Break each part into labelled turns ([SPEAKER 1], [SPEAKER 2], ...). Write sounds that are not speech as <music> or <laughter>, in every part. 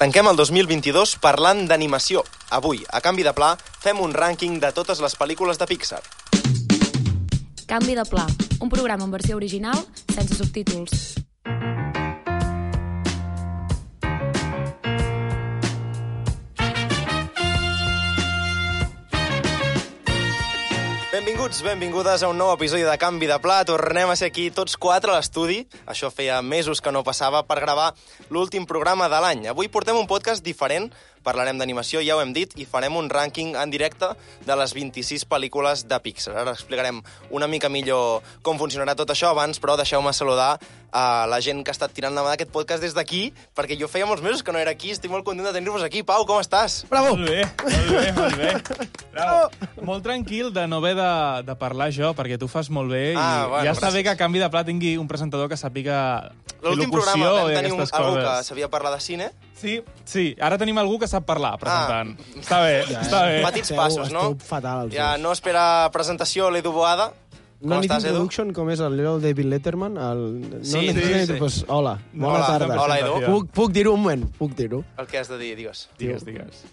[SPEAKER 1] Tanquem el 2022 parlant d'animació. Avui, a canvi de pla, fem un rànquing de totes les pel·lícules de Pixar.
[SPEAKER 2] Canvi de pla, un programa en versió original sense subtítols.
[SPEAKER 1] Benvinguts, benvingudes a un nou episodi de Canvi de Pla. Tornem a ser aquí tots quatre a l'estudi. Això feia mesos que no passava per gravar l'últim programa de l'any. Avui portem un podcast diferent, parlarem d'animació, ja ho hem dit, i farem un rànquing en directe de les 26 pel·lícules de Pixar. Ara explicarem una mica millor com funcionarà tot això abans, però deixeu-me saludar a la gent que ha estat tirant la mà d'aquest podcast des d'aquí, perquè jo feia molts mesos que no era aquí, estic molt content de tenir-vos aquí. Pau, com estàs?
[SPEAKER 3] Bravo! Molt bé, molt bé, molt bé. Bravo. Molt tranquil de no haver de, de parlar jo, perquè tu fas molt bé i
[SPEAKER 1] Ah, bueno,
[SPEAKER 3] ja està
[SPEAKER 1] gràcies.
[SPEAKER 3] bé que a canvi de pla tingui un presentador que sàpiga
[SPEAKER 1] L'últim
[SPEAKER 3] elocució
[SPEAKER 1] programa vam
[SPEAKER 3] i
[SPEAKER 1] tenir un,
[SPEAKER 3] aquestes
[SPEAKER 1] algú que
[SPEAKER 3] coses.
[SPEAKER 1] sabia parlar de cine,
[SPEAKER 3] Sí, sí, ara tenim algú que sap parlar presentant.
[SPEAKER 1] Ah.
[SPEAKER 3] Està bé, està bé.
[SPEAKER 1] Petits
[SPEAKER 4] Esteu-
[SPEAKER 1] passos, no?
[SPEAKER 4] esteu fatal, els
[SPEAKER 1] Ja
[SPEAKER 4] dos.
[SPEAKER 1] no espera presentació, l'Edu Boada. Com
[SPEAKER 4] Una nit
[SPEAKER 1] estàs, Edu?
[SPEAKER 4] d'introduction, com és el Little David Letterman? El... No,
[SPEAKER 1] Sí,
[SPEAKER 4] no,
[SPEAKER 1] sí,
[SPEAKER 4] no,
[SPEAKER 1] sí.
[SPEAKER 4] Pues, doncs, hola,
[SPEAKER 3] No,
[SPEAKER 4] bona
[SPEAKER 1] hola,
[SPEAKER 4] tarda.
[SPEAKER 1] hola, Edu.
[SPEAKER 4] Puc, puc dir-ho un moment? Puc dir-ho?
[SPEAKER 1] El que has de dir, digues.
[SPEAKER 3] Digues, digues.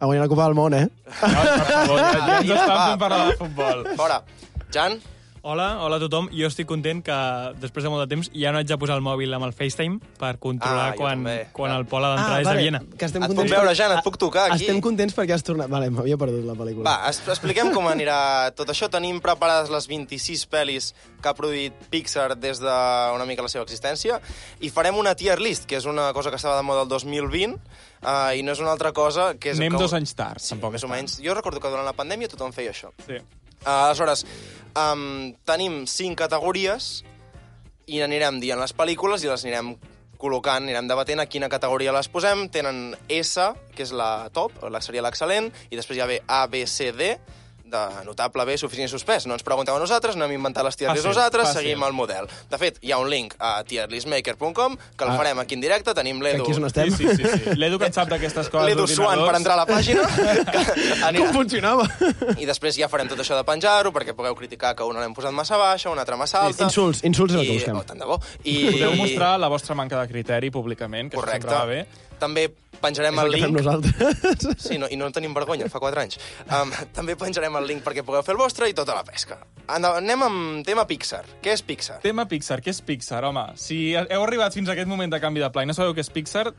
[SPEAKER 4] A guanyar la Copa del Món, eh?
[SPEAKER 3] No, per favor, ja, ja ens
[SPEAKER 1] Ja,
[SPEAKER 3] estan
[SPEAKER 1] Ah, va.
[SPEAKER 3] fent parlar de futbol.
[SPEAKER 1] Fora. Jan,
[SPEAKER 5] Hola, hola a tothom. Jo estic content que després de molt de temps ja no haig de posar el mòbil amb el FaceTime per controlar
[SPEAKER 1] Ah, jo
[SPEAKER 5] quan,
[SPEAKER 1] també. Ah,
[SPEAKER 5] quan el
[SPEAKER 3] Doncs
[SPEAKER 5] Pol ha d'entrar des de Viena.
[SPEAKER 4] Ah, Que estem
[SPEAKER 1] Et puc
[SPEAKER 4] contents
[SPEAKER 1] veure,
[SPEAKER 4] per-
[SPEAKER 1] Jan, et
[SPEAKER 4] Ah,
[SPEAKER 1] puc tocar, aquí.
[SPEAKER 4] Estem contents perquè has tornat... Vale, m'havia perdut la pel·lícula.
[SPEAKER 1] va, es expliquem com anirà tot això. Tenim preparades les 26 pel·lis que ha produït Pixar des de una mica la seva existència i farem una tier list, que és una cosa que estava de moda el 2020 uh, i no és una altra cosa que és...
[SPEAKER 3] Anem
[SPEAKER 1] que...
[SPEAKER 3] dos anys tard,
[SPEAKER 1] Sí,
[SPEAKER 3] tampoc
[SPEAKER 1] més
[SPEAKER 3] és
[SPEAKER 1] o menys. Jo recordo que durant la pandèmia tothom feia això.
[SPEAKER 3] Sí.
[SPEAKER 1] Uh, aleshores, um, tenim cinc categories i anirem dient les pel·lícules i les anirem col·locant, anirem debatent a quina categoria les posem. Tenen S, que és la top, o la seria l'excel·lent, i després hi ha B, A, B, C, D, de notable, B, suficient i suspès. No ens pregunteu a nosaltres, no hem inventat les tier list
[SPEAKER 3] Fàcil,
[SPEAKER 1] nosaltres,
[SPEAKER 3] fàcil.
[SPEAKER 1] seguim el model. De fet, hi ha un link a tierlistmaker.com, que el
[SPEAKER 4] Ah.
[SPEAKER 1] farem aquí en directe, tenim
[SPEAKER 4] Que
[SPEAKER 1] l'Edu...
[SPEAKER 4] aquí és on estem.
[SPEAKER 3] Sí, sí, sí. sí. L'Edu que en sap d'aquestes coses.
[SPEAKER 1] L'Edu Swan per entrar a la pàgina. que anirà-
[SPEAKER 4] Com funcionava?
[SPEAKER 1] i després ja farem tot això de penjar-ho, perquè pugueu criticar que una l'hem posat massa baixa, una altra massa alta...
[SPEAKER 4] Insults, insults és el
[SPEAKER 1] I-
[SPEAKER 4] que busquem.
[SPEAKER 1] Oh, tant de bo. I...
[SPEAKER 3] Podeu mostrar la vostra manca de criteri públicament, que Correcte.
[SPEAKER 1] Correcte.
[SPEAKER 3] sempre va bé.
[SPEAKER 1] També penjarem
[SPEAKER 4] És
[SPEAKER 1] el,
[SPEAKER 4] el que fem
[SPEAKER 1] link...
[SPEAKER 4] nosaltres.
[SPEAKER 1] Sí, no, i no en tenim vergonya, fa 4 anys. Um, també penjarem el link perquè pugueu fer el vostre i tota la pesca. Anda, anem amb tema Pixar. Què és Pixar?
[SPEAKER 3] Tema Pixar, què és Pixar, home? Si heu arribat fins a aquest moment de canvi de pla i no sabeu què és Pixar,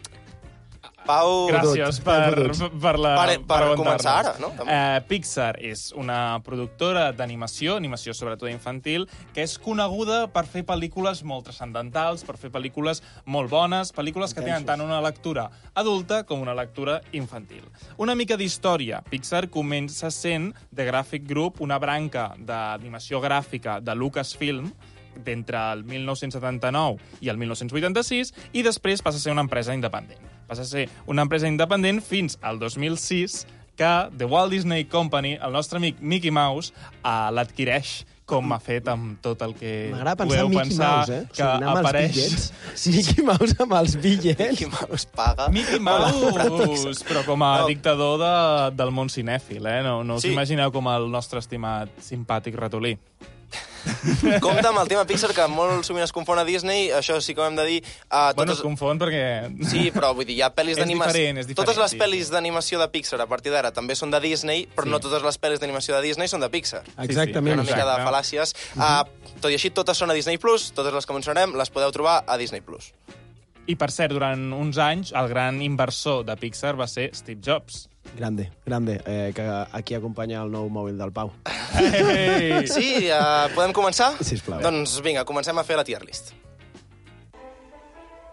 [SPEAKER 1] Pau...
[SPEAKER 3] gràcies per,
[SPEAKER 4] fotuts.
[SPEAKER 3] <laughs> per, la,
[SPEAKER 1] Per- per
[SPEAKER 3] aguantar-nos.
[SPEAKER 1] començar ara, no? També.
[SPEAKER 3] Eh, Pixar és una productora d'animació, animació sobretot infantil, que és coneguda per fer pel·lícules molt transcendentals, per fer pel·lícules molt bones, pel·lícules que tenen tant una lectura adulta com una lectura infantil. Una mica d'història. Pixar comença sent The Graphic Group, una branca d'animació gràfica de Lucasfilm, d'entre el 1979 i el 1986, i després passa a ser una empresa independent. Passa a ser una empresa independent fins al 2006, que The Walt Disney Company, el nostre amic Mickey Mouse, eh, l'adquireix com ha fet amb tot el que
[SPEAKER 4] M'agrada pensar
[SPEAKER 3] podeu
[SPEAKER 4] en Mickey
[SPEAKER 3] pensar
[SPEAKER 4] Mouse, eh? O
[SPEAKER 3] que
[SPEAKER 4] sigui, anar amb els
[SPEAKER 3] apareix...
[SPEAKER 4] bitllets. Mickey Mouse amb els bitllets.
[SPEAKER 1] Mickey Mouse paga.
[SPEAKER 3] Mickey Mouse, però com a
[SPEAKER 1] No.
[SPEAKER 3] dictador de, del món cinèfil, eh? No, no us
[SPEAKER 1] Sí.
[SPEAKER 3] imagineu com el nostre estimat simpàtic ratolí.
[SPEAKER 1] Compte amb el tema Pixar, que molt sovint es confon a Disney, això sí que ho hem de dir. Uh,
[SPEAKER 3] Bueno, es confon perquè...
[SPEAKER 1] Sí, però vull dir, hi ha pel·lis
[SPEAKER 3] És diferent, és
[SPEAKER 1] d'animació...
[SPEAKER 3] diferent,
[SPEAKER 1] Totes les
[SPEAKER 3] sí,
[SPEAKER 1] pel·lis d'animació de Pixar a partir d'ara també són de Disney, però no totes les pel·lis d'animació de Disney són de Pixar.
[SPEAKER 3] Sí,
[SPEAKER 4] Exactament.
[SPEAKER 1] Una mica de
[SPEAKER 3] exacte.
[SPEAKER 1] fal·làcies. uh, tot i així, totes són a Disney+, Plus, totes les que mencionarem les podeu trobar a Disney+. Plus.
[SPEAKER 3] I, per cert, durant uns anys, el gran inversor de Pixar va ser Steve Jobs.
[SPEAKER 4] Grande, grande, eh, que aquí acompanya el nou mòbil del Pau.
[SPEAKER 3] Hey!
[SPEAKER 1] Sí, uh, podem començar?
[SPEAKER 4] Sisplau.
[SPEAKER 1] Doncs vinga, comencem a fer la tier list.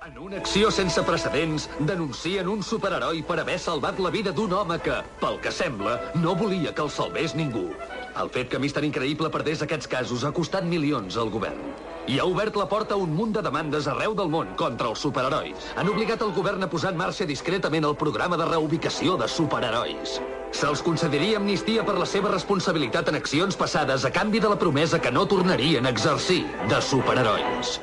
[SPEAKER 6] En una acció sense precedents, denuncien un superheroi per haver salvat la vida d'un home que, pel que sembla, no volia que el salvés ningú. El fet que Mister Increïble perdés aquests casos ha costat milions al govern. I ha obert la porta a un munt de demandes arreu del món contra els superherois. Han obligat el govern a posar en marxa discretament el programa de reubicació de superherois. Se'ls concediria amnistia per la seva responsabilitat en accions passades a canvi de la promesa que no tornarien a exercir de superherois.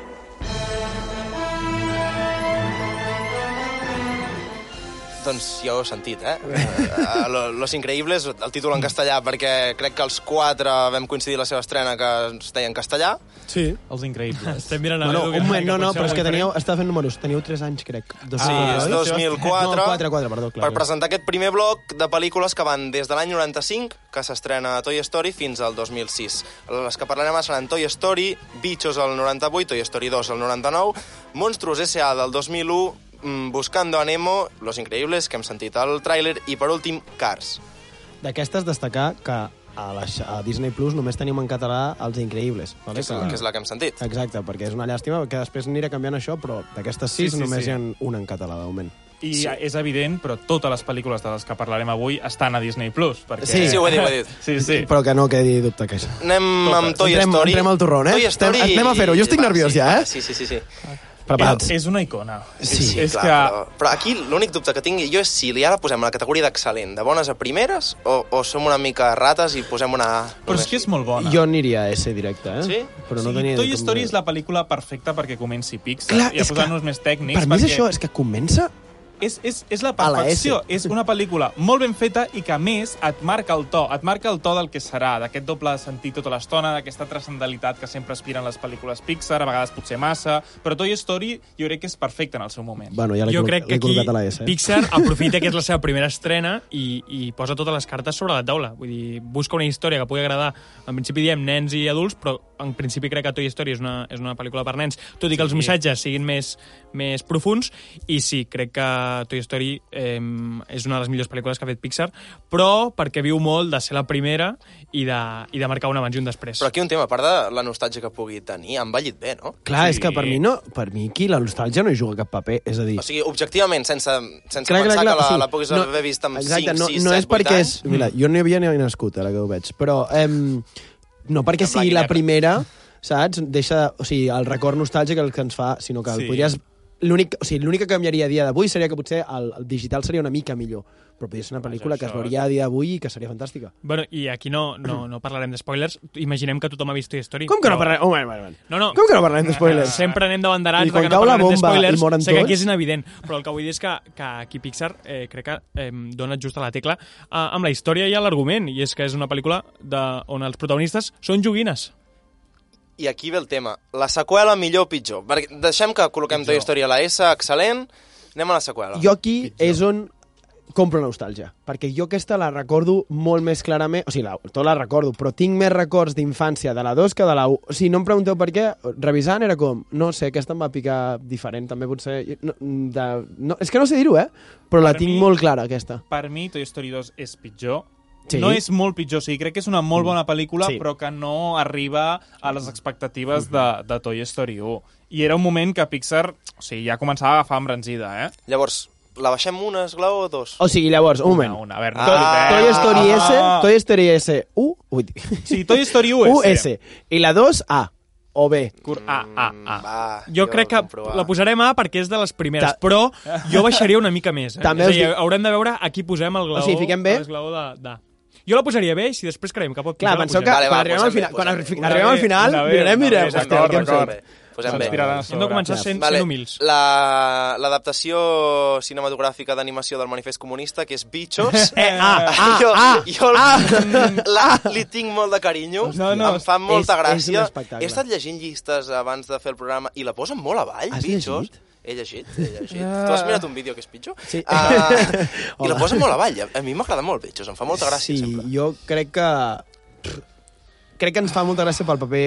[SPEAKER 1] Doncs ja ho heu sentit, eh? Uh, lo- Los Increíbles, el títol en castellà, perquè crec que els quatre vam coincidir la seva estrena que es deia en castellà.
[SPEAKER 7] Sí.
[SPEAKER 3] Els Increïbles.
[SPEAKER 5] Estem mirant a
[SPEAKER 4] Bueno,
[SPEAKER 5] l'Edu, que
[SPEAKER 4] un moment,
[SPEAKER 5] que
[SPEAKER 4] no, no,
[SPEAKER 5] potser
[SPEAKER 4] però és que
[SPEAKER 5] avui farem-
[SPEAKER 4] teníeu, estava fent números, teníeu 3 anys, crec. Dos
[SPEAKER 1] Sí,
[SPEAKER 4] mil,
[SPEAKER 1] és
[SPEAKER 4] oi?
[SPEAKER 1] 2004.
[SPEAKER 4] No, 4, 4, perdó, clar.
[SPEAKER 1] Per presentar aquest primer bloc de pel·lícules que van des de l'any 95, que s'estrena a Toy Story, fins al 2006. Les que parlarem seran Toy Story, Bichos el 98, Toy Story 2 el 99, Monstruos S.A. del 2001, mm, Buscando a Nemo, Los Increíbles, que hem sentit al tràiler, i per últim, Cars.
[SPEAKER 4] D'aquestes, destacar que a, la, xa- a Disney Plus només tenim en català Els Increïbles. Vale?
[SPEAKER 1] Que és, la, que és la que hem sentit.
[SPEAKER 4] Exacte, perquè és una llàstima, que després anirà canviant això, però d'aquestes
[SPEAKER 3] Sí,
[SPEAKER 4] sis
[SPEAKER 3] sí,
[SPEAKER 4] només
[SPEAKER 3] sí.
[SPEAKER 4] hi ha una en català, de moment.
[SPEAKER 3] I sí. és evident, però totes les pel·lícules de les que parlarem avui estan a Disney+. Plus perquè...
[SPEAKER 4] Sí.
[SPEAKER 1] Sí, ho he dit, ho he dit.
[SPEAKER 3] <laughs> Sí, sí.
[SPEAKER 4] Però que no quedi dubte que això.
[SPEAKER 1] Anem amb Toy
[SPEAKER 4] Entrem-
[SPEAKER 1] Story.
[SPEAKER 4] entrem al torró, eh?
[SPEAKER 1] Toy Story
[SPEAKER 4] Estem- anem a fer-ho. Jo estic
[SPEAKER 1] i-
[SPEAKER 4] nerviós,
[SPEAKER 1] sí,
[SPEAKER 4] ja, eh?
[SPEAKER 1] Sí, sí, sí. sí.
[SPEAKER 4] Preparats.
[SPEAKER 3] És, és una icona.
[SPEAKER 1] Sí, sí
[SPEAKER 3] és
[SPEAKER 1] clar,
[SPEAKER 3] que...
[SPEAKER 1] però, però aquí l'únic dubte que tinc jo és si li ara posem a la categoria d'excel·lent, de bones a primeres, o, o som una mica rates i posem una... A?
[SPEAKER 3] Però és que és molt bona.
[SPEAKER 4] Jo aniria a ese directe, eh?
[SPEAKER 1] Sí?
[SPEAKER 4] Però no
[SPEAKER 3] o sigui,
[SPEAKER 4] tenia...
[SPEAKER 3] Toy Story és la pel·lícula perfecta perquè comenci Pixar
[SPEAKER 4] Clar,
[SPEAKER 3] i a
[SPEAKER 4] és
[SPEAKER 3] posar-nos més tècnics.
[SPEAKER 4] Per mi és
[SPEAKER 3] perquè
[SPEAKER 4] això, és que comença...
[SPEAKER 3] És, és, és la
[SPEAKER 4] A la
[SPEAKER 3] perfecció.
[SPEAKER 4] S.
[SPEAKER 3] És una pel·lícula molt ben feta i que, a més, et marca el to. Et marca el to del que serà, d'aquest doble sentit tota l'estona, d'aquesta transcendalitat que sempre aspiren les pel·lícules Pixar, a vegades potser massa, però Toy Story jo crec que és perfecta en el seu moment.
[SPEAKER 4] Bueno, ja l'he
[SPEAKER 5] jo
[SPEAKER 4] col-
[SPEAKER 5] crec que
[SPEAKER 4] l'he
[SPEAKER 5] aquí
[SPEAKER 4] col·locat a la S, eh? <laughs>
[SPEAKER 5] Pixar aprofita que és la seva primera estrena i, i posa totes les cartes sobre la taula. Vull dir, busca una història que pugui agradar, en principi diem nens i adults, però en principi crec que Toy Story és una, és una pel·lícula per nens, tot i que els missatges siguin més, més profuns, i sí, crec que Toy Story eh, és una de les millors pel·lícules que ha fet Pixar, però perquè viu molt de ser la primera i de, i de marcar un abans i un després.
[SPEAKER 1] Però aquí un tema, a part de la nostàlgia que pugui tenir, han ballit bé, no?
[SPEAKER 4] Clar,
[SPEAKER 3] Sí.
[SPEAKER 4] és que per mi, no, per mi aquí la nostàlgia no hi juga cap paper, és a dir...
[SPEAKER 1] O sigui, objectivament, sense, sense pensar que la, la puguis haver vist amb
[SPEAKER 4] exacte,
[SPEAKER 1] 5,
[SPEAKER 4] no,
[SPEAKER 1] 6,
[SPEAKER 4] no
[SPEAKER 1] 7,
[SPEAKER 4] és perquè
[SPEAKER 1] 8
[SPEAKER 4] és,
[SPEAKER 1] anys.
[SPEAKER 4] mira, jo no hi havia ni nascut, ara que ho veig, però em, no perquè
[SPEAKER 1] En blanc
[SPEAKER 4] sigui
[SPEAKER 1] i
[SPEAKER 4] la
[SPEAKER 1] negre.
[SPEAKER 4] primera, saps? Deixa, o sigui, el record nostàlgic el que ens fa, sinó que el
[SPEAKER 5] Sí.
[SPEAKER 4] podries... L'únic o sigui, l'únic que canviaria a dia d'avui seria que potser el, el digital seria una mica millor, però podria ser una pel·lícula que es
[SPEAKER 3] això-
[SPEAKER 4] veuria a dia d'avui i que seria fantàstica.
[SPEAKER 5] Bueno, i aquí no, no, no parlarem de spoilers. Imaginem que tothom ha vist Toy Story.
[SPEAKER 4] Com que no
[SPEAKER 5] però-
[SPEAKER 4] parlarem... Oh, bueno, bueno, bueno.
[SPEAKER 5] No, no.
[SPEAKER 4] Com que no parlarem d'espoilers?
[SPEAKER 5] Sempre anem de banderats,
[SPEAKER 4] I quan
[SPEAKER 5] perquè no
[SPEAKER 4] cau la
[SPEAKER 5] parlem
[SPEAKER 4] bomba
[SPEAKER 5] d'espoilers.
[SPEAKER 4] i moren
[SPEAKER 5] Sé que aquí
[SPEAKER 4] tots.
[SPEAKER 5] és inevident, però el que vull dir és que, que aquí Pixar eh, crec que eh, dona just a la tecla eh, amb la història i a l'argument, i és que és una pel·lícula de, on els protagonistes són joguines.
[SPEAKER 1] I aquí ve el tema. La seqüela, millor o pitjor? Perquè deixem que col·loquem Toy Story a la S, excel·lent, anem a la seqüela.
[SPEAKER 4] Jo aquí és on compro nostàlgia, perquè jo aquesta la recordo molt més clarament, o sigui, la, tot la recordo, però tinc més records d'infància de la 2 que de la 1. O sigui, no em pregunteu per què, revisant era com, no sé, aquesta em va picar diferent, també potser... No, de, no, és que no sé dir-ho, eh? Però la
[SPEAKER 3] Per
[SPEAKER 4] tinc
[SPEAKER 3] mi-
[SPEAKER 4] molt clara, aquesta.
[SPEAKER 3] Per mi, Toy Story 2 és pitjor.
[SPEAKER 4] Sí. Mm.
[SPEAKER 3] No és molt pitjor, o sigui, crec que és una molt bona pel·lícula,
[SPEAKER 4] Sí.
[SPEAKER 3] però que no arriba a les expectatives de,
[SPEAKER 4] Mm-hmm.
[SPEAKER 3] de Toy Story 1. I era un moment que Pixar, o sigui, ja començava a agafar embranzida, eh?
[SPEAKER 1] Llavors, la baixem una, esglaó o dos?
[SPEAKER 4] O sigui, llavors, un moment.
[SPEAKER 3] Una, una, a veure,
[SPEAKER 1] Ah.
[SPEAKER 3] ah,
[SPEAKER 4] Toy Story S, Toy Story S, U, ui,
[SPEAKER 3] Sí, Toy Story
[SPEAKER 4] U,
[SPEAKER 3] US.
[SPEAKER 4] S, i la 2, A, o B.
[SPEAKER 5] Cur ah, ah, ah.
[SPEAKER 1] Va,
[SPEAKER 5] Jo crec que
[SPEAKER 1] comprovar.
[SPEAKER 5] la posarem A perquè és de les primeres,
[SPEAKER 4] Ta-
[SPEAKER 5] però jo baixaria una mica més. Eh?
[SPEAKER 4] També
[SPEAKER 5] és a
[SPEAKER 4] us
[SPEAKER 5] dir,
[SPEAKER 4] dic-
[SPEAKER 5] haurem de veure a qui posem el glaó,
[SPEAKER 4] O sigui, fiquem bé?
[SPEAKER 5] l'esglaó de, de... Jo la posaria bé i si després creiem que pot
[SPEAKER 4] Clar,
[SPEAKER 5] pujar, la
[SPEAKER 4] penseu que
[SPEAKER 5] posarem.
[SPEAKER 1] Vale, va,
[SPEAKER 4] quan arribem
[SPEAKER 1] posem bé,
[SPEAKER 4] al final,
[SPEAKER 1] posem
[SPEAKER 4] quan
[SPEAKER 1] bé.
[SPEAKER 4] arri- arribem al final,
[SPEAKER 3] Una B,
[SPEAKER 4] mirem,
[SPEAKER 3] una B,
[SPEAKER 4] mirem,
[SPEAKER 3] d'acord,
[SPEAKER 4] hòstia, què hem
[SPEAKER 3] d'acord.
[SPEAKER 4] fet?
[SPEAKER 1] Posem bé.
[SPEAKER 3] S'inspirarà a
[SPEAKER 5] Hem de
[SPEAKER 3] sobre.
[SPEAKER 5] començar sent, sent humils.
[SPEAKER 1] La- L'adaptació la, cinematogràfica d'animació del manifest comunista, que és Bichos.
[SPEAKER 4] <laughs> Eh,
[SPEAKER 1] <laughs>
[SPEAKER 4] ah, ah,
[SPEAKER 1] jo,
[SPEAKER 4] ah,
[SPEAKER 1] jo ah, <laughs> la, li tinc molt de carinyo,
[SPEAKER 3] No, no,
[SPEAKER 1] em fa molta
[SPEAKER 4] és- és un
[SPEAKER 1] gràcia.
[SPEAKER 4] espectacle.
[SPEAKER 1] He estat llegint llistes abans de fer el programa i la posen molt avall,
[SPEAKER 4] Has
[SPEAKER 1] Bichos.
[SPEAKER 4] llegit? Ah.
[SPEAKER 1] He llegit, he llegit. Tu has mirat un vídeo que és pitjor?
[SPEAKER 4] Sí. <laughs>
[SPEAKER 1] Uh, I la
[SPEAKER 4] Hola.
[SPEAKER 1] posen molt avall. A- A mi m'agrada molt Bichos, em fa molta gràcia
[SPEAKER 4] sí,
[SPEAKER 1] sempre.
[SPEAKER 4] jo crec que... Crec que ens fa molta gràcia pel paper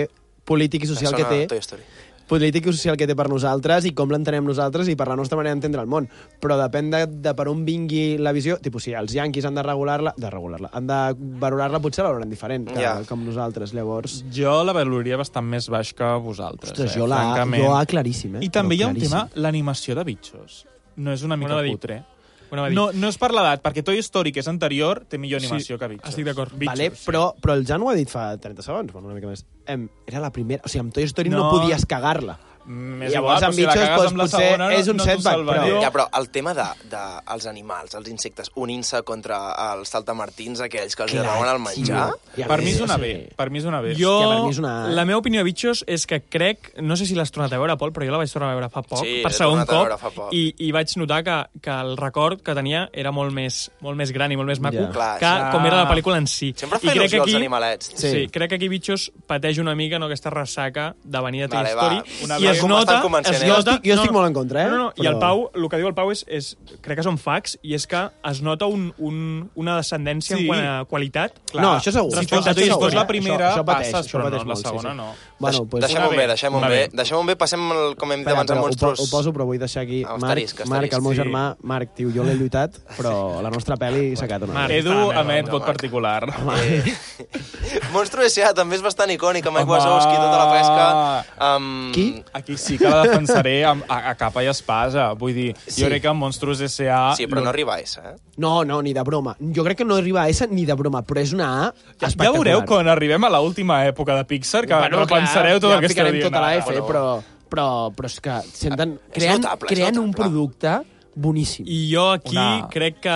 [SPEAKER 4] polític i social que
[SPEAKER 1] Sona
[SPEAKER 4] té,
[SPEAKER 1] Toy Story.
[SPEAKER 4] polític i social que té per nosaltres i com l'entenem nosaltres i per la nostra manera d'entendre el món. Però depèn de, de per on vingui la visió. Tipus, si els yanquis han de regular-la, de regular-la, han de valorar-la, potser la veuran diferent, que,
[SPEAKER 1] Ja.
[SPEAKER 4] com nosaltres. Llavors,
[SPEAKER 3] Jo la valoraria bastant més baix que vosaltres.
[SPEAKER 4] ostres,
[SPEAKER 3] eh,
[SPEAKER 4] jo la,
[SPEAKER 3] francament.
[SPEAKER 4] jo la claríssim, eh?
[SPEAKER 3] I també hi
[SPEAKER 4] Però
[SPEAKER 3] ha un tema,
[SPEAKER 4] claríssim.
[SPEAKER 3] l'animació de bitxos. No és una mica
[SPEAKER 5] Anava a dir.
[SPEAKER 3] putre.
[SPEAKER 5] Bueno, va dir.
[SPEAKER 3] No, no és per l'edat, perquè Toy Story, que és anterior, té millor animació
[SPEAKER 5] Sí,
[SPEAKER 3] que bitxos.
[SPEAKER 5] estic d'acord.
[SPEAKER 3] Bitxos.
[SPEAKER 4] Vale, però, però el Jan ho ha dit fa 30 segons, bueno, una mica més. Em, era la primera... O sigui, amb Toy Story no,
[SPEAKER 3] No.
[SPEAKER 4] no podies cagar-la.
[SPEAKER 3] Més
[SPEAKER 4] Llavors,
[SPEAKER 3] igual,
[SPEAKER 4] amb
[SPEAKER 3] però si la
[SPEAKER 4] bitxos,
[SPEAKER 3] cagues
[SPEAKER 4] doncs,
[SPEAKER 3] amb la
[SPEAKER 4] potser
[SPEAKER 3] segona, no,
[SPEAKER 4] és un
[SPEAKER 3] no t'ho
[SPEAKER 4] setback,
[SPEAKER 3] salvaré.
[SPEAKER 4] però-
[SPEAKER 1] Ja, però el tema dels de, de, els animals, els insectes, unint-se contra els saltamartins aquells que els
[SPEAKER 4] Clar,
[SPEAKER 1] donaven el menjar...
[SPEAKER 4] tio. Ja
[SPEAKER 3] per
[SPEAKER 4] ves,
[SPEAKER 3] mi és una
[SPEAKER 4] sí.
[SPEAKER 3] B. Per mi és una B.
[SPEAKER 5] Jo,
[SPEAKER 4] que per mi és una-
[SPEAKER 5] la meva opinió de Bitxos és que crec, no sé si l'has tornat a veure, Pol, però jo la vaig tornar a veure fa poc,
[SPEAKER 1] Sí,
[SPEAKER 5] per
[SPEAKER 1] l'he
[SPEAKER 5] segon
[SPEAKER 1] tornat a veure
[SPEAKER 5] cop,
[SPEAKER 1] fa poc.
[SPEAKER 5] I, i vaig notar que, que el record que tenia era molt més, molt més gran i molt més maco
[SPEAKER 4] Ja.
[SPEAKER 1] Clar,
[SPEAKER 5] que
[SPEAKER 1] sí.
[SPEAKER 5] com era la pel·lícula en si.
[SPEAKER 1] Sempre
[SPEAKER 5] I
[SPEAKER 1] fa
[SPEAKER 5] crec
[SPEAKER 1] il·lusió
[SPEAKER 5] que
[SPEAKER 1] als
[SPEAKER 5] aquí-
[SPEAKER 1] animalets.
[SPEAKER 5] Sí. sí. crec que aquí Bitxos pateix una mica no, aquesta ressaca de venir de Toy
[SPEAKER 1] Vale, va.
[SPEAKER 5] Story.
[SPEAKER 1] Una
[SPEAKER 5] I
[SPEAKER 1] vegada
[SPEAKER 5] es
[SPEAKER 1] com
[SPEAKER 5] nota...
[SPEAKER 1] estan començant,
[SPEAKER 5] es
[SPEAKER 1] eh?
[SPEAKER 5] nota-
[SPEAKER 1] Jo
[SPEAKER 4] estic- jo estic molt en contra, eh?
[SPEAKER 5] No, no, no. I el
[SPEAKER 4] Però-
[SPEAKER 5] Pau, el que diu el Pau és, és crec que són facts, i és que es nota un, un, una descendència
[SPEAKER 3] Sí.
[SPEAKER 5] en quant a qualitat.
[SPEAKER 4] No, això segur.
[SPEAKER 5] Respecte
[SPEAKER 4] això,
[SPEAKER 5] a Toy
[SPEAKER 4] això segur,
[SPEAKER 5] Story.
[SPEAKER 4] eh?
[SPEAKER 3] La primera
[SPEAKER 4] això, això pateix,
[SPEAKER 3] passes,
[SPEAKER 4] això
[SPEAKER 3] però no,
[SPEAKER 4] pateix
[SPEAKER 3] la
[SPEAKER 4] molt,
[SPEAKER 3] segona
[SPEAKER 4] sí, sí.
[SPEAKER 3] no.
[SPEAKER 4] Bueno,
[SPEAKER 1] Deix-
[SPEAKER 4] pues,
[SPEAKER 1] Deixem-ho
[SPEAKER 3] una
[SPEAKER 1] bé,
[SPEAKER 3] B,
[SPEAKER 1] deixem-ho
[SPEAKER 3] una
[SPEAKER 1] bé.
[SPEAKER 3] B.
[SPEAKER 1] Deixem-ho bé, passem, el, com hem dit abans,
[SPEAKER 4] Espera,
[SPEAKER 1] amb
[SPEAKER 4] ho, po-
[SPEAKER 1] monstruos.
[SPEAKER 4] ho poso, però vull deixar aquí
[SPEAKER 1] Ah,
[SPEAKER 4] Marc,
[SPEAKER 1] asterisc,
[SPEAKER 4] Marc, el meu
[SPEAKER 1] asterisc.
[SPEAKER 4] germà, Marc, tio, jo l'he lluitat, però la nostra pel·li s'ha quedat una
[SPEAKER 5] Marc.
[SPEAKER 4] B.
[SPEAKER 3] Edu
[SPEAKER 5] Està, no,
[SPEAKER 3] emet
[SPEAKER 5] no,
[SPEAKER 3] vot particular.
[SPEAKER 1] Eh, <laughs> Monstro S.A. també és bastant icònic, amb Mike
[SPEAKER 3] Home.
[SPEAKER 1] Wazowski, tota la pesca... Amb...
[SPEAKER 4] Qui?
[SPEAKER 3] Aquí sí que la defensaré amb, a, a capa i espasa. Vull dir,
[SPEAKER 4] Sí.
[SPEAKER 3] jo crec que Monstruos S.A.
[SPEAKER 1] Sí, però no arriba a S, eh?
[SPEAKER 4] No, no, ni de broma. Jo crec que no arriba a S ni de broma, però és una A
[SPEAKER 3] Ja
[SPEAKER 4] espectacular.
[SPEAKER 3] veureu quan arribem a l'última època de Pixar que bueno,
[SPEAKER 4] clar,
[SPEAKER 3] repensareu tot
[SPEAKER 4] ja
[SPEAKER 3] el que esteu
[SPEAKER 4] ficarem
[SPEAKER 3] dient.
[SPEAKER 4] tota la
[SPEAKER 3] ara.
[SPEAKER 4] F, però, però, però és que senten,
[SPEAKER 1] És
[SPEAKER 4] creen,
[SPEAKER 1] notable, és
[SPEAKER 4] creen un
[SPEAKER 1] notable.
[SPEAKER 4] producte boníssim. I...
[SPEAKER 5] I jo aquí
[SPEAKER 3] Una-
[SPEAKER 5] una... crec que...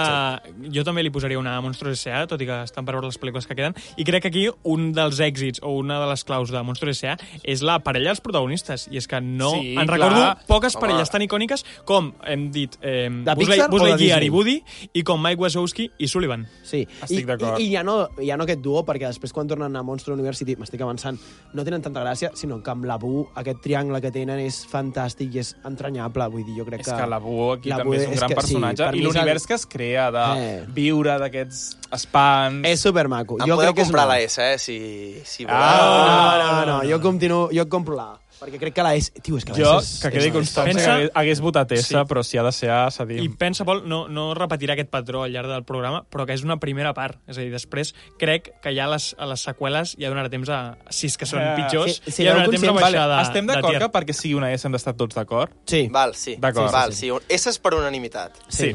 [SPEAKER 5] Jo també li posaria una a Monstruos S.A., tot i que estan per veure les pel·lícules que queden, i crec que aquí un dels èxits o una de les claus de Monstruos S.A. és la parella dels protagonistes, i és que no...
[SPEAKER 3] Sí, clar.
[SPEAKER 5] en recordo poques
[SPEAKER 1] Home.
[SPEAKER 5] parelles tan icòniques com, hem dit, eh,
[SPEAKER 4] De Pixar o
[SPEAKER 5] Buzz
[SPEAKER 4] de
[SPEAKER 5] Lightyear i
[SPEAKER 4] Disney?
[SPEAKER 5] Woody, i com Mike Wazowski i Sullivan.
[SPEAKER 4] Sí.
[SPEAKER 3] Estic
[SPEAKER 4] I,
[SPEAKER 3] d'acord.
[SPEAKER 4] i, I, ja, no, ja no aquest duo, perquè després quan tornen a Monster University, m'estic avançant, no tenen tanta gràcia, sinó que amb la Bu, aquest triangle que tenen és fantàstic i és entranyable. Vull dir, jo crec
[SPEAKER 3] És
[SPEAKER 4] que...
[SPEAKER 3] que la Boo aquí
[SPEAKER 4] la
[SPEAKER 3] també
[SPEAKER 4] Bu
[SPEAKER 3] és un gran
[SPEAKER 4] que
[SPEAKER 3] personatge
[SPEAKER 4] per mi
[SPEAKER 3] i
[SPEAKER 4] és el-
[SPEAKER 3] l'univers que es crea de
[SPEAKER 4] Eh.
[SPEAKER 3] viure d'aquests espans...
[SPEAKER 4] És supermaco.
[SPEAKER 1] Em
[SPEAKER 4] jo
[SPEAKER 1] podeu
[SPEAKER 4] crec que és
[SPEAKER 1] comprar
[SPEAKER 4] una-
[SPEAKER 1] la S, eh, si, si voleu.
[SPEAKER 4] Ah, no, no, no, no, jo continuo, jo compro la A, perquè crec que la S... Tio, és que la
[SPEAKER 3] Jo,
[SPEAKER 4] S és...
[SPEAKER 3] que quedi
[SPEAKER 4] és-
[SPEAKER 3] constància,
[SPEAKER 5] Pensa-
[SPEAKER 3] que hagués, hagués votat S,
[SPEAKER 5] Sí.
[SPEAKER 3] però si ha de ser A,
[SPEAKER 5] I
[SPEAKER 3] cedim.
[SPEAKER 5] pensa, Pol, no, no repetirà aquest patró al llarg del programa, però que és una primera part. És a dir, després crec que ja les, a les seqüeles ja donarà temps a... Si és que són
[SPEAKER 3] Eh,
[SPEAKER 5] pitjors,
[SPEAKER 4] sí, sí,
[SPEAKER 5] ja
[SPEAKER 4] no,
[SPEAKER 5] donarà temps a
[SPEAKER 4] conscient,
[SPEAKER 5] baixar
[SPEAKER 3] Vale,
[SPEAKER 5] de,
[SPEAKER 3] estem
[SPEAKER 5] de
[SPEAKER 3] d'acord
[SPEAKER 5] tier.
[SPEAKER 3] que perquè sigui una S hem d'estar tots d'acord?
[SPEAKER 4] Sí.
[SPEAKER 1] Val, sí.
[SPEAKER 3] D'acord.
[SPEAKER 1] Val, sí. S és per unanimitat.
[SPEAKER 3] Sí.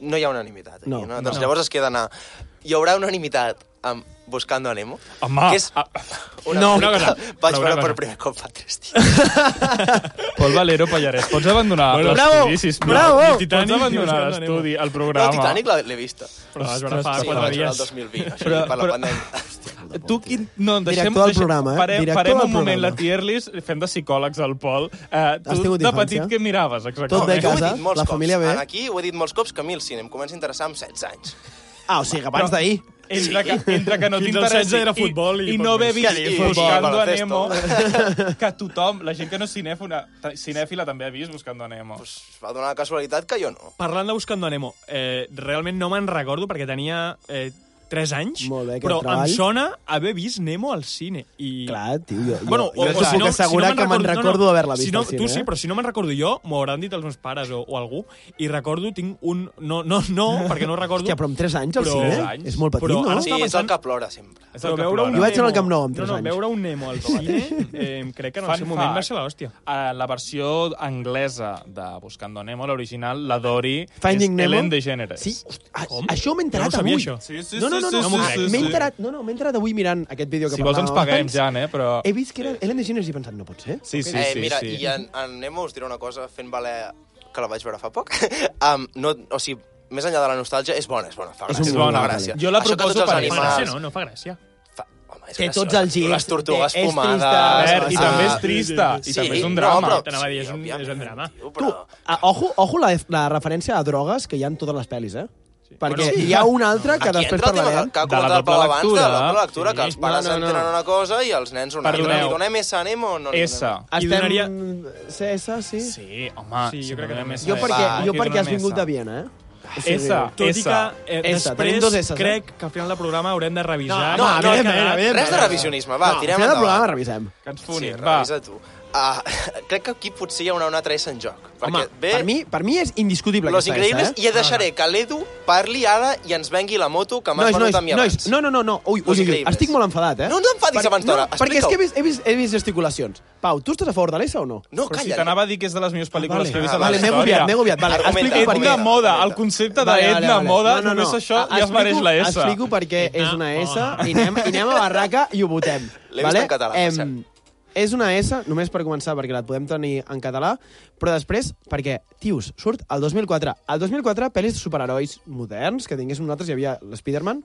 [SPEAKER 1] No hi ha unanimitat aquí,
[SPEAKER 4] No,
[SPEAKER 1] no? Doncs
[SPEAKER 4] no.
[SPEAKER 1] llavors es queda anar... Hi haurà unanimitat amb Buscando a Nemo,
[SPEAKER 3] Home,
[SPEAKER 1] que és <laughs>
[SPEAKER 3] ah,
[SPEAKER 1] una
[SPEAKER 5] No,
[SPEAKER 1] pel·lícula-
[SPEAKER 5] una cosa,
[SPEAKER 1] <laughs> Vaig
[SPEAKER 5] però una
[SPEAKER 1] veure
[SPEAKER 5] cosa.
[SPEAKER 1] per primer cop fa tres dies.
[SPEAKER 3] <laughs> Pol Valero Pallarès, pots abandonar
[SPEAKER 5] Bueno,
[SPEAKER 3] l'estudi,
[SPEAKER 5] bravo,
[SPEAKER 3] sisplau?
[SPEAKER 5] bravo.
[SPEAKER 3] Pots
[SPEAKER 5] Titanic,
[SPEAKER 3] abandonar
[SPEAKER 5] Buscando
[SPEAKER 3] l'estudi, el
[SPEAKER 1] No,
[SPEAKER 3] programa?
[SPEAKER 1] el Titanic la- l'he vista.
[SPEAKER 5] Però es va agafar
[SPEAKER 3] Ostres,
[SPEAKER 5] fa
[SPEAKER 1] Sí, la
[SPEAKER 5] quatre
[SPEAKER 1] vaig veure el
[SPEAKER 5] dies.
[SPEAKER 1] 2020, això,
[SPEAKER 3] Però-
[SPEAKER 1] per la
[SPEAKER 3] però-
[SPEAKER 1] pandèmia.
[SPEAKER 3] Tu, quin... no, deixem,
[SPEAKER 4] Director del
[SPEAKER 3] deixem-
[SPEAKER 4] programa, eh?
[SPEAKER 3] Farem,
[SPEAKER 4] Director
[SPEAKER 3] farem
[SPEAKER 4] del
[SPEAKER 3] un moment
[SPEAKER 4] programa.
[SPEAKER 3] la tier list, fem de psicòlegs al Pol. Uh, tu,
[SPEAKER 4] Has tingut
[SPEAKER 3] de
[SPEAKER 4] infància?
[SPEAKER 3] petit, què miraves, exactament?
[SPEAKER 4] Tot de
[SPEAKER 1] Jo ho he
[SPEAKER 4] casa,
[SPEAKER 1] dit molts
[SPEAKER 4] la
[SPEAKER 1] cops.
[SPEAKER 4] família bé.
[SPEAKER 1] Aquí ho he dit molts cops que a mi el cine em comença a interessar amb 16 anys.
[SPEAKER 4] Ah, o sigui, que abans d'ahir...
[SPEAKER 3] Entre que, entre que no
[SPEAKER 5] Fins als
[SPEAKER 3] t'interessi
[SPEAKER 5] 16 era futbol
[SPEAKER 3] i,
[SPEAKER 5] i
[SPEAKER 3] i no
[SPEAKER 5] poc
[SPEAKER 3] haver
[SPEAKER 5] més.
[SPEAKER 3] vist
[SPEAKER 1] Sí,
[SPEAKER 3] i
[SPEAKER 1] futbol,
[SPEAKER 3] Buscando a Nemo,
[SPEAKER 1] baloncesto.
[SPEAKER 3] <laughs> que tothom, la gent que no és cinèfona, cinèfila també ha vist Buscando a Nemo.
[SPEAKER 1] Pues va donar la casualitat que jo no.
[SPEAKER 5] Parlant de Buscando a Nemo, eh, realment no me'n recordo perquè tenia eh, 3 anys,
[SPEAKER 4] Molt bé, aquest
[SPEAKER 5] però
[SPEAKER 4] treball.
[SPEAKER 5] em sona haver vist Nemo al cine. I...
[SPEAKER 4] Clar, tio, jo,
[SPEAKER 5] Bueno,
[SPEAKER 4] jo,
[SPEAKER 5] o,
[SPEAKER 4] jo
[SPEAKER 5] o, si no,
[SPEAKER 4] puc assegurar
[SPEAKER 5] si no
[SPEAKER 4] que me'n recordo d'haver-la vist
[SPEAKER 5] si no,
[SPEAKER 4] al cine,
[SPEAKER 5] Tu sí,
[SPEAKER 4] eh?
[SPEAKER 5] però si no me'n recordo jo, m'ho hauran dit els meus pares o, o algú, i recordo, tinc un... No, no, no, perquè no recordo...
[SPEAKER 4] Hòstia, però amb 3 anys al
[SPEAKER 5] Però-
[SPEAKER 4] cine? eh?
[SPEAKER 5] Tres anys.
[SPEAKER 4] És molt petit,
[SPEAKER 5] Però
[SPEAKER 4] no?
[SPEAKER 5] ara
[SPEAKER 1] Sí,
[SPEAKER 5] estava
[SPEAKER 1] és el
[SPEAKER 5] pensant-
[SPEAKER 1] que plora sempre.
[SPEAKER 3] És el
[SPEAKER 5] Però
[SPEAKER 3] que
[SPEAKER 5] veure un
[SPEAKER 3] plora.
[SPEAKER 4] Jo vaig anar al
[SPEAKER 5] Nemo-
[SPEAKER 4] Camp Nou amb
[SPEAKER 5] no,
[SPEAKER 4] tres
[SPEAKER 5] no,
[SPEAKER 4] anys.
[SPEAKER 5] Veure un Nemo al cine, eh, crec que en el
[SPEAKER 3] Fun
[SPEAKER 5] seu moment va
[SPEAKER 3] fact.
[SPEAKER 5] ser l'hòstia.
[SPEAKER 3] a Eh, la versió anglesa de Buscando Nemo, l'original, la Dory,
[SPEAKER 4] Finding
[SPEAKER 3] és
[SPEAKER 4] Nemo?
[SPEAKER 3] Ellen DeGeneres.
[SPEAKER 4] Sí, a,
[SPEAKER 5] Com?
[SPEAKER 4] això m'he
[SPEAKER 5] Jo no ho
[SPEAKER 4] enterat
[SPEAKER 5] sabia,
[SPEAKER 4] avui.
[SPEAKER 5] això.
[SPEAKER 3] Sí, sí,
[SPEAKER 4] no, no, no,
[SPEAKER 3] sí,
[SPEAKER 4] no,
[SPEAKER 3] sí,
[SPEAKER 4] no,
[SPEAKER 5] sí, sí,
[SPEAKER 4] m'he
[SPEAKER 5] sí.
[SPEAKER 4] enterat, no, no, m'he enterat avui mirant aquest vídeo que
[SPEAKER 3] Si vols ens paguem
[SPEAKER 4] abans.
[SPEAKER 3] ja, eh, però...
[SPEAKER 4] He vist que era Ellen DeGeneres i he pensat, no pot ser.
[SPEAKER 3] Sí, sí,
[SPEAKER 1] eh,
[SPEAKER 3] sí,
[SPEAKER 1] mira,
[SPEAKER 3] sí.
[SPEAKER 1] i en, en Nemo us diré una cosa, fent valer que la vaig veure fa poc. <laughs> um, no, o sigui, més enllà de la nostàlgia, és bona, és bona. Fa
[SPEAKER 4] És
[SPEAKER 1] gràcia,
[SPEAKER 4] un
[SPEAKER 1] fa
[SPEAKER 4] bon
[SPEAKER 1] una
[SPEAKER 4] bon
[SPEAKER 1] gràcia.
[SPEAKER 3] Jo la
[SPEAKER 1] Això que tots
[SPEAKER 3] proposo
[SPEAKER 1] els
[SPEAKER 3] per
[SPEAKER 5] No
[SPEAKER 3] animals-
[SPEAKER 5] fa gràcia,
[SPEAKER 1] animals...
[SPEAKER 5] no? No fa gràcia.
[SPEAKER 1] Fa... Home, és
[SPEAKER 4] Té
[SPEAKER 1] graciosa.
[SPEAKER 4] tots els girs,
[SPEAKER 1] Les tortugues
[SPEAKER 4] té- és
[SPEAKER 1] fumades...
[SPEAKER 4] trista.
[SPEAKER 3] A veure, I
[SPEAKER 4] Ah,
[SPEAKER 3] també és
[SPEAKER 4] sí,
[SPEAKER 3] trista, i també és un drama.
[SPEAKER 1] No, però,
[SPEAKER 5] T'anava a dir, és un-
[SPEAKER 1] òbviament,
[SPEAKER 5] és un drama.
[SPEAKER 1] tio,
[SPEAKER 4] Tu,
[SPEAKER 1] però...
[SPEAKER 4] a, ojo, ojo la, la referència a drogues que hi ha en totes les pel·lis, eh? Perquè
[SPEAKER 5] Bueno, sí.
[SPEAKER 4] hi ha una altra que
[SPEAKER 1] Aquí
[SPEAKER 4] després
[SPEAKER 1] entra el tema
[SPEAKER 4] parlarem.
[SPEAKER 1] que- que ha
[SPEAKER 3] De la
[SPEAKER 1] comentat el
[SPEAKER 3] doble
[SPEAKER 1] Pau abans, de la
[SPEAKER 3] lectura.
[SPEAKER 1] doble lectura, que
[SPEAKER 5] Sí.
[SPEAKER 1] els pares
[SPEAKER 4] No, no, no.
[SPEAKER 1] entenen una cosa i els nens una altra.
[SPEAKER 3] Perdoneu.
[SPEAKER 1] Li donem S a Nemo o no li
[SPEAKER 3] S.
[SPEAKER 1] donem?
[SPEAKER 5] I
[SPEAKER 4] Estem...
[SPEAKER 5] donaria-
[SPEAKER 4] CS, sí?
[SPEAKER 3] Sí, home,
[SPEAKER 5] Sí, jo
[SPEAKER 3] si no
[SPEAKER 5] crec que
[SPEAKER 3] hi ha
[SPEAKER 5] també.
[SPEAKER 3] més
[SPEAKER 4] Jo
[SPEAKER 3] res.
[SPEAKER 4] perquè,
[SPEAKER 3] Va,
[SPEAKER 4] jo
[SPEAKER 3] aquí
[SPEAKER 4] perquè has
[SPEAKER 3] donem
[SPEAKER 4] vingut
[SPEAKER 3] S.
[SPEAKER 4] de Viena, eh? O sigui-
[SPEAKER 3] S,
[SPEAKER 5] Tot i
[SPEAKER 3] S.
[SPEAKER 5] que eh,
[SPEAKER 4] S, tenim
[SPEAKER 5] després
[SPEAKER 4] dos S's, eh?
[SPEAKER 5] crec que al final del programa haurem de revisar...
[SPEAKER 1] No, no,
[SPEAKER 5] crec que-
[SPEAKER 1] no, res de revisionisme, va,
[SPEAKER 4] no,
[SPEAKER 1] tirem
[SPEAKER 4] Al final del programa
[SPEAKER 1] endavant.
[SPEAKER 4] revisem.
[SPEAKER 3] Que ens
[SPEAKER 1] Sí,
[SPEAKER 3] funin, va.
[SPEAKER 1] revisa tu. Ah, <laughs> crec que aquí potser hi ha una, una altra S en joc. Perquè
[SPEAKER 4] Home,
[SPEAKER 1] ve
[SPEAKER 4] per mi, per mi és indiscutible
[SPEAKER 1] Los
[SPEAKER 4] aquesta
[SPEAKER 1] Increïbles
[SPEAKER 4] S, eh?
[SPEAKER 1] i ja deixaré que l'Edu parli ara i ens vengui la moto que m'has
[SPEAKER 4] Nois,
[SPEAKER 1] venut
[SPEAKER 4] nois,
[SPEAKER 1] a mi
[SPEAKER 4] nois,
[SPEAKER 1] abans.
[SPEAKER 4] no, no, no, no. Ui,
[SPEAKER 1] Los
[SPEAKER 4] ui, ui, ui,
[SPEAKER 1] Increïbles.
[SPEAKER 4] estic molt enfadat, eh?
[SPEAKER 1] No ens enfadis abans d'hora,
[SPEAKER 4] perquè és
[SPEAKER 1] explica-ho.
[SPEAKER 4] que he vist, he, vist, he vist gesticulacions. Pau, tu estàs a favor de l'ESA o no?
[SPEAKER 1] No,
[SPEAKER 3] Però si
[SPEAKER 1] calla. eh?
[SPEAKER 3] t'anava a dir que és de les meves pel·lícules
[SPEAKER 4] vale.
[SPEAKER 3] que he vist
[SPEAKER 1] Ah,
[SPEAKER 3] a la
[SPEAKER 1] vale, m'he
[SPEAKER 3] història.
[SPEAKER 4] obviat, m'he obviat. Vale,
[SPEAKER 1] Argumenta,
[SPEAKER 4] explico per
[SPEAKER 3] Etna
[SPEAKER 4] què.
[SPEAKER 1] argumenta.
[SPEAKER 3] moda, el concepte d'etna moda, només
[SPEAKER 4] Ah,
[SPEAKER 3] això ja es mereix la S.
[SPEAKER 4] Explico per què és una S i anem, i anem a barraca i ho votem.
[SPEAKER 1] <laughs> L'he vist
[SPEAKER 4] vale?
[SPEAKER 1] en català, per
[SPEAKER 4] Em, és una S, només per començar, perquè la podem tenir en català, però després, perquè, tios, surt el 2004. El 2004, pel·lis de superherois moderns, que tinguéssim nosaltres, hi havia l'Spiderman,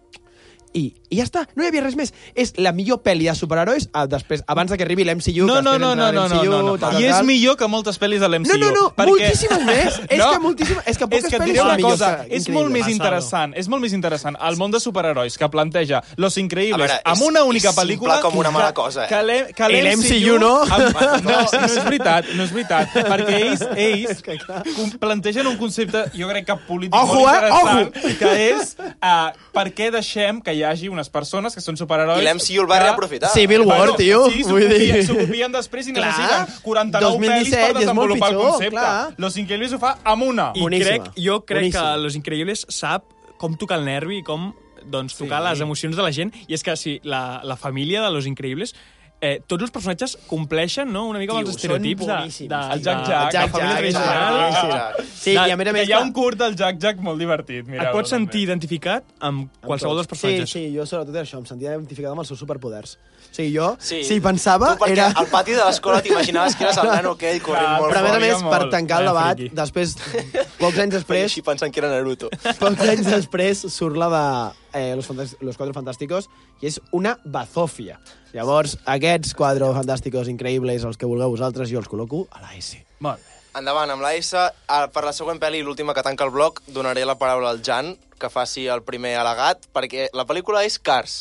[SPEAKER 4] i, i ja està, no hi havia res més. És la millor pel·li de superherois ah, després, abans de que arribi l'MCU.
[SPEAKER 3] No, no, no, no, no, no, no, no. I és millor que moltes pel·lis de l'MCU.
[SPEAKER 4] No, no,
[SPEAKER 3] <laughs>
[SPEAKER 4] no, moltíssimes més. És que moltíssimes- és que poques
[SPEAKER 3] és que et
[SPEAKER 4] pel·lis
[SPEAKER 3] diré
[SPEAKER 4] són
[SPEAKER 3] una
[SPEAKER 4] millors
[SPEAKER 3] cosa,
[SPEAKER 4] que-
[SPEAKER 3] és molt
[SPEAKER 4] increïble.
[SPEAKER 3] més
[SPEAKER 5] Basado.
[SPEAKER 3] interessant, és molt més interessant el món de superherois que planteja Los
[SPEAKER 1] A
[SPEAKER 3] Increíbles
[SPEAKER 1] veure, és-
[SPEAKER 3] amb una única
[SPEAKER 1] és simple
[SPEAKER 3] pel·lícula...
[SPEAKER 1] com una mala
[SPEAKER 3] que-
[SPEAKER 1] cosa, eh?
[SPEAKER 3] Que, l'E- que
[SPEAKER 4] I
[SPEAKER 3] l'MCU...
[SPEAKER 4] l'MCU no?
[SPEAKER 3] Amb, no, no és veritat, no és veritat, perquè
[SPEAKER 4] <laughs>
[SPEAKER 3] ells, ells
[SPEAKER 4] que clar.
[SPEAKER 3] com- plantegen un concepte, jo crec que polític
[SPEAKER 4] Ojo,
[SPEAKER 3] molt
[SPEAKER 4] eh?
[SPEAKER 3] interessant,
[SPEAKER 4] Ojo!
[SPEAKER 3] que és uh, per què deixem que hi hagi unes persones que són superherois...
[SPEAKER 1] I l'MCU el va
[SPEAKER 3] que-
[SPEAKER 1] reaprofitar.
[SPEAKER 4] Civil War,
[SPEAKER 3] Bueno,
[SPEAKER 4] tio.
[SPEAKER 3] Sí, s'ho
[SPEAKER 4] vull dir...
[SPEAKER 3] copien- s'ho copien després i
[SPEAKER 4] Clar,
[SPEAKER 3] necessiten 49 pel·lis
[SPEAKER 4] 2017 i és
[SPEAKER 3] per
[SPEAKER 4] molt
[SPEAKER 3] desenvolupar el
[SPEAKER 4] pitjor,
[SPEAKER 3] concepte.
[SPEAKER 4] clar.
[SPEAKER 3] Los Increíbles ho fa amb una.
[SPEAKER 5] I
[SPEAKER 4] Boníssima.
[SPEAKER 5] crec, jo crec
[SPEAKER 4] Boníssima.
[SPEAKER 5] que Los Increïbles sap com tocar el nervi i com doncs, tocar sí. les emocions de la gent. I és que sí, la, la família de Los Increïbles eh, tots els personatges compleixen no, una mica amb els
[SPEAKER 4] Tio, són
[SPEAKER 5] estereotips de, de,
[SPEAKER 4] boníssims,
[SPEAKER 5] de,
[SPEAKER 3] El Jack Jack,
[SPEAKER 4] Jack
[SPEAKER 3] la família
[SPEAKER 4] Jack,
[SPEAKER 3] tradicional.
[SPEAKER 4] Jack Jack,
[SPEAKER 3] Ah,
[SPEAKER 1] Jack.
[SPEAKER 4] Sí, i a més a més...
[SPEAKER 3] que hi ha
[SPEAKER 4] clar,
[SPEAKER 3] un curt del Jack Jack molt divertit. Mireu,
[SPEAKER 5] Et pots sentir identificat amb qualsevol dels personatges.
[SPEAKER 4] Sí, sí, jo sobretot era això, em sentia identificat amb els seus superpoders. O sigui, jo, sí.
[SPEAKER 1] Sí.
[SPEAKER 4] si hi pensava,
[SPEAKER 1] Tu, perquè
[SPEAKER 4] era... Ah,
[SPEAKER 1] al pati de l'escola t'imaginaves que eres el nano aquell corrent
[SPEAKER 3] Clar,
[SPEAKER 1] molt
[SPEAKER 4] Però a més a
[SPEAKER 1] fort.
[SPEAKER 4] més,
[SPEAKER 3] Molt,
[SPEAKER 4] per tancar el
[SPEAKER 5] eh,
[SPEAKER 4] debat,
[SPEAKER 5] friki.
[SPEAKER 4] després, pocs
[SPEAKER 1] Feia
[SPEAKER 4] anys després,
[SPEAKER 1] així pensant que era Naruto.
[SPEAKER 4] pocs anys després surt la de eh, los, Fantas- los Cuatro Fantásticos i és una bazofia. Llavors, aquests Cuatro Fantásticos increïbles, els que vulgueu vosaltres, jo els col·loco a la S.
[SPEAKER 3] Molt bé.
[SPEAKER 1] Endavant, amb la S. Ah, Per la següent pel·li, l'última que tanca el bloc, donaré la paraula al Jan, que faci el primer al·legat, perquè la pel·lícula és Cars.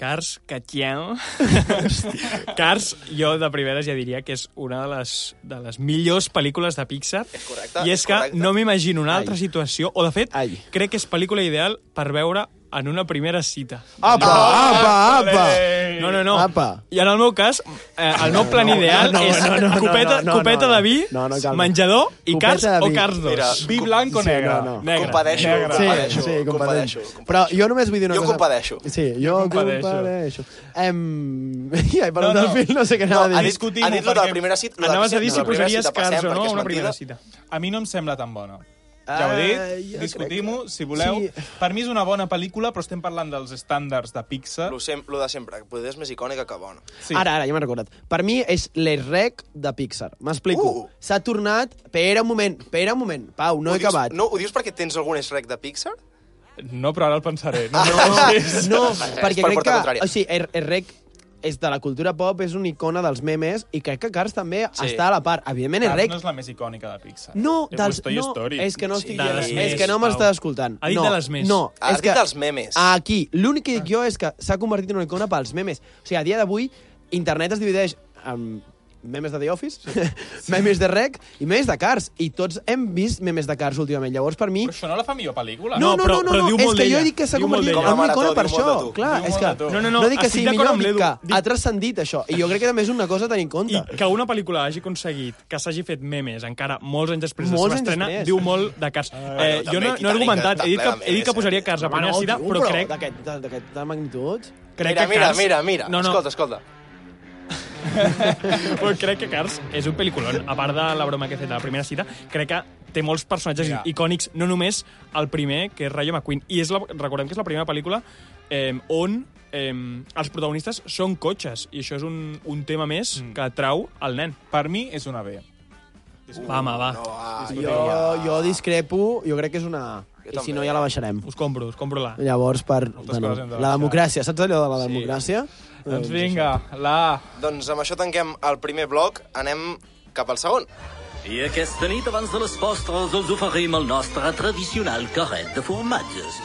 [SPEAKER 5] Cars, Catiel. <laughs> Cars, jo de primeres ja diria que és una de les, de les millors pel·lícules de Pixar.
[SPEAKER 1] És correcte,
[SPEAKER 5] I és,
[SPEAKER 1] és
[SPEAKER 5] que
[SPEAKER 1] correcte.
[SPEAKER 5] no m'imagino una altra
[SPEAKER 4] Ai.
[SPEAKER 5] situació, o de fet,
[SPEAKER 4] Ai.
[SPEAKER 5] crec que és pel·lícula ideal per veure en una primera cita.
[SPEAKER 4] Apa, apa, apa!
[SPEAKER 5] No, no, no.
[SPEAKER 4] Ah! Apa. Ah,
[SPEAKER 5] I en el meu cas, eh, el meu plan ideal
[SPEAKER 4] no, no,
[SPEAKER 5] és
[SPEAKER 4] no, no, no,
[SPEAKER 5] copeta,
[SPEAKER 4] no, no,
[SPEAKER 5] copeta
[SPEAKER 4] no.
[SPEAKER 5] de vi,
[SPEAKER 4] No, no cal.
[SPEAKER 5] menjador i
[SPEAKER 4] Copeta
[SPEAKER 5] Cars
[SPEAKER 4] de
[SPEAKER 5] o
[SPEAKER 4] vi.
[SPEAKER 5] Cars 2.
[SPEAKER 1] Mira,
[SPEAKER 3] Vi blanc o
[SPEAKER 4] Ah, Sí,
[SPEAKER 3] negre?
[SPEAKER 4] no, no.
[SPEAKER 5] Negre.
[SPEAKER 1] Compadeixo,
[SPEAKER 3] negre.
[SPEAKER 1] compadeixo,
[SPEAKER 4] Sí, sí,
[SPEAKER 1] compadeixo,
[SPEAKER 4] compadeixo.
[SPEAKER 1] compadeixo.
[SPEAKER 4] Però jo només vull dir una
[SPEAKER 1] Jo
[SPEAKER 4] cosa...
[SPEAKER 1] compadeixo.
[SPEAKER 4] Sí, jo
[SPEAKER 3] compadeixo.
[SPEAKER 4] compadeixo. Em... <laughs> Ai, perdó,
[SPEAKER 3] No, no.
[SPEAKER 4] no, no. fil no sé què anava
[SPEAKER 1] ha
[SPEAKER 4] a dir.
[SPEAKER 1] dit,
[SPEAKER 3] Discutim-ho,
[SPEAKER 1] ha dit lo de la
[SPEAKER 3] perquè
[SPEAKER 1] primera cita. lo de la
[SPEAKER 5] Anaves a dir
[SPEAKER 1] cita,
[SPEAKER 5] si
[SPEAKER 1] la primera
[SPEAKER 5] posaries
[SPEAKER 1] cita
[SPEAKER 5] Cars
[SPEAKER 1] passem,
[SPEAKER 5] o no
[SPEAKER 1] perquè
[SPEAKER 5] a
[SPEAKER 1] és
[SPEAKER 5] una primera
[SPEAKER 1] mentida.
[SPEAKER 5] cita.
[SPEAKER 3] A mi no em sembla tan bona.
[SPEAKER 4] Ah,
[SPEAKER 3] Ja ho he dit,
[SPEAKER 4] jo
[SPEAKER 3] discutim-ho, si voleu.
[SPEAKER 4] crec que-
[SPEAKER 3] Sí. Per mi és una bona pel·lícula, però estem parlant dels estàndards de Pixar.
[SPEAKER 1] Lo, sem lo de sempre, que potser és més icònica que bona.
[SPEAKER 3] Sí.
[SPEAKER 4] Ara, ara, ja m'he recordat. Per mi és l'Errec de Pixar. M'explico.
[SPEAKER 1] Uh!
[SPEAKER 4] S'ha tornat... Pera un moment, pera un moment. Pau, no
[SPEAKER 1] Ho
[SPEAKER 4] he
[SPEAKER 1] dius-
[SPEAKER 4] acabat.
[SPEAKER 1] No, ho dius perquè tens algun Shrek de Pixar?
[SPEAKER 3] No, però ara el pensaré. No,
[SPEAKER 4] Ah,
[SPEAKER 3] no, no.
[SPEAKER 4] No,
[SPEAKER 1] per
[SPEAKER 4] perquè crec
[SPEAKER 1] portar
[SPEAKER 4] que...
[SPEAKER 1] contrària.
[SPEAKER 4] O sigui, Er- Errec és de la cultura pop, és una icona dels memes, i crec que Cars també
[SPEAKER 1] Sí.
[SPEAKER 4] està a la part. Evidentment,
[SPEAKER 3] Cars
[SPEAKER 4] Errec...
[SPEAKER 3] no és la més icònica de Pixar.
[SPEAKER 4] No,
[SPEAKER 3] Eh,
[SPEAKER 4] dels,
[SPEAKER 3] o Toy
[SPEAKER 4] no,
[SPEAKER 3] Story.
[SPEAKER 4] és que no estic
[SPEAKER 1] de
[SPEAKER 4] dient,
[SPEAKER 1] les
[SPEAKER 4] és
[SPEAKER 1] més,
[SPEAKER 4] que no
[SPEAKER 5] Pau.
[SPEAKER 4] m'estàs escoltant.
[SPEAKER 5] Ha dit
[SPEAKER 4] no,
[SPEAKER 5] de les més.
[SPEAKER 4] No,
[SPEAKER 1] Ha
[SPEAKER 4] és
[SPEAKER 1] dit
[SPEAKER 4] que
[SPEAKER 1] dels memes.
[SPEAKER 4] Aquí, l'únic que dic jo és que s'ha convertit en una icona pels memes. O sigui, a dia d'avui, internet es divideix en memes de The Office, <laughs> memes de Rec i memes de Cars. I tots hem vist memes de Cars últimament. Llavors, per mi...
[SPEAKER 3] Però això no la fa millor pel·lícula.
[SPEAKER 4] No,
[SPEAKER 5] No,
[SPEAKER 4] no,
[SPEAKER 5] però-
[SPEAKER 4] no, no,
[SPEAKER 5] però
[SPEAKER 4] no,
[SPEAKER 5] diu
[SPEAKER 4] és
[SPEAKER 5] molt
[SPEAKER 4] que jo
[SPEAKER 5] d'ella.
[SPEAKER 4] he dit que s'ha
[SPEAKER 5] Diu molt
[SPEAKER 4] convertit en
[SPEAKER 1] d'ella. Com
[SPEAKER 4] una
[SPEAKER 1] la
[SPEAKER 4] icona
[SPEAKER 1] Marató,
[SPEAKER 4] per
[SPEAKER 1] diu
[SPEAKER 4] això.
[SPEAKER 1] molt de tu.
[SPEAKER 4] Clar,
[SPEAKER 3] Diu
[SPEAKER 4] és
[SPEAKER 3] molt
[SPEAKER 4] que
[SPEAKER 3] de tu.
[SPEAKER 5] No, no, no,
[SPEAKER 4] no dic que
[SPEAKER 5] estic
[SPEAKER 4] sigui
[SPEAKER 5] d'acord
[SPEAKER 4] millor,
[SPEAKER 5] amb
[SPEAKER 4] dic
[SPEAKER 5] l'Edu.
[SPEAKER 4] que ha transcendit això. I jo crec que també és una cosa a tenir en
[SPEAKER 5] I
[SPEAKER 4] compte.
[SPEAKER 5] que una pel·lícula hagi aconseguit que s'hagi fet memes encara molts anys després
[SPEAKER 4] Molts
[SPEAKER 5] de la
[SPEAKER 4] anys
[SPEAKER 5] seva estrena,
[SPEAKER 4] després.
[SPEAKER 5] diu molt de Cars. eh,
[SPEAKER 1] bueno,
[SPEAKER 5] jo
[SPEAKER 1] també
[SPEAKER 5] no,
[SPEAKER 1] Titanic
[SPEAKER 5] no he argumentat,
[SPEAKER 1] està
[SPEAKER 5] he dit
[SPEAKER 1] ple
[SPEAKER 5] que,
[SPEAKER 1] de
[SPEAKER 5] he dit que
[SPEAKER 1] memes,
[SPEAKER 5] posaria Cars a primera cita, però crec,
[SPEAKER 4] d'aquest- D'aquesta magnitud...
[SPEAKER 5] crec
[SPEAKER 1] mira,
[SPEAKER 5] que
[SPEAKER 1] mira,
[SPEAKER 5] Cars...
[SPEAKER 1] mira, mira.
[SPEAKER 5] No, no,
[SPEAKER 1] Escolta, escolta.
[SPEAKER 5] però <laughs> crec que Cars és un pel·liculon. A part de la broma que he fet a la primera cita, crec que té molts personatges
[SPEAKER 3] Mira.
[SPEAKER 5] icònics, no només el primer, que és Rayo McQueen. I és la, recordem que és la primera pel·lícula eh, on eh, els protagonistes són cotxes, i això és un, un tema més mm. que trau el nen.
[SPEAKER 3] Per mi és una B.
[SPEAKER 5] Va, home, va.
[SPEAKER 1] No, ah,
[SPEAKER 4] Jo, jo discrepo, jo crec que és una... I
[SPEAKER 1] també.
[SPEAKER 4] si no, ja la baixarem.
[SPEAKER 5] Us compro, us compro la.
[SPEAKER 4] Llavors, per... Bueno,
[SPEAKER 3] coses hem de
[SPEAKER 4] la
[SPEAKER 3] baixar.
[SPEAKER 4] democràcia, saps allò de la democràcia?
[SPEAKER 3] Doncs vinga, la...
[SPEAKER 1] Doncs amb això tanquem el primer bloc, anem cap al segon.
[SPEAKER 7] I aquesta nit, abans de les postres, els oferim el nostre tradicional carret de formatges.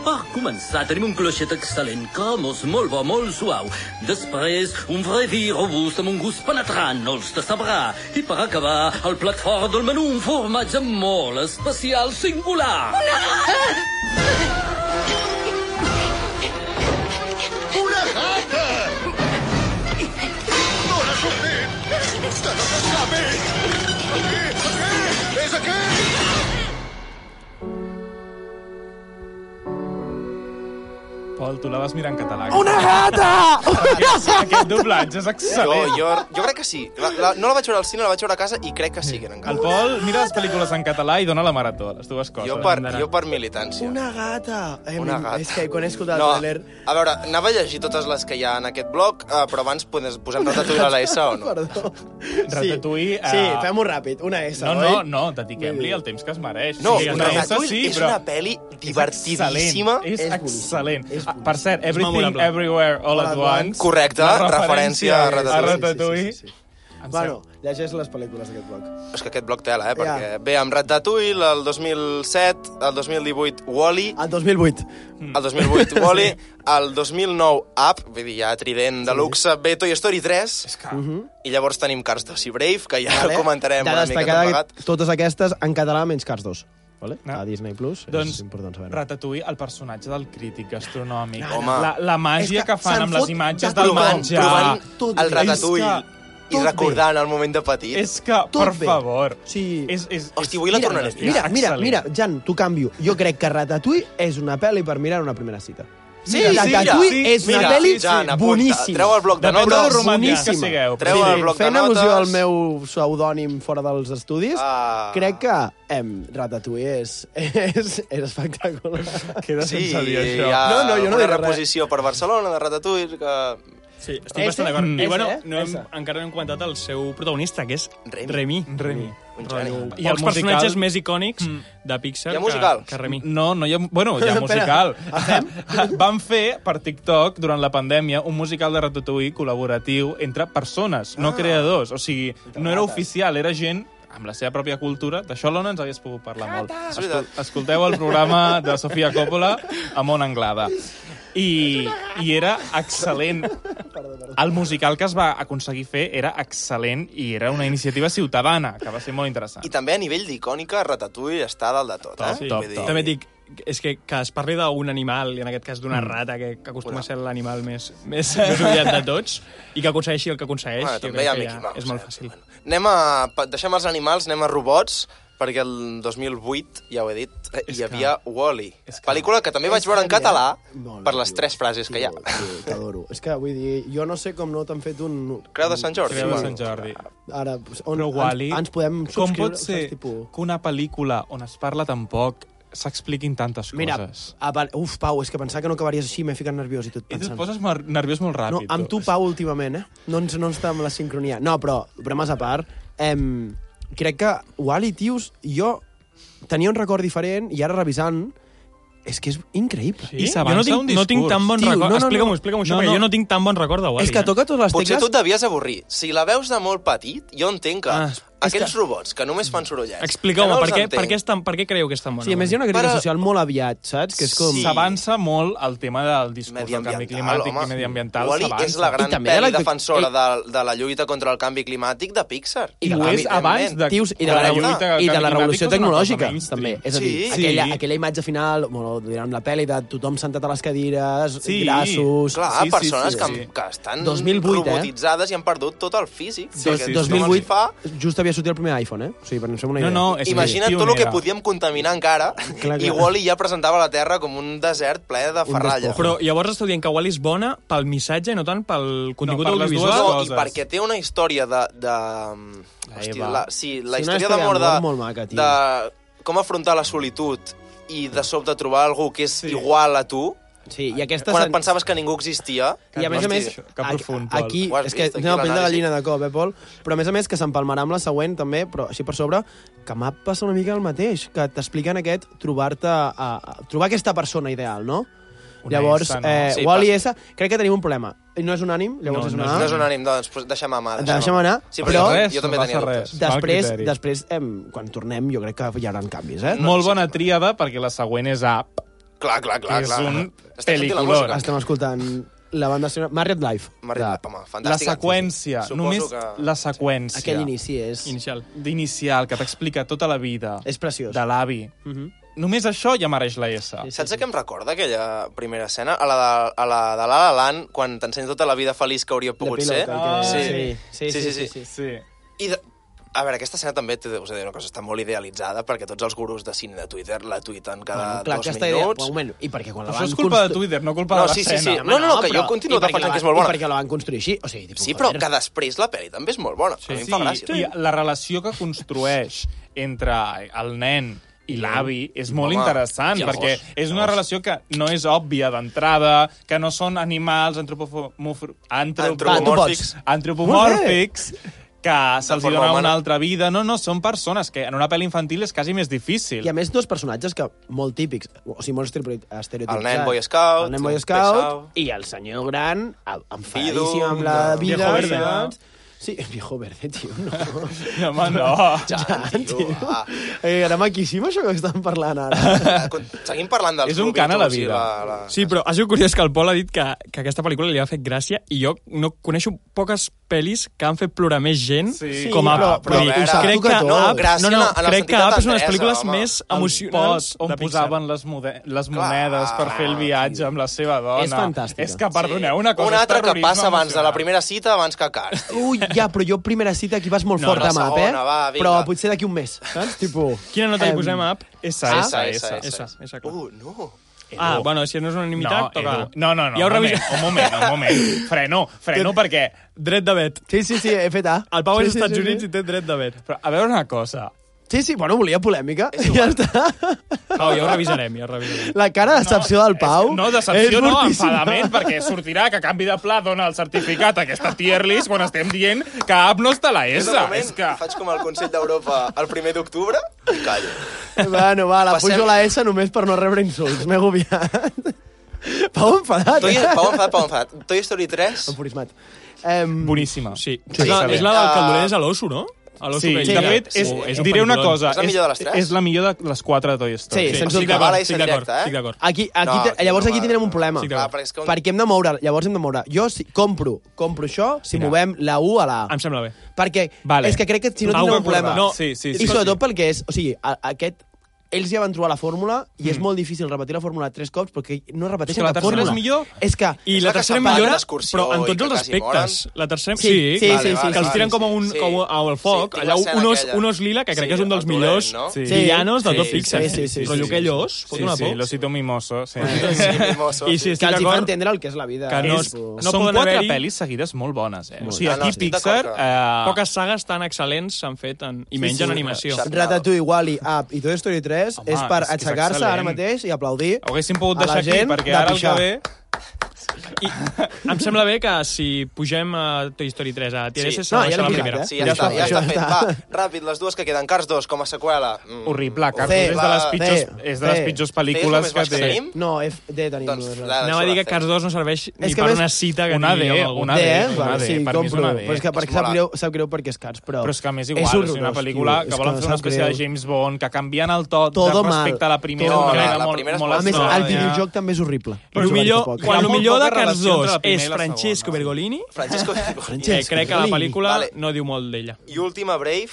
[SPEAKER 7] Per començar, tenim un cloixet excel·lent, cremós, molt bo, molt suau. Després, un vrai vi robust amb un gust penetrant, no els decebrà. I per acabar, el plat fort del menú, un formatge molt especial, singular. Una...
[SPEAKER 3] Pol, tu la vas mirar en català.
[SPEAKER 4] Una gata!
[SPEAKER 3] Aquest, aquest doblatge és
[SPEAKER 1] Jo,
[SPEAKER 3] excel·lent.
[SPEAKER 1] jo, jo crec que sí. La, la, no la vaig veure al cine, la vaig veure a casa i crec que sí que era en
[SPEAKER 3] El
[SPEAKER 1] català.
[SPEAKER 3] Pol mira les pel·lícules en català i dona la marató, les dues coses.
[SPEAKER 1] Jo per, jo per militància.
[SPEAKER 8] Una gata. Eh,
[SPEAKER 1] Una
[SPEAKER 8] mi-
[SPEAKER 1] gata.
[SPEAKER 8] És que quan he escoltat
[SPEAKER 1] No,
[SPEAKER 8] no. el trailer...
[SPEAKER 1] a veure, anava a llegir totes les que hi ha en aquest bloc, eh, però abans podes- posem Ratatouille a la S Ah, o no? <laughs>
[SPEAKER 8] Perdó.
[SPEAKER 3] Ratatouille,
[SPEAKER 8] Sí, sí
[SPEAKER 3] eh,
[SPEAKER 8] fem-ho ràpid. Una S,
[SPEAKER 3] No,
[SPEAKER 8] oi?
[SPEAKER 3] no, no, dediquem-li el temps que es mereix.
[SPEAKER 1] No,
[SPEAKER 3] O sigui, una S
[SPEAKER 1] Ratatouille
[SPEAKER 3] sí,
[SPEAKER 1] és
[SPEAKER 3] però-
[SPEAKER 1] una pel·li
[SPEAKER 3] És
[SPEAKER 1] divertidíssima.
[SPEAKER 3] excel·lent, És,
[SPEAKER 8] És boníssima,
[SPEAKER 3] excel·lent.
[SPEAKER 8] és
[SPEAKER 3] Ah, Per cert, Everything,
[SPEAKER 5] memorable.
[SPEAKER 3] Everywhere, All at Once.
[SPEAKER 1] Correcte,
[SPEAKER 3] una
[SPEAKER 1] referència a
[SPEAKER 3] A
[SPEAKER 1] Ratatouille.
[SPEAKER 3] Ratatouille.
[SPEAKER 8] Sí, sí, sí, sí.
[SPEAKER 3] Em
[SPEAKER 8] Bueno, llegeix les pel·lícules d'aquest bloc.
[SPEAKER 1] És que aquest bloc tela, eh? Perquè
[SPEAKER 8] Ja.
[SPEAKER 1] ve amb Ratatouille, el 2007, el 2018 Wall-E,
[SPEAKER 8] El 2008.
[SPEAKER 1] el 2008 Wall-E, el 2009 Up, vull dir, ja Trident de luxe, ve Toy Story 3,
[SPEAKER 8] Mhm.
[SPEAKER 1] i llavors tenim Cars 2 i Brave, que ja
[SPEAKER 4] Vale.
[SPEAKER 1] comentarem
[SPEAKER 4] De
[SPEAKER 1] una mica tot
[SPEAKER 4] destacar
[SPEAKER 1] plegat.
[SPEAKER 4] que totes aquestes en català menys Cars 2. Vale?
[SPEAKER 3] No.
[SPEAKER 4] A Disney Plus,
[SPEAKER 3] Doncs,
[SPEAKER 4] és important saber.
[SPEAKER 3] Ratatouille, el personatge del crític gastronòmic.
[SPEAKER 1] No, no.
[SPEAKER 3] La, la màgia
[SPEAKER 8] És
[SPEAKER 3] que,
[SPEAKER 8] que
[SPEAKER 3] fan
[SPEAKER 8] se'n
[SPEAKER 3] amb les
[SPEAKER 8] fot
[SPEAKER 3] imatges
[SPEAKER 8] de
[SPEAKER 3] del
[SPEAKER 8] provant,
[SPEAKER 3] menjar.
[SPEAKER 1] provant
[SPEAKER 8] Tot
[SPEAKER 1] el
[SPEAKER 8] bé.
[SPEAKER 1] Ratatouille
[SPEAKER 3] És
[SPEAKER 8] que
[SPEAKER 1] i
[SPEAKER 8] tot
[SPEAKER 1] recordant el moment de petit.
[SPEAKER 3] És que,
[SPEAKER 8] Tot
[SPEAKER 3] per
[SPEAKER 8] bé.
[SPEAKER 3] favor...
[SPEAKER 8] Sí.
[SPEAKER 3] És, és,
[SPEAKER 1] Hosti,
[SPEAKER 3] és-
[SPEAKER 1] avui la tornaré a
[SPEAKER 4] Mira, mira,
[SPEAKER 3] excel·lent.
[SPEAKER 4] mira, Jan, t'ho canvio. Jo crec que Ratatouille és una pel·li per mirar en una primera cita.
[SPEAKER 1] Sí,
[SPEAKER 4] Mira,
[SPEAKER 1] sí,
[SPEAKER 4] Ratatouille
[SPEAKER 1] mira,
[SPEAKER 4] és una
[SPEAKER 1] mira,
[SPEAKER 4] pel·li
[SPEAKER 1] Jan, apunta.
[SPEAKER 4] boníssima.
[SPEAKER 1] Treu el bloc de
[SPEAKER 3] Depèn
[SPEAKER 1] notes.
[SPEAKER 3] del romàntic que
[SPEAKER 4] boníssima.
[SPEAKER 3] sigueu. però
[SPEAKER 1] Treu
[SPEAKER 3] sí.
[SPEAKER 1] el bloc de
[SPEAKER 4] Fent al·lusió al
[SPEAKER 1] notes.
[SPEAKER 4] meu pseudònim fora dels estudis,
[SPEAKER 1] Ah.
[SPEAKER 4] crec que em, Ratatouille és, <laughs> és, és espectacular.
[SPEAKER 3] Queda
[SPEAKER 1] Sí,
[SPEAKER 3] sense dir
[SPEAKER 1] hi
[SPEAKER 3] això.
[SPEAKER 1] ha
[SPEAKER 4] No, no, jo no
[SPEAKER 1] una
[SPEAKER 4] diré res.
[SPEAKER 1] reposició per Barcelona de Ratatouille que...
[SPEAKER 5] Sí, estic
[SPEAKER 4] Ese,
[SPEAKER 5] bastant d'acord.
[SPEAKER 4] mm,
[SPEAKER 5] I bueno,
[SPEAKER 4] ese,
[SPEAKER 5] no hem,
[SPEAKER 4] ese.
[SPEAKER 5] encara no hem comentat el seu protagonista, que és
[SPEAKER 1] Remy.
[SPEAKER 5] Remy. Remy.
[SPEAKER 3] Remy. Mm.
[SPEAKER 1] Un geni.
[SPEAKER 5] I els
[SPEAKER 3] musical-
[SPEAKER 5] personatges més icònics de Pixar
[SPEAKER 1] Hi ha musical?
[SPEAKER 5] que, que Remy.
[SPEAKER 3] No, no hi ha... Bueno, hi ha musical. <laughs> Van fer per TikTok, durant la pandèmia, un musical de Ratatouille col·laboratiu entre persones,
[SPEAKER 1] Ah.
[SPEAKER 3] no creadors. O sigui, no era oficial, era gent amb la seva pròpia cultura. D'això l'Ona ens hagués pogut parlar molt.
[SPEAKER 1] És
[SPEAKER 3] Escol-
[SPEAKER 1] veritat.
[SPEAKER 3] Escolteu el programa
[SPEAKER 1] <laughs>
[SPEAKER 3] de Sofia Coppola a Mont Anglada. I, I era
[SPEAKER 1] <laughs>
[SPEAKER 3] excel·lent. El musical que es va aconseguir fer era excel·lent i era una iniciativa ciutadana, que va ser molt interessant.
[SPEAKER 1] I també a nivell d'icònica, Ratatouille està dalt de tot, eh?
[SPEAKER 3] Top, top,
[SPEAKER 1] Vull dir-
[SPEAKER 3] top.
[SPEAKER 5] També et dic, és que, que es parli d'un animal, i en aquest cas d'una rata, que, que acostuma
[SPEAKER 1] Una.
[SPEAKER 5] a ser l'animal més, més, més odiat de tots, i que aconsegueixi el que aconsegueix,
[SPEAKER 1] Bueno,
[SPEAKER 5] jo
[SPEAKER 1] també hi
[SPEAKER 5] crec
[SPEAKER 1] ha
[SPEAKER 5] que
[SPEAKER 1] Mickey Mouse.
[SPEAKER 5] és molt
[SPEAKER 1] eh?
[SPEAKER 5] fàcil.
[SPEAKER 1] Bueno, anem a... pa- Deixem els animals, anem a robots, perquè el 2008, ja ho he dit, eh, hi havia Wall-E. Pel·lícula que també vaig veure en català
[SPEAKER 8] Molt
[SPEAKER 1] per les
[SPEAKER 8] tio,
[SPEAKER 1] tres frases que hi ha.
[SPEAKER 8] tio,
[SPEAKER 4] <laughs>
[SPEAKER 8] tio, T'adoro.
[SPEAKER 4] És que, vull dir, jo no sé com no t'han fet un...
[SPEAKER 1] Creu de Sant Jordi.
[SPEAKER 3] Creu de
[SPEAKER 1] Sí.
[SPEAKER 3] Sant Jordi.
[SPEAKER 4] Ara, on
[SPEAKER 3] Però, Wally,
[SPEAKER 4] ens, ens podem
[SPEAKER 3] com
[SPEAKER 4] subscriure?
[SPEAKER 3] pot ser
[SPEAKER 4] saps, tipus-
[SPEAKER 3] que una pel·lícula on es parla tan poc s'expliquin tantes
[SPEAKER 4] Mira,
[SPEAKER 3] coses?
[SPEAKER 4] a, part- uf, Pau, és que pensar que no acabaries així m'he ficat nerviós i tot
[SPEAKER 3] I tu et
[SPEAKER 4] pensant.
[SPEAKER 3] poses mar- nerviós molt
[SPEAKER 4] No,
[SPEAKER 3] ràpid.
[SPEAKER 4] amb tu, Pau, últimament, eh? No ens, no ens està amb la sincronia. No, però, bromes a part, em, crec que Wally, tios, jo tenia un record diferent i ara revisant, és que és increïble.
[SPEAKER 3] Sí? I
[SPEAKER 5] jo no
[SPEAKER 3] s'avança
[SPEAKER 5] tinc,
[SPEAKER 3] un
[SPEAKER 5] no tinc
[SPEAKER 3] discurs.
[SPEAKER 5] tan bon
[SPEAKER 4] Tio,
[SPEAKER 5] record.
[SPEAKER 4] no, no, no.
[SPEAKER 5] Explica-m'ho, explica-m'ho, això,
[SPEAKER 3] No,
[SPEAKER 5] perquè
[SPEAKER 3] no.
[SPEAKER 5] jo no tinc tan bon record de Wally.
[SPEAKER 4] és que toca totes les
[SPEAKER 1] Potser tu
[SPEAKER 4] tecles...
[SPEAKER 1] et devies avorrir. Si la veus de molt petit, jo entenc que
[SPEAKER 5] Ah,
[SPEAKER 1] aquells robots que només fan
[SPEAKER 5] eh?
[SPEAKER 1] sorollets...
[SPEAKER 5] Expliqueu-me,
[SPEAKER 1] que no
[SPEAKER 5] per,
[SPEAKER 1] els
[SPEAKER 5] què,
[SPEAKER 1] entenc,
[SPEAKER 5] per, què és tan, per què creieu que és tan bona?
[SPEAKER 4] Sí, a més hi ha una crítica
[SPEAKER 1] Però-
[SPEAKER 4] social molt aviat, saps? Que és com...
[SPEAKER 1] Sí.
[SPEAKER 3] S'avança molt el tema del discurs del canvi
[SPEAKER 1] mediambiental,
[SPEAKER 3] climàtic
[SPEAKER 1] home.
[SPEAKER 3] i mediambiental.
[SPEAKER 1] Wall-E
[SPEAKER 3] s'avança.
[SPEAKER 1] és la gran
[SPEAKER 4] I també de la-
[SPEAKER 1] pel·li defensora de, de la lluita contra el canvi climàtic de Pixar.
[SPEAKER 3] I ho
[SPEAKER 1] de-
[SPEAKER 3] és abans de,
[SPEAKER 4] Tios, i de
[SPEAKER 1] la
[SPEAKER 4] la,
[SPEAKER 1] lluita
[SPEAKER 3] del
[SPEAKER 4] i de
[SPEAKER 3] canvi
[SPEAKER 4] la
[SPEAKER 3] climàtic és una
[SPEAKER 4] revolució
[SPEAKER 3] cosa
[SPEAKER 4] tecnològica,
[SPEAKER 3] mainstream.
[SPEAKER 4] també. És a dir,
[SPEAKER 1] Sí.
[SPEAKER 4] aquella,
[SPEAKER 3] Sí.
[SPEAKER 4] aquella imatge final, bueno, ho direm la pel·li, de tothom sentat a les cadires,
[SPEAKER 3] Sí.
[SPEAKER 4] grassos...
[SPEAKER 1] Clar,
[SPEAKER 3] Sí, sí,
[SPEAKER 1] persones
[SPEAKER 3] sí,
[SPEAKER 1] que,
[SPEAKER 3] sí.
[SPEAKER 1] que estan
[SPEAKER 4] 2008, eh?
[SPEAKER 1] robotitzades i han perdut tot el físic.
[SPEAKER 4] Dos-
[SPEAKER 1] Perquè tothom els
[SPEAKER 4] 2008,
[SPEAKER 1] Fa...
[SPEAKER 4] just havia sortit el primer iPhone, eh? O sigui, per no fer una
[SPEAKER 3] No,
[SPEAKER 4] idea.
[SPEAKER 3] no, és que
[SPEAKER 1] Imagina't
[SPEAKER 3] és
[SPEAKER 1] tot el que
[SPEAKER 3] pionera.
[SPEAKER 1] podíem contaminar encara
[SPEAKER 4] Clar,
[SPEAKER 1] i
[SPEAKER 4] clar.
[SPEAKER 1] Wall-E ja presentava la Terra com un desert ple de ferralla.
[SPEAKER 5] Però llavors esteu dient que Wall-E és bona pel missatge i no tant pel contingut
[SPEAKER 3] per les
[SPEAKER 5] audiovisual?
[SPEAKER 3] dues
[SPEAKER 1] no,
[SPEAKER 3] coses.
[SPEAKER 1] i perquè té una història de... de... mm, Hòstia,
[SPEAKER 3] Eva.
[SPEAKER 1] la, sí, la
[SPEAKER 4] Sí, una
[SPEAKER 1] història
[SPEAKER 4] història
[SPEAKER 1] d'amor de,
[SPEAKER 4] d'amor molt maca, tio.
[SPEAKER 1] de com afrontar la solitud i de sobte trobar algú que és sí. igual a tu,
[SPEAKER 4] Sí, i aquesta...
[SPEAKER 1] quan
[SPEAKER 4] sen-
[SPEAKER 1] et pensaves que ningú existia.
[SPEAKER 4] I a més a
[SPEAKER 1] Hosti,
[SPEAKER 4] més,
[SPEAKER 1] això.
[SPEAKER 3] que
[SPEAKER 4] a-
[SPEAKER 3] profund, Pol.
[SPEAKER 4] aquí,
[SPEAKER 1] Ho has
[SPEAKER 4] és que
[SPEAKER 1] vist, aquí
[SPEAKER 4] anem a
[SPEAKER 1] l'anàlisi.
[SPEAKER 4] prendre gallina de cop, eh, Pol? Però a més a més que s'empalmarà amb la següent, també, però així per sobre, que m'ha passat una mica el mateix, que t'expliquen aquest trobar-te... A, a, trobar aquesta persona ideal, no?
[SPEAKER 3] Una
[SPEAKER 4] llavors,
[SPEAKER 3] S, no?
[SPEAKER 4] eh,
[SPEAKER 1] Sí,
[SPEAKER 4] Wall-E
[SPEAKER 1] passa.
[SPEAKER 4] S, crec que tenim un problema. No és un ànim, llavors
[SPEAKER 3] No,
[SPEAKER 4] és
[SPEAKER 3] no
[SPEAKER 4] una
[SPEAKER 3] és
[SPEAKER 4] A.
[SPEAKER 1] No és unànim, doncs pues deixem anar.
[SPEAKER 4] Ens deixem anar,
[SPEAKER 1] Sí, però,
[SPEAKER 4] però
[SPEAKER 1] jo,
[SPEAKER 3] res,
[SPEAKER 1] jo també
[SPEAKER 3] no
[SPEAKER 1] tenia
[SPEAKER 3] passa
[SPEAKER 1] dubtes.
[SPEAKER 3] res.
[SPEAKER 4] Després,
[SPEAKER 3] Mal criteri.
[SPEAKER 4] després em, quan tornem, jo crec que hi haurà canvis, eh?
[SPEAKER 3] Molt bona tríada, perquè la següent és Up.
[SPEAKER 1] Clar, clar, clar.
[SPEAKER 3] És
[SPEAKER 1] clar.
[SPEAKER 3] un
[SPEAKER 1] Estem sentint la
[SPEAKER 3] peliculón.
[SPEAKER 1] música.
[SPEAKER 4] Estem escoltant la banda sonora... Marriott Life.
[SPEAKER 1] Maria,
[SPEAKER 4] de-
[SPEAKER 1] home,
[SPEAKER 3] La
[SPEAKER 1] fantàstica.
[SPEAKER 3] seqüència,
[SPEAKER 1] Suposo
[SPEAKER 3] només
[SPEAKER 1] que-
[SPEAKER 3] la seqüència.
[SPEAKER 4] Aquell inici és...
[SPEAKER 5] Inicial.
[SPEAKER 3] D'inicial, que t'explica tota la vida.
[SPEAKER 4] És Mhm. preciós.
[SPEAKER 3] De l'avi. Només això ja mereix la S.
[SPEAKER 1] Saps a què em recorda aquella primera escena? A la de, a la, de la La Land, quan t'ensenys tota la vida feliç que hauria pogut
[SPEAKER 4] pilot,
[SPEAKER 1] ser.
[SPEAKER 4] el que-
[SPEAKER 1] sí.
[SPEAKER 4] sí, sí, sí, sí,
[SPEAKER 1] sí, sí, sí.
[SPEAKER 3] Sí.
[SPEAKER 1] I de... A veure, aquesta escena també, t'he de- us he de dir una cosa, està molt idealitzada perquè tots els gurus de cine de Twitter la tuiten cada
[SPEAKER 4] clar,
[SPEAKER 1] dos
[SPEAKER 4] aquesta idea...
[SPEAKER 1] minuts.
[SPEAKER 4] Però, un moment, I perquè quan la
[SPEAKER 3] Però
[SPEAKER 4] van
[SPEAKER 3] això és culpa de
[SPEAKER 4] constru-
[SPEAKER 3] Twitter, no culpa
[SPEAKER 1] No,
[SPEAKER 3] de
[SPEAKER 1] sí, sí,
[SPEAKER 3] l'escena.
[SPEAKER 1] sí. No, no, no,
[SPEAKER 4] home,
[SPEAKER 1] que
[SPEAKER 4] però-
[SPEAKER 1] jo continuo
[SPEAKER 4] i perquè
[SPEAKER 1] defensant
[SPEAKER 4] la
[SPEAKER 1] que és
[SPEAKER 4] van-
[SPEAKER 1] molt bona.
[SPEAKER 4] I perquè la van construir així. O sigui, tipus,
[SPEAKER 1] Sí, però
[SPEAKER 4] joder.
[SPEAKER 1] que després la pel·li també és molt bona. Sí, a mi em
[SPEAKER 3] Sí,
[SPEAKER 1] fa gràcia.
[SPEAKER 3] i la relació que construeix entre el nen i l'avi és molt
[SPEAKER 1] Home,
[SPEAKER 3] interessant,
[SPEAKER 1] llavors,
[SPEAKER 3] perquè és una
[SPEAKER 1] llavors.
[SPEAKER 3] relació que no és òbvia d'entrada, que no són animals antropomorf...
[SPEAKER 1] Antropomòrfics.
[SPEAKER 3] antropomòrfics que se'ls
[SPEAKER 1] forma
[SPEAKER 3] dona una
[SPEAKER 1] humana.
[SPEAKER 3] altra vida. No, no, són persones que en una pel·li infantil és quasi més difícil.
[SPEAKER 4] I a més, dos personatges que molt típics, o sigui, molt estereotip- estereotipitzats.
[SPEAKER 1] El nen Boy Scout,
[SPEAKER 4] el nen Boy
[SPEAKER 1] el Pesau.
[SPEAKER 4] Scout i el senyor gran, el- enfadíssim amb la
[SPEAKER 1] Fido,
[SPEAKER 3] Viejo
[SPEAKER 4] vida.
[SPEAKER 3] verde.
[SPEAKER 4] saps? Sí, viejo verde, tio, no.
[SPEAKER 3] No, <laughs> home, no.
[SPEAKER 4] Jan,
[SPEAKER 1] tio,
[SPEAKER 4] tio.
[SPEAKER 1] va.
[SPEAKER 4] Eh, era maquíssim, això que estan parlant
[SPEAKER 1] <laughs>
[SPEAKER 4] ara.
[SPEAKER 1] Ah, con- Seguim parlant dels
[SPEAKER 3] És un
[SPEAKER 1] Rubitos
[SPEAKER 3] cant a la
[SPEAKER 1] i
[SPEAKER 3] vida.
[SPEAKER 1] La, la...
[SPEAKER 5] Sí, però ha sigut curiós que el Pol ha dit que, que aquesta pel·lícula li ha fet gràcia i jo no coneixo poques pel·lis que han fet plorar més gent
[SPEAKER 3] Sí,
[SPEAKER 5] com a...
[SPEAKER 4] però- però
[SPEAKER 5] vull dir,
[SPEAKER 4] a veure,
[SPEAKER 5] crec que
[SPEAKER 4] toca tot.
[SPEAKER 5] Up-
[SPEAKER 1] Gràcia
[SPEAKER 5] no, no,
[SPEAKER 1] en el
[SPEAKER 5] crec
[SPEAKER 1] sentit
[SPEAKER 5] que
[SPEAKER 1] de
[SPEAKER 5] Up és una de les
[SPEAKER 1] tendresa,
[SPEAKER 5] pel·lícules
[SPEAKER 1] home.
[SPEAKER 5] més
[SPEAKER 3] El
[SPEAKER 5] emocionals
[SPEAKER 3] pot on
[SPEAKER 5] de Pixar.
[SPEAKER 3] posaven les, mode- les
[SPEAKER 1] Clar,
[SPEAKER 3] monedes per fer el viatge amb la seva dona.
[SPEAKER 4] És fantàstica.
[SPEAKER 3] És que, perdoneu, una cosa...
[SPEAKER 1] un
[SPEAKER 3] és
[SPEAKER 1] altre que
[SPEAKER 3] terrorisme
[SPEAKER 1] passa abans de la
[SPEAKER 3] emocional.
[SPEAKER 1] primera cita, abans que Cars.
[SPEAKER 4] Ui, ja, però jo primera cita aquí vas molt
[SPEAKER 5] No,
[SPEAKER 4] fort
[SPEAKER 5] la
[SPEAKER 4] de map, eh?
[SPEAKER 1] segona, va, vinga.
[SPEAKER 4] però potser d'aquí un mes, saps? Tipo,
[SPEAKER 5] Quina nota
[SPEAKER 4] em,
[SPEAKER 5] hi posem a Up?
[SPEAKER 3] Essa,
[SPEAKER 4] Ah?
[SPEAKER 1] Essa,
[SPEAKER 3] essa, essa.
[SPEAKER 1] essa.
[SPEAKER 5] Esa, esa, clar.
[SPEAKER 1] Uh, no.
[SPEAKER 5] Ah, bueno, si no és unanimitat,
[SPEAKER 3] No,
[SPEAKER 5] toca...
[SPEAKER 3] Edu, no, no, no,
[SPEAKER 5] Ja ho
[SPEAKER 3] un moment,
[SPEAKER 5] revisarem.
[SPEAKER 3] un moment, un moment. Freno, freno, perquè...
[SPEAKER 5] Dret de vet.
[SPEAKER 4] Sí, sí, sí, he fet A.
[SPEAKER 5] El Pau
[SPEAKER 4] sí,
[SPEAKER 5] és als
[SPEAKER 4] sí,
[SPEAKER 5] Estats
[SPEAKER 4] sí,
[SPEAKER 5] Units
[SPEAKER 4] Sí.
[SPEAKER 5] i té dret de vet.
[SPEAKER 3] Però, a veure una cosa.
[SPEAKER 4] sí, sí, bueno, volia polèmica. <laughs> Ja està.
[SPEAKER 5] Pau, ja ho revisarem, ja ho revisarem.
[SPEAKER 4] La cara de decepció del Pau.
[SPEAKER 3] No, decepció
[SPEAKER 4] és
[SPEAKER 3] no,
[SPEAKER 4] fortíssima.
[SPEAKER 3] enfadament, perquè sortirà que a canvi de pla dona el certificat a aquesta tier list quan estem dient que Up no està a la
[SPEAKER 1] És
[SPEAKER 3] S.
[SPEAKER 1] el moment
[SPEAKER 3] És que...
[SPEAKER 1] faig com el Consell d'Europa el primer d'octubre i
[SPEAKER 4] <laughs>
[SPEAKER 1] callo.
[SPEAKER 4] <laughs> Bueno, va, la
[SPEAKER 1] Passem-
[SPEAKER 4] pujo a la S només per no rebre insults. M'he agobiat. <laughs> Pau enfadat,
[SPEAKER 1] Toy,
[SPEAKER 4] eh?
[SPEAKER 1] Pau enfadat, Pau enfadat. Toy Story 3...
[SPEAKER 4] <laughs> Enfurismat. Um,
[SPEAKER 3] Boníssima.
[SPEAKER 5] Sí,
[SPEAKER 1] Sí,
[SPEAKER 5] és, la,
[SPEAKER 1] sí.
[SPEAKER 5] és la del
[SPEAKER 1] Ah.
[SPEAKER 5] que el dolent és a l'osso, no? A l'osso
[SPEAKER 3] Sí,
[SPEAKER 5] que
[SPEAKER 3] sí,
[SPEAKER 5] ella-
[SPEAKER 3] de fet, és,
[SPEAKER 5] o
[SPEAKER 3] és
[SPEAKER 5] un
[SPEAKER 3] diré una
[SPEAKER 5] peliculón.
[SPEAKER 3] cosa.
[SPEAKER 1] És la millor de les tres?
[SPEAKER 3] És la millor de les quatre de Toy Story.
[SPEAKER 4] Sí, sense
[SPEAKER 5] Estic
[SPEAKER 4] dubte.
[SPEAKER 5] d'acord,
[SPEAKER 1] Va,
[SPEAKER 5] estic
[SPEAKER 1] la
[SPEAKER 5] d'acord,
[SPEAKER 1] directa, eh?
[SPEAKER 5] estic d'acord.
[SPEAKER 4] Aquí, aquí,
[SPEAKER 1] No,
[SPEAKER 4] no,
[SPEAKER 1] aquí
[SPEAKER 4] llavors
[SPEAKER 1] no
[SPEAKER 4] aquí
[SPEAKER 1] va-
[SPEAKER 4] tindrem un problema.
[SPEAKER 5] Sí,
[SPEAKER 1] clar, perquè és que un-
[SPEAKER 4] Perquè hem de moure'l, llavors hem de moure. Jo si, compro, compro això si
[SPEAKER 5] Mira.
[SPEAKER 4] movem la U a la A.
[SPEAKER 5] Em sembla bé.
[SPEAKER 4] Perquè
[SPEAKER 5] Vale.
[SPEAKER 4] és que crec que si no
[SPEAKER 5] Algú
[SPEAKER 4] tindrem un
[SPEAKER 5] acordat.
[SPEAKER 4] problema.
[SPEAKER 5] No, sí, sí, sí,
[SPEAKER 4] I sobretot
[SPEAKER 5] sí.
[SPEAKER 4] perquè és... O sigui, a, aquest ells ja van trobar la fórmula i
[SPEAKER 3] Mm.
[SPEAKER 4] és molt difícil repetir la fórmula tres cops perquè no repeteixen
[SPEAKER 5] És que la
[SPEAKER 4] cap fórmula.
[SPEAKER 5] tercera és millor
[SPEAKER 4] És que...
[SPEAKER 5] I
[SPEAKER 1] És
[SPEAKER 5] la
[SPEAKER 1] la que
[SPEAKER 5] tercera
[SPEAKER 1] se'n van
[SPEAKER 5] millora,
[SPEAKER 1] d'excursió
[SPEAKER 5] però en
[SPEAKER 1] i
[SPEAKER 5] tots
[SPEAKER 1] que
[SPEAKER 5] els
[SPEAKER 1] quasi
[SPEAKER 5] aspectes.
[SPEAKER 1] moren.
[SPEAKER 5] La tercera,
[SPEAKER 4] Sí, sí, sí, sí, sí,
[SPEAKER 5] que els
[SPEAKER 4] sí,
[SPEAKER 5] tiren
[SPEAKER 4] sí,
[SPEAKER 5] com a un, com a, al foc.
[SPEAKER 1] tinc
[SPEAKER 5] allà un
[SPEAKER 1] l'escena
[SPEAKER 5] os,
[SPEAKER 1] aquella.
[SPEAKER 5] un os lila, que crec
[SPEAKER 1] Sí,
[SPEAKER 5] que és un dels
[SPEAKER 1] el
[SPEAKER 5] millors
[SPEAKER 1] dolent, no?
[SPEAKER 3] Sí.
[SPEAKER 5] villanos de
[SPEAKER 1] Sí,
[SPEAKER 5] tot
[SPEAKER 1] sí,
[SPEAKER 5] Pixar.
[SPEAKER 4] sí, sí, sí,
[SPEAKER 5] Rotllo
[SPEAKER 4] sí,
[SPEAKER 5] que llos, fot
[SPEAKER 3] Sí,
[SPEAKER 5] una
[SPEAKER 3] sí,
[SPEAKER 5] por.
[SPEAKER 3] l'osito mimoso. Sí.
[SPEAKER 1] Sí, mimoso.
[SPEAKER 5] I sí,
[SPEAKER 4] que
[SPEAKER 5] estic
[SPEAKER 4] els hi fa
[SPEAKER 5] d'acord
[SPEAKER 4] entendre el que és la vida.
[SPEAKER 5] que no,
[SPEAKER 4] És-
[SPEAKER 5] és, no
[SPEAKER 3] Són
[SPEAKER 5] poden
[SPEAKER 3] quatre
[SPEAKER 5] haver-hi...
[SPEAKER 3] pel·lis seguides molt bones, eh? O sigui,
[SPEAKER 1] No, no,
[SPEAKER 3] aquí
[SPEAKER 1] estic
[SPEAKER 3] Pixar...
[SPEAKER 1] d'acord que-
[SPEAKER 3] Eh,
[SPEAKER 5] Poques sagues tan excel·lents s'han fet en, i menys en animació.
[SPEAKER 1] Sharknado.
[SPEAKER 4] Ratatouille, Wall-E, Up i Toy Story 3
[SPEAKER 3] Home,
[SPEAKER 4] és per
[SPEAKER 3] és que és
[SPEAKER 4] aixecar-se
[SPEAKER 3] excel·lent.
[SPEAKER 4] ara mateix i aplaudir
[SPEAKER 3] Ho haguéssim pogut
[SPEAKER 4] a la
[SPEAKER 3] deixar aquí,
[SPEAKER 4] gent
[SPEAKER 3] perquè
[SPEAKER 4] de
[SPEAKER 3] ara el que
[SPEAKER 4] pixar.
[SPEAKER 3] ve...
[SPEAKER 5] I em sembla bé que si pugem a Toy Story 3 a
[SPEAKER 1] Sí.
[SPEAKER 5] TRS sí. serà
[SPEAKER 4] No, ja
[SPEAKER 5] la
[SPEAKER 4] l'he posat,
[SPEAKER 5] primera.
[SPEAKER 4] eh?
[SPEAKER 1] Sí, ja, ja està,
[SPEAKER 4] està,
[SPEAKER 1] ja està
[SPEAKER 4] ja
[SPEAKER 1] fet.
[SPEAKER 4] està.
[SPEAKER 1] Va, ràpid, les dues que queden. Cars 2, com a seqüela. Mm,
[SPEAKER 3] Horrible, Carlos, és
[SPEAKER 4] Fer,
[SPEAKER 3] de les
[SPEAKER 1] la-
[SPEAKER 3] pitjors,
[SPEAKER 4] fer,
[SPEAKER 3] és de les
[SPEAKER 4] fer.
[SPEAKER 3] pitjors
[SPEAKER 1] Fer
[SPEAKER 3] pel·lícules
[SPEAKER 1] és el més
[SPEAKER 3] que té.
[SPEAKER 1] baix que tenim?
[SPEAKER 4] No, F, D tenim. eh?
[SPEAKER 1] Doncs
[SPEAKER 4] nosaltres.
[SPEAKER 1] la-
[SPEAKER 5] Anava a dir que
[SPEAKER 1] fer.
[SPEAKER 5] Cars 2 no serveix ni
[SPEAKER 4] És que
[SPEAKER 5] per
[SPEAKER 4] més-
[SPEAKER 5] una cita que
[SPEAKER 3] Una
[SPEAKER 5] tingui
[SPEAKER 3] D,
[SPEAKER 5] amb algú.
[SPEAKER 3] una
[SPEAKER 4] D,
[SPEAKER 3] D,
[SPEAKER 4] eh? Vale,
[SPEAKER 3] D,
[SPEAKER 4] sí,
[SPEAKER 3] per mi és
[SPEAKER 4] compro.
[SPEAKER 3] una D.
[SPEAKER 4] Però és que,
[SPEAKER 1] És
[SPEAKER 4] perquè sap
[SPEAKER 1] molt
[SPEAKER 4] greu, sap greu perquè Oh. és Cars, però...
[SPEAKER 3] Però és que a més igual, és, una
[SPEAKER 4] horrorós,
[SPEAKER 3] pel·lícula
[SPEAKER 4] tio, és
[SPEAKER 3] que volen
[SPEAKER 4] em
[SPEAKER 3] fer una
[SPEAKER 4] sap
[SPEAKER 3] espècie de
[SPEAKER 4] greu.
[SPEAKER 3] James Bond, que canvien el tot
[SPEAKER 4] Todo
[SPEAKER 3] de respecte
[SPEAKER 4] mal.
[SPEAKER 3] a la primera.
[SPEAKER 1] Todo
[SPEAKER 3] que
[SPEAKER 1] mal.
[SPEAKER 3] era
[SPEAKER 1] La
[SPEAKER 3] molt-
[SPEAKER 1] primera és
[SPEAKER 3] molt
[SPEAKER 1] molt
[SPEAKER 4] A més,
[SPEAKER 1] Ah,
[SPEAKER 4] el
[SPEAKER 3] estranya.
[SPEAKER 1] ja.
[SPEAKER 4] videojoc també és horrible.
[SPEAKER 5] Però el
[SPEAKER 4] Jugar-hi
[SPEAKER 5] millor,
[SPEAKER 4] tampoc.
[SPEAKER 3] Hi
[SPEAKER 5] quan
[SPEAKER 3] ha
[SPEAKER 5] el
[SPEAKER 3] molt
[SPEAKER 5] millor
[SPEAKER 3] poca
[SPEAKER 5] de Cars
[SPEAKER 3] relació entre
[SPEAKER 5] 2
[SPEAKER 3] la primera
[SPEAKER 5] és
[SPEAKER 3] i la
[SPEAKER 5] Francesco
[SPEAKER 3] segona.
[SPEAKER 5] Bergolini,
[SPEAKER 4] <laughs>
[SPEAKER 1] Francesco Bergoglio.
[SPEAKER 5] eh, crec que la
[SPEAKER 4] Bergolini.
[SPEAKER 5] pel·lícula
[SPEAKER 1] Vale.
[SPEAKER 5] no diu molt d'ella.
[SPEAKER 1] I última, Brave.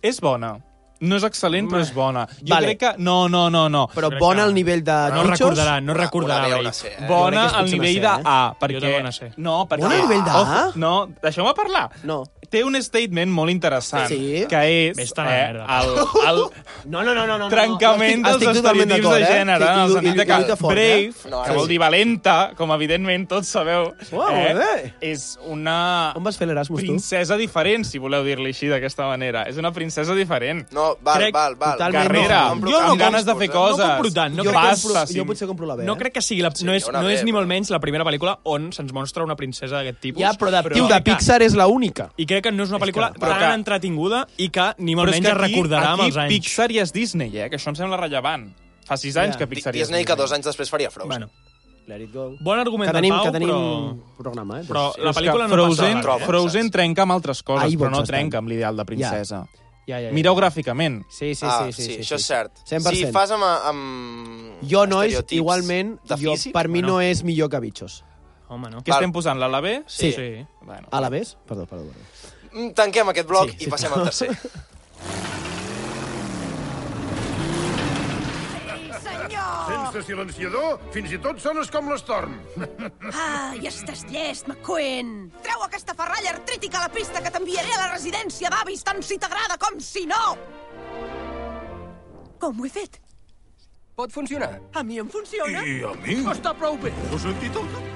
[SPEAKER 3] És bona. No és excel·lent, però és bona. Jo
[SPEAKER 4] Vale.
[SPEAKER 3] crec que... No, no, no, no.
[SPEAKER 4] Però
[SPEAKER 5] crec
[SPEAKER 4] bon
[SPEAKER 5] que-
[SPEAKER 4] al nivell de
[SPEAKER 5] No
[SPEAKER 4] Nichos?
[SPEAKER 5] recordarà, no
[SPEAKER 1] Una-
[SPEAKER 5] recordarà.
[SPEAKER 1] una B o
[SPEAKER 5] Blake.
[SPEAKER 1] una C, eh?
[SPEAKER 3] Bona
[SPEAKER 4] Jo crec que
[SPEAKER 3] al
[SPEAKER 4] és potser
[SPEAKER 3] nivell
[SPEAKER 4] una
[SPEAKER 3] de
[SPEAKER 4] C, eh?
[SPEAKER 3] A,
[SPEAKER 5] Jo
[SPEAKER 3] perquè...
[SPEAKER 5] també una C.
[SPEAKER 3] No, perquè...
[SPEAKER 4] Bona al nivell de A?
[SPEAKER 3] Ojo, No, deixeu-me parlar.
[SPEAKER 4] No.
[SPEAKER 3] Té un statement molt interessant,
[SPEAKER 4] Sí?
[SPEAKER 3] que és eh,
[SPEAKER 5] Vés-te'n a la merda.
[SPEAKER 3] el, el
[SPEAKER 5] <laughs>
[SPEAKER 4] No, no, no, no. no
[SPEAKER 3] trencament
[SPEAKER 4] no, no,
[SPEAKER 3] dels
[SPEAKER 4] estic totalment
[SPEAKER 3] estereotips
[SPEAKER 4] d'acord,
[SPEAKER 3] de
[SPEAKER 4] eh?
[SPEAKER 3] gènere,
[SPEAKER 4] Sí,
[SPEAKER 3] en el
[SPEAKER 4] i-
[SPEAKER 3] sentit
[SPEAKER 4] i-
[SPEAKER 3] de que
[SPEAKER 4] i lluita fort, eh?
[SPEAKER 3] Brave,
[SPEAKER 1] No,
[SPEAKER 3] que
[SPEAKER 1] sí.
[SPEAKER 3] vol dir valenta, com evidentment tots sabeu,
[SPEAKER 4] Uau, bé.
[SPEAKER 3] és una
[SPEAKER 4] On vas fer l'Erasmus, tu?
[SPEAKER 3] princesa diferent, si voleu dir-li així d'aquesta manera. És una princesa diferent.
[SPEAKER 1] No, val,
[SPEAKER 5] Crec-
[SPEAKER 1] val, val.
[SPEAKER 4] totalment
[SPEAKER 3] Carrera,
[SPEAKER 4] no.
[SPEAKER 3] amb,
[SPEAKER 1] Jo no
[SPEAKER 3] ganes de
[SPEAKER 1] compro,
[SPEAKER 3] fer
[SPEAKER 1] eh?
[SPEAKER 3] coses.
[SPEAKER 5] No compro tant, no
[SPEAKER 4] Jo,
[SPEAKER 5] crec-
[SPEAKER 3] Passa,
[SPEAKER 4] compro,
[SPEAKER 3] sí.
[SPEAKER 4] jo potser compro la B.
[SPEAKER 5] No
[SPEAKER 4] eh?
[SPEAKER 5] crec que sigui la,
[SPEAKER 1] Sí,
[SPEAKER 5] no és,
[SPEAKER 1] una
[SPEAKER 5] no
[SPEAKER 1] B,
[SPEAKER 5] és ni
[SPEAKER 1] però-
[SPEAKER 5] molt menys la primera pel·lícula on se'ns mostra una princesa d'aquest tipus.
[SPEAKER 4] Ja, però de, tio, de
[SPEAKER 5] crec que-
[SPEAKER 4] Pixar és la única.
[SPEAKER 5] I crec que no és una pel·lícula
[SPEAKER 3] que- però
[SPEAKER 5] tan
[SPEAKER 3] que-
[SPEAKER 5] entretinguda i que ni molt
[SPEAKER 3] Però és
[SPEAKER 5] menys
[SPEAKER 3] que
[SPEAKER 5] es recordarà amb
[SPEAKER 3] aquí
[SPEAKER 5] els anys.
[SPEAKER 3] Pixar ja és Disney, eh? Que això em sembla rellevant. Fa sis anys que Pixar ja és
[SPEAKER 1] Disney, que dos anys després faria Frozen.
[SPEAKER 5] Bueno,
[SPEAKER 4] Let it go.
[SPEAKER 5] bon argument
[SPEAKER 4] Que tenim,
[SPEAKER 5] del Pau,
[SPEAKER 4] que tenim
[SPEAKER 5] però...
[SPEAKER 4] programa, eh?
[SPEAKER 5] Però
[SPEAKER 3] Però
[SPEAKER 5] la
[SPEAKER 3] és
[SPEAKER 5] pel·lícula
[SPEAKER 3] que
[SPEAKER 5] no passa
[SPEAKER 3] Frozen,
[SPEAKER 5] de l'any.
[SPEAKER 1] Trobo.
[SPEAKER 3] Fronzen trenca amb altres coses,
[SPEAKER 4] Ahir
[SPEAKER 3] però no
[SPEAKER 4] vots estan.
[SPEAKER 3] trenca amb l'ideal de princesa.
[SPEAKER 4] Ja, ja, ja.
[SPEAKER 3] Mireu gràficament.
[SPEAKER 4] Sí, sí,
[SPEAKER 1] ah,
[SPEAKER 4] sí, sí, sí,
[SPEAKER 1] això és cert.
[SPEAKER 4] 100%.
[SPEAKER 1] Si fas amb... amb
[SPEAKER 4] Jo, nois,
[SPEAKER 1] estereotips
[SPEAKER 4] igualment,
[SPEAKER 1] de
[SPEAKER 4] jo,
[SPEAKER 1] físic,
[SPEAKER 4] per mi
[SPEAKER 5] Bueno.
[SPEAKER 4] no és millor que Bitxos.
[SPEAKER 5] Home, no.
[SPEAKER 3] Què estem posant, l'ala B?
[SPEAKER 1] Sí.
[SPEAKER 5] Sí.
[SPEAKER 3] Bueno.
[SPEAKER 4] A la vez? Perdó, perdó. perdó.
[SPEAKER 1] Mm, Tanquem aquest bloc
[SPEAKER 4] Sí,
[SPEAKER 1] i passem al
[SPEAKER 4] <laughs>
[SPEAKER 1] tercer.
[SPEAKER 9] Sense silenciador, fins i tot sones com l'estorm.
[SPEAKER 10] Ah, Ai, estàs llest, McQueen! Treu aquesta tafarralla artrítica a la pista que t'enviaré a la residència d'avis tant si t'agrada com si no! Com ho he fet?
[SPEAKER 11] Pot funcionar.
[SPEAKER 10] A mi em funciona.
[SPEAKER 9] I a mi?
[SPEAKER 10] Està prou bé.
[SPEAKER 9] Ho sentit el nom?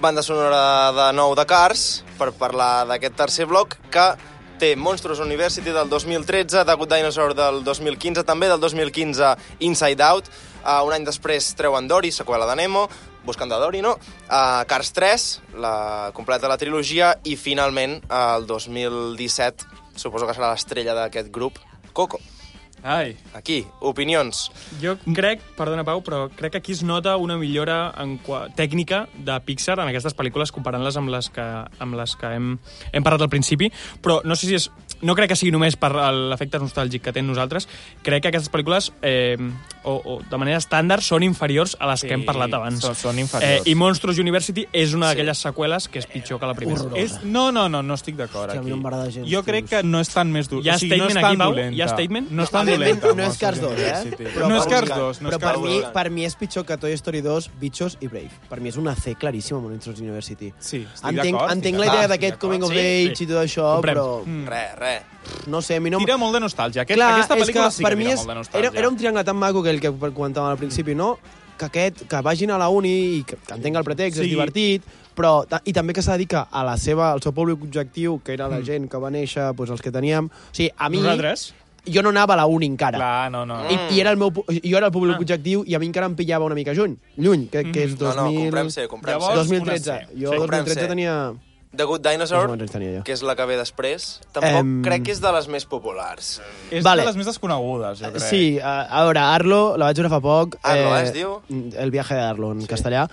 [SPEAKER 1] Banda sonora de nou de Cars, per parlar d'aquest tercer bloc, que té Monsters University del 2013, The Good Dinosaur del 2015, també del 2015 Inside Out, uh, un any després treuen Dory, seqüela de Nemo, Buscant de Dory, no? Uh, Cars 3, la completa la trilogia, i finalment, uh, el 2017, suposo que serà l'estrella d'aquest grup, Coco.
[SPEAKER 5] Ai.
[SPEAKER 1] Aquí, opinions.
[SPEAKER 5] Jo crec, perdona Pau, però crec que aquí es nota una millora en qua... tècnica de Pixar en aquestes pel·lícules comparant-les amb les que, amb les que hem, hem parlat al principi, però no sé si és no crec que sigui només per l'efecte nostàlgic que tenen nosaltres, crec que aquestes pel·lícules eh, o, o de manera estàndard són inferiors a les sí, que hem parlat abans.
[SPEAKER 3] són- són inferiors.
[SPEAKER 5] Eh, I Monsters University és una d'aquelles seqüeles que és pitjor que la primera.
[SPEAKER 3] És, no, no, no, no estic d'acord
[SPEAKER 5] Hòstia, a mi
[SPEAKER 3] aquí.
[SPEAKER 5] no m'agrada gens,
[SPEAKER 3] jo crec que no és tan més dur.
[SPEAKER 5] Hi ha
[SPEAKER 3] o sigui, no és
[SPEAKER 5] statement
[SPEAKER 3] tan
[SPEAKER 5] aquí, Pau?
[SPEAKER 3] dolenta.
[SPEAKER 5] Hi ha statement?
[SPEAKER 3] No és tan
[SPEAKER 5] No,
[SPEAKER 3] dolenta.
[SPEAKER 5] no és
[SPEAKER 3] Cars 2,
[SPEAKER 5] eh?
[SPEAKER 3] Però no és Cars 2, no és
[SPEAKER 4] però
[SPEAKER 3] Cars
[SPEAKER 4] per mi,
[SPEAKER 3] 2.
[SPEAKER 4] per mi és pitjor que Toy Story 2, Bitxos i Brave. Per mi és una C claríssima, Monsters University.
[SPEAKER 3] Sí, estic
[SPEAKER 4] entenc,
[SPEAKER 3] d'acord,
[SPEAKER 4] entenc
[SPEAKER 3] estic
[SPEAKER 4] la idea
[SPEAKER 3] d'acord,
[SPEAKER 4] d'aquest
[SPEAKER 3] estic
[SPEAKER 4] coming of
[SPEAKER 3] d'acord. Sí,
[SPEAKER 4] age
[SPEAKER 3] sí.
[SPEAKER 4] i tot això,
[SPEAKER 3] Comprem.
[SPEAKER 4] però...
[SPEAKER 3] Mm.
[SPEAKER 1] Re, re.
[SPEAKER 4] No sé, a mi no...
[SPEAKER 3] Tira molt de nostàlgia. Aquest,
[SPEAKER 4] Clar,
[SPEAKER 3] aquesta
[SPEAKER 4] és que
[SPEAKER 3] pel·lícula sí que
[SPEAKER 4] per mi
[SPEAKER 3] tira
[SPEAKER 4] és,
[SPEAKER 3] molt de nostàlgia.
[SPEAKER 4] era, era un triangle tan maco que el que comentàvem al principi, no? Que aquest, que vagin a la uni i que, que entenc el pretext,
[SPEAKER 3] Sí.
[SPEAKER 4] és divertit, però, ta- i també que s'ha de dir que a la seva, al seu públic objectiu, que era la
[SPEAKER 3] Mm.
[SPEAKER 4] gent que va néixer, doncs els que teníem... O sigui, a mi...
[SPEAKER 5] Nosaltres?
[SPEAKER 4] Jo no anava a la uni encara.
[SPEAKER 3] Clar, Ah, no, no.
[SPEAKER 1] Ah.
[SPEAKER 4] I, i era el meu, pu- jo era el públic ah. objectiu i a mi encara em pillava una mica juny. Lluny, que, que és
[SPEAKER 1] No,
[SPEAKER 4] 2000...
[SPEAKER 1] Mm-hmm. no, comprem-se, comprem-se.
[SPEAKER 3] Llavors,
[SPEAKER 4] 2013.
[SPEAKER 3] una C.
[SPEAKER 4] Jo
[SPEAKER 1] Sí,
[SPEAKER 4] 2013
[SPEAKER 1] comprem-se.
[SPEAKER 4] tenia...
[SPEAKER 1] The Good Dinosaur,
[SPEAKER 4] No sé quants anys tenia jo.
[SPEAKER 1] que és la que ve després, tampoc
[SPEAKER 4] Em.
[SPEAKER 1] crec que és de les més populars.
[SPEAKER 3] És
[SPEAKER 4] Vale.
[SPEAKER 3] de les més desconegudes, jo crec.
[SPEAKER 4] Sí, a, a veure, Arlo, la vaig veure fa poc.
[SPEAKER 1] Arlo, eh, es diu?
[SPEAKER 4] El viaje de Arlo, en sí. castellà.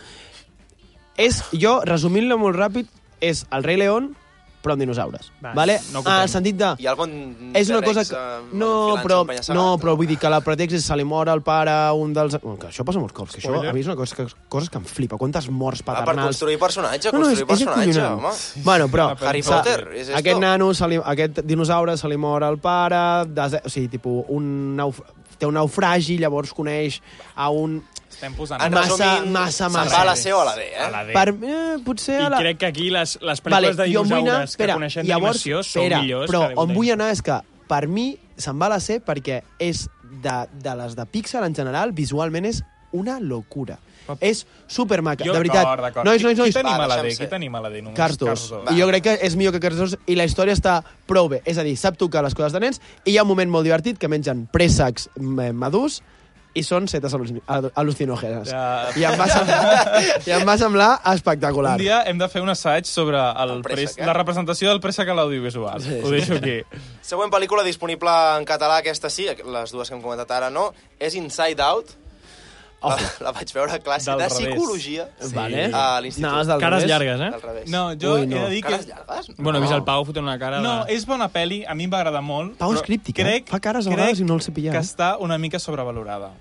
[SPEAKER 4] És, jo, resumint-lo molt ràpid, és el rei León, però amb dinosaures.
[SPEAKER 5] Va,
[SPEAKER 4] vale?
[SPEAKER 5] no
[SPEAKER 4] en
[SPEAKER 5] comptem.
[SPEAKER 4] el sentit de...
[SPEAKER 1] Hi ha algun
[SPEAKER 4] és una cosa
[SPEAKER 1] T-Rex,
[SPEAKER 4] que...
[SPEAKER 1] eh,
[SPEAKER 4] No,
[SPEAKER 1] enfilant-se
[SPEAKER 4] però,
[SPEAKER 1] un penya-segat?
[SPEAKER 4] no, però vull dir que la pretext és se li mor el pare, un dels... Bueno, que això passa molts cops, que això a mi és una cosa que, coses que em flipa. Quantes morts
[SPEAKER 1] Ah, per
[SPEAKER 4] paternals...
[SPEAKER 1] construir personatge,
[SPEAKER 4] No, no, és,
[SPEAKER 1] construir
[SPEAKER 4] és
[SPEAKER 1] personatge,
[SPEAKER 4] acollonant.
[SPEAKER 1] home.
[SPEAKER 4] Bueno, però...
[SPEAKER 1] Harry
[SPEAKER 4] sa-
[SPEAKER 1] Potter, és esto.
[SPEAKER 4] Aquest nano, se li, aquest dinosaure se li mor al pare, des, o sigui, tipus, un nauf, té un naufragi, llavors coneix a un...
[SPEAKER 3] Estem posant...
[SPEAKER 1] En
[SPEAKER 4] massa-
[SPEAKER 1] resumint,
[SPEAKER 4] massa,
[SPEAKER 1] se'n
[SPEAKER 4] massa.
[SPEAKER 1] va a la C o a la D, eh?
[SPEAKER 3] A la D.
[SPEAKER 4] Per, eh, potser
[SPEAKER 5] I
[SPEAKER 4] a la...
[SPEAKER 5] crec que aquí les, les pel·lícules de
[SPEAKER 4] jo vull
[SPEAKER 5] dinosaures
[SPEAKER 4] anar-
[SPEAKER 5] que coneixem
[SPEAKER 4] llavors,
[SPEAKER 5] d'animació són
[SPEAKER 4] espera,
[SPEAKER 5] millors.
[SPEAKER 4] Però
[SPEAKER 5] que de
[SPEAKER 4] on
[SPEAKER 5] Good
[SPEAKER 4] vull
[SPEAKER 5] Dinosaur.
[SPEAKER 4] anar és que, per mi, se'n va a la C perquè és de, de les de Pixar en general, visualment és una locura. És supermaca, de veritat.
[SPEAKER 3] D'acord, d'acord.
[SPEAKER 4] Nois, nois,
[SPEAKER 3] Qui
[SPEAKER 4] nois.
[SPEAKER 3] tenim a la D?
[SPEAKER 1] deixa'm
[SPEAKER 3] Qui
[SPEAKER 1] ser.
[SPEAKER 3] tenim a la D? Només
[SPEAKER 4] Cars 2. I jo crec que és millor que Cars 2 i la història està prou bé. És a dir, sap tocar les coses de nens i hi ha un moment molt divertit que mengen préssecs mm, madurs i són setes al·lucin- al- al·lucinògenes.
[SPEAKER 3] Ja.
[SPEAKER 4] I, em va semblar,
[SPEAKER 1] <laughs>
[SPEAKER 4] I em va semblar espectacular.
[SPEAKER 3] Un dia hem de fer un assaig sobre el
[SPEAKER 1] El
[SPEAKER 3] pres,
[SPEAKER 1] préssec, eh?
[SPEAKER 3] la representació del préssec a l'audiovisual. Sí. Ho deixo aquí.
[SPEAKER 1] Següent pel·lícula disponible en català, aquesta sí, les dues que hem comentat ara no, és Inside Out.
[SPEAKER 4] Oh.
[SPEAKER 1] La, la vaig veure a classe
[SPEAKER 3] Del
[SPEAKER 1] de
[SPEAKER 3] revés.
[SPEAKER 1] psicologia
[SPEAKER 3] Sí.
[SPEAKER 4] Vale.
[SPEAKER 1] a l'institut.
[SPEAKER 4] Anaves del
[SPEAKER 5] Cares
[SPEAKER 4] revés.
[SPEAKER 5] llargues, eh?
[SPEAKER 1] Al revés.
[SPEAKER 3] No, jo
[SPEAKER 4] Ui,
[SPEAKER 3] Ui, no.
[SPEAKER 4] no.
[SPEAKER 3] he de dir que...
[SPEAKER 1] Cares llargues?
[SPEAKER 5] Bueno, he vist el Pau fotent una cara de...
[SPEAKER 3] No, és bona pel·li, a mi em va agradar molt.
[SPEAKER 4] Pau és
[SPEAKER 3] però
[SPEAKER 4] críptic, eh?
[SPEAKER 3] crec,
[SPEAKER 4] Fa cares a vegades
[SPEAKER 3] crec
[SPEAKER 4] i no el sé pillar,
[SPEAKER 3] que
[SPEAKER 4] eh?
[SPEAKER 3] està una mica sobrevalorada.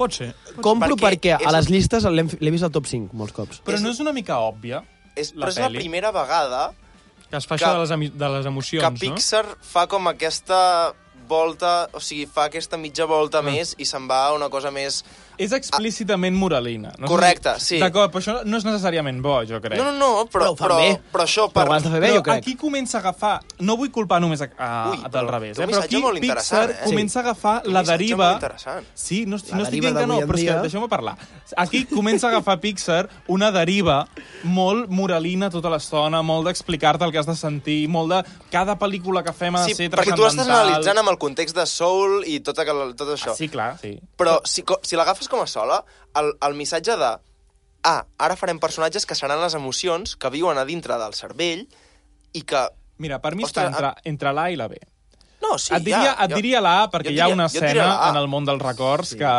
[SPEAKER 5] Pot ser.
[SPEAKER 4] Compro
[SPEAKER 1] Perquè
[SPEAKER 4] perquè,
[SPEAKER 1] és-
[SPEAKER 4] a les llistes l'hem- l'he vist al top 5 molts cops.
[SPEAKER 3] Però
[SPEAKER 1] És-
[SPEAKER 3] no és una mica òbvia?
[SPEAKER 1] És,
[SPEAKER 3] la
[SPEAKER 1] però és la
[SPEAKER 3] peli.
[SPEAKER 1] primera vegada
[SPEAKER 5] Que es fa
[SPEAKER 1] Que-
[SPEAKER 5] això de les, emi- de les emocions,
[SPEAKER 1] que
[SPEAKER 5] no?
[SPEAKER 1] Pixar fa com aquesta volta, o sigui, fa aquesta mitja
[SPEAKER 4] Ah.
[SPEAKER 1] volta més i se'n va a una cosa més...
[SPEAKER 3] És explícitament moralina. No sé
[SPEAKER 1] Correcte,
[SPEAKER 3] si-
[SPEAKER 1] sí.
[SPEAKER 3] D'acord, però això no és necessàriament bo, jo crec.
[SPEAKER 1] No, no, no, però,
[SPEAKER 4] Però ho fan
[SPEAKER 1] però, però,
[SPEAKER 4] bé.
[SPEAKER 1] això...
[SPEAKER 4] Però ho has de fer bé,
[SPEAKER 3] però
[SPEAKER 4] jo crec.
[SPEAKER 3] aquí comença a agafar... No vull culpar només a, a,
[SPEAKER 1] Ui,
[SPEAKER 3] Ui, del
[SPEAKER 1] però
[SPEAKER 3] revés,
[SPEAKER 1] té
[SPEAKER 3] eh?
[SPEAKER 1] un
[SPEAKER 3] però
[SPEAKER 1] missatge
[SPEAKER 3] aquí
[SPEAKER 1] molt
[SPEAKER 3] Pixar
[SPEAKER 1] interessant, eh?
[SPEAKER 3] comença a agafar
[SPEAKER 1] té un
[SPEAKER 3] la
[SPEAKER 1] missatge
[SPEAKER 3] deriva...
[SPEAKER 1] molt interessant.
[SPEAKER 3] Sí, no, estic-
[SPEAKER 4] La
[SPEAKER 3] no estic
[SPEAKER 4] deriva
[SPEAKER 3] dient que no,
[SPEAKER 4] d'avui en
[SPEAKER 3] però és que
[SPEAKER 4] dia.
[SPEAKER 3] deixeu-me parlar. Aquí comença a agafar Pixar una deriva molt moralina tota l'estona, molt d'explicar-te el que has de sentir, molt de... Cada pel·lícula que fem ha de
[SPEAKER 1] Sí,
[SPEAKER 3] ser
[SPEAKER 1] perquè tu l'estàs
[SPEAKER 3] transcendental.
[SPEAKER 1] analitzant amb el context de Soul i tot, aquel, tot això.
[SPEAKER 3] Ah, sí, clar, sí.
[SPEAKER 1] Però si, co- si l'agafes com a sola, el, el missatge de ah, ara farem personatges que seran les emocions que viuen a dintre del cervell i que...
[SPEAKER 3] Mira, per mi
[SPEAKER 1] Ostres,
[SPEAKER 3] està entre, entre l'A i la B.
[SPEAKER 1] No, sí,
[SPEAKER 3] et diria,
[SPEAKER 1] ja,
[SPEAKER 3] et diria la A perquè
[SPEAKER 1] jo
[SPEAKER 3] hi ha
[SPEAKER 1] diria-
[SPEAKER 3] una
[SPEAKER 1] jo diria
[SPEAKER 3] escena
[SPEAKER 1] la A.
[SPEAKER 3] en el món dels records sí. que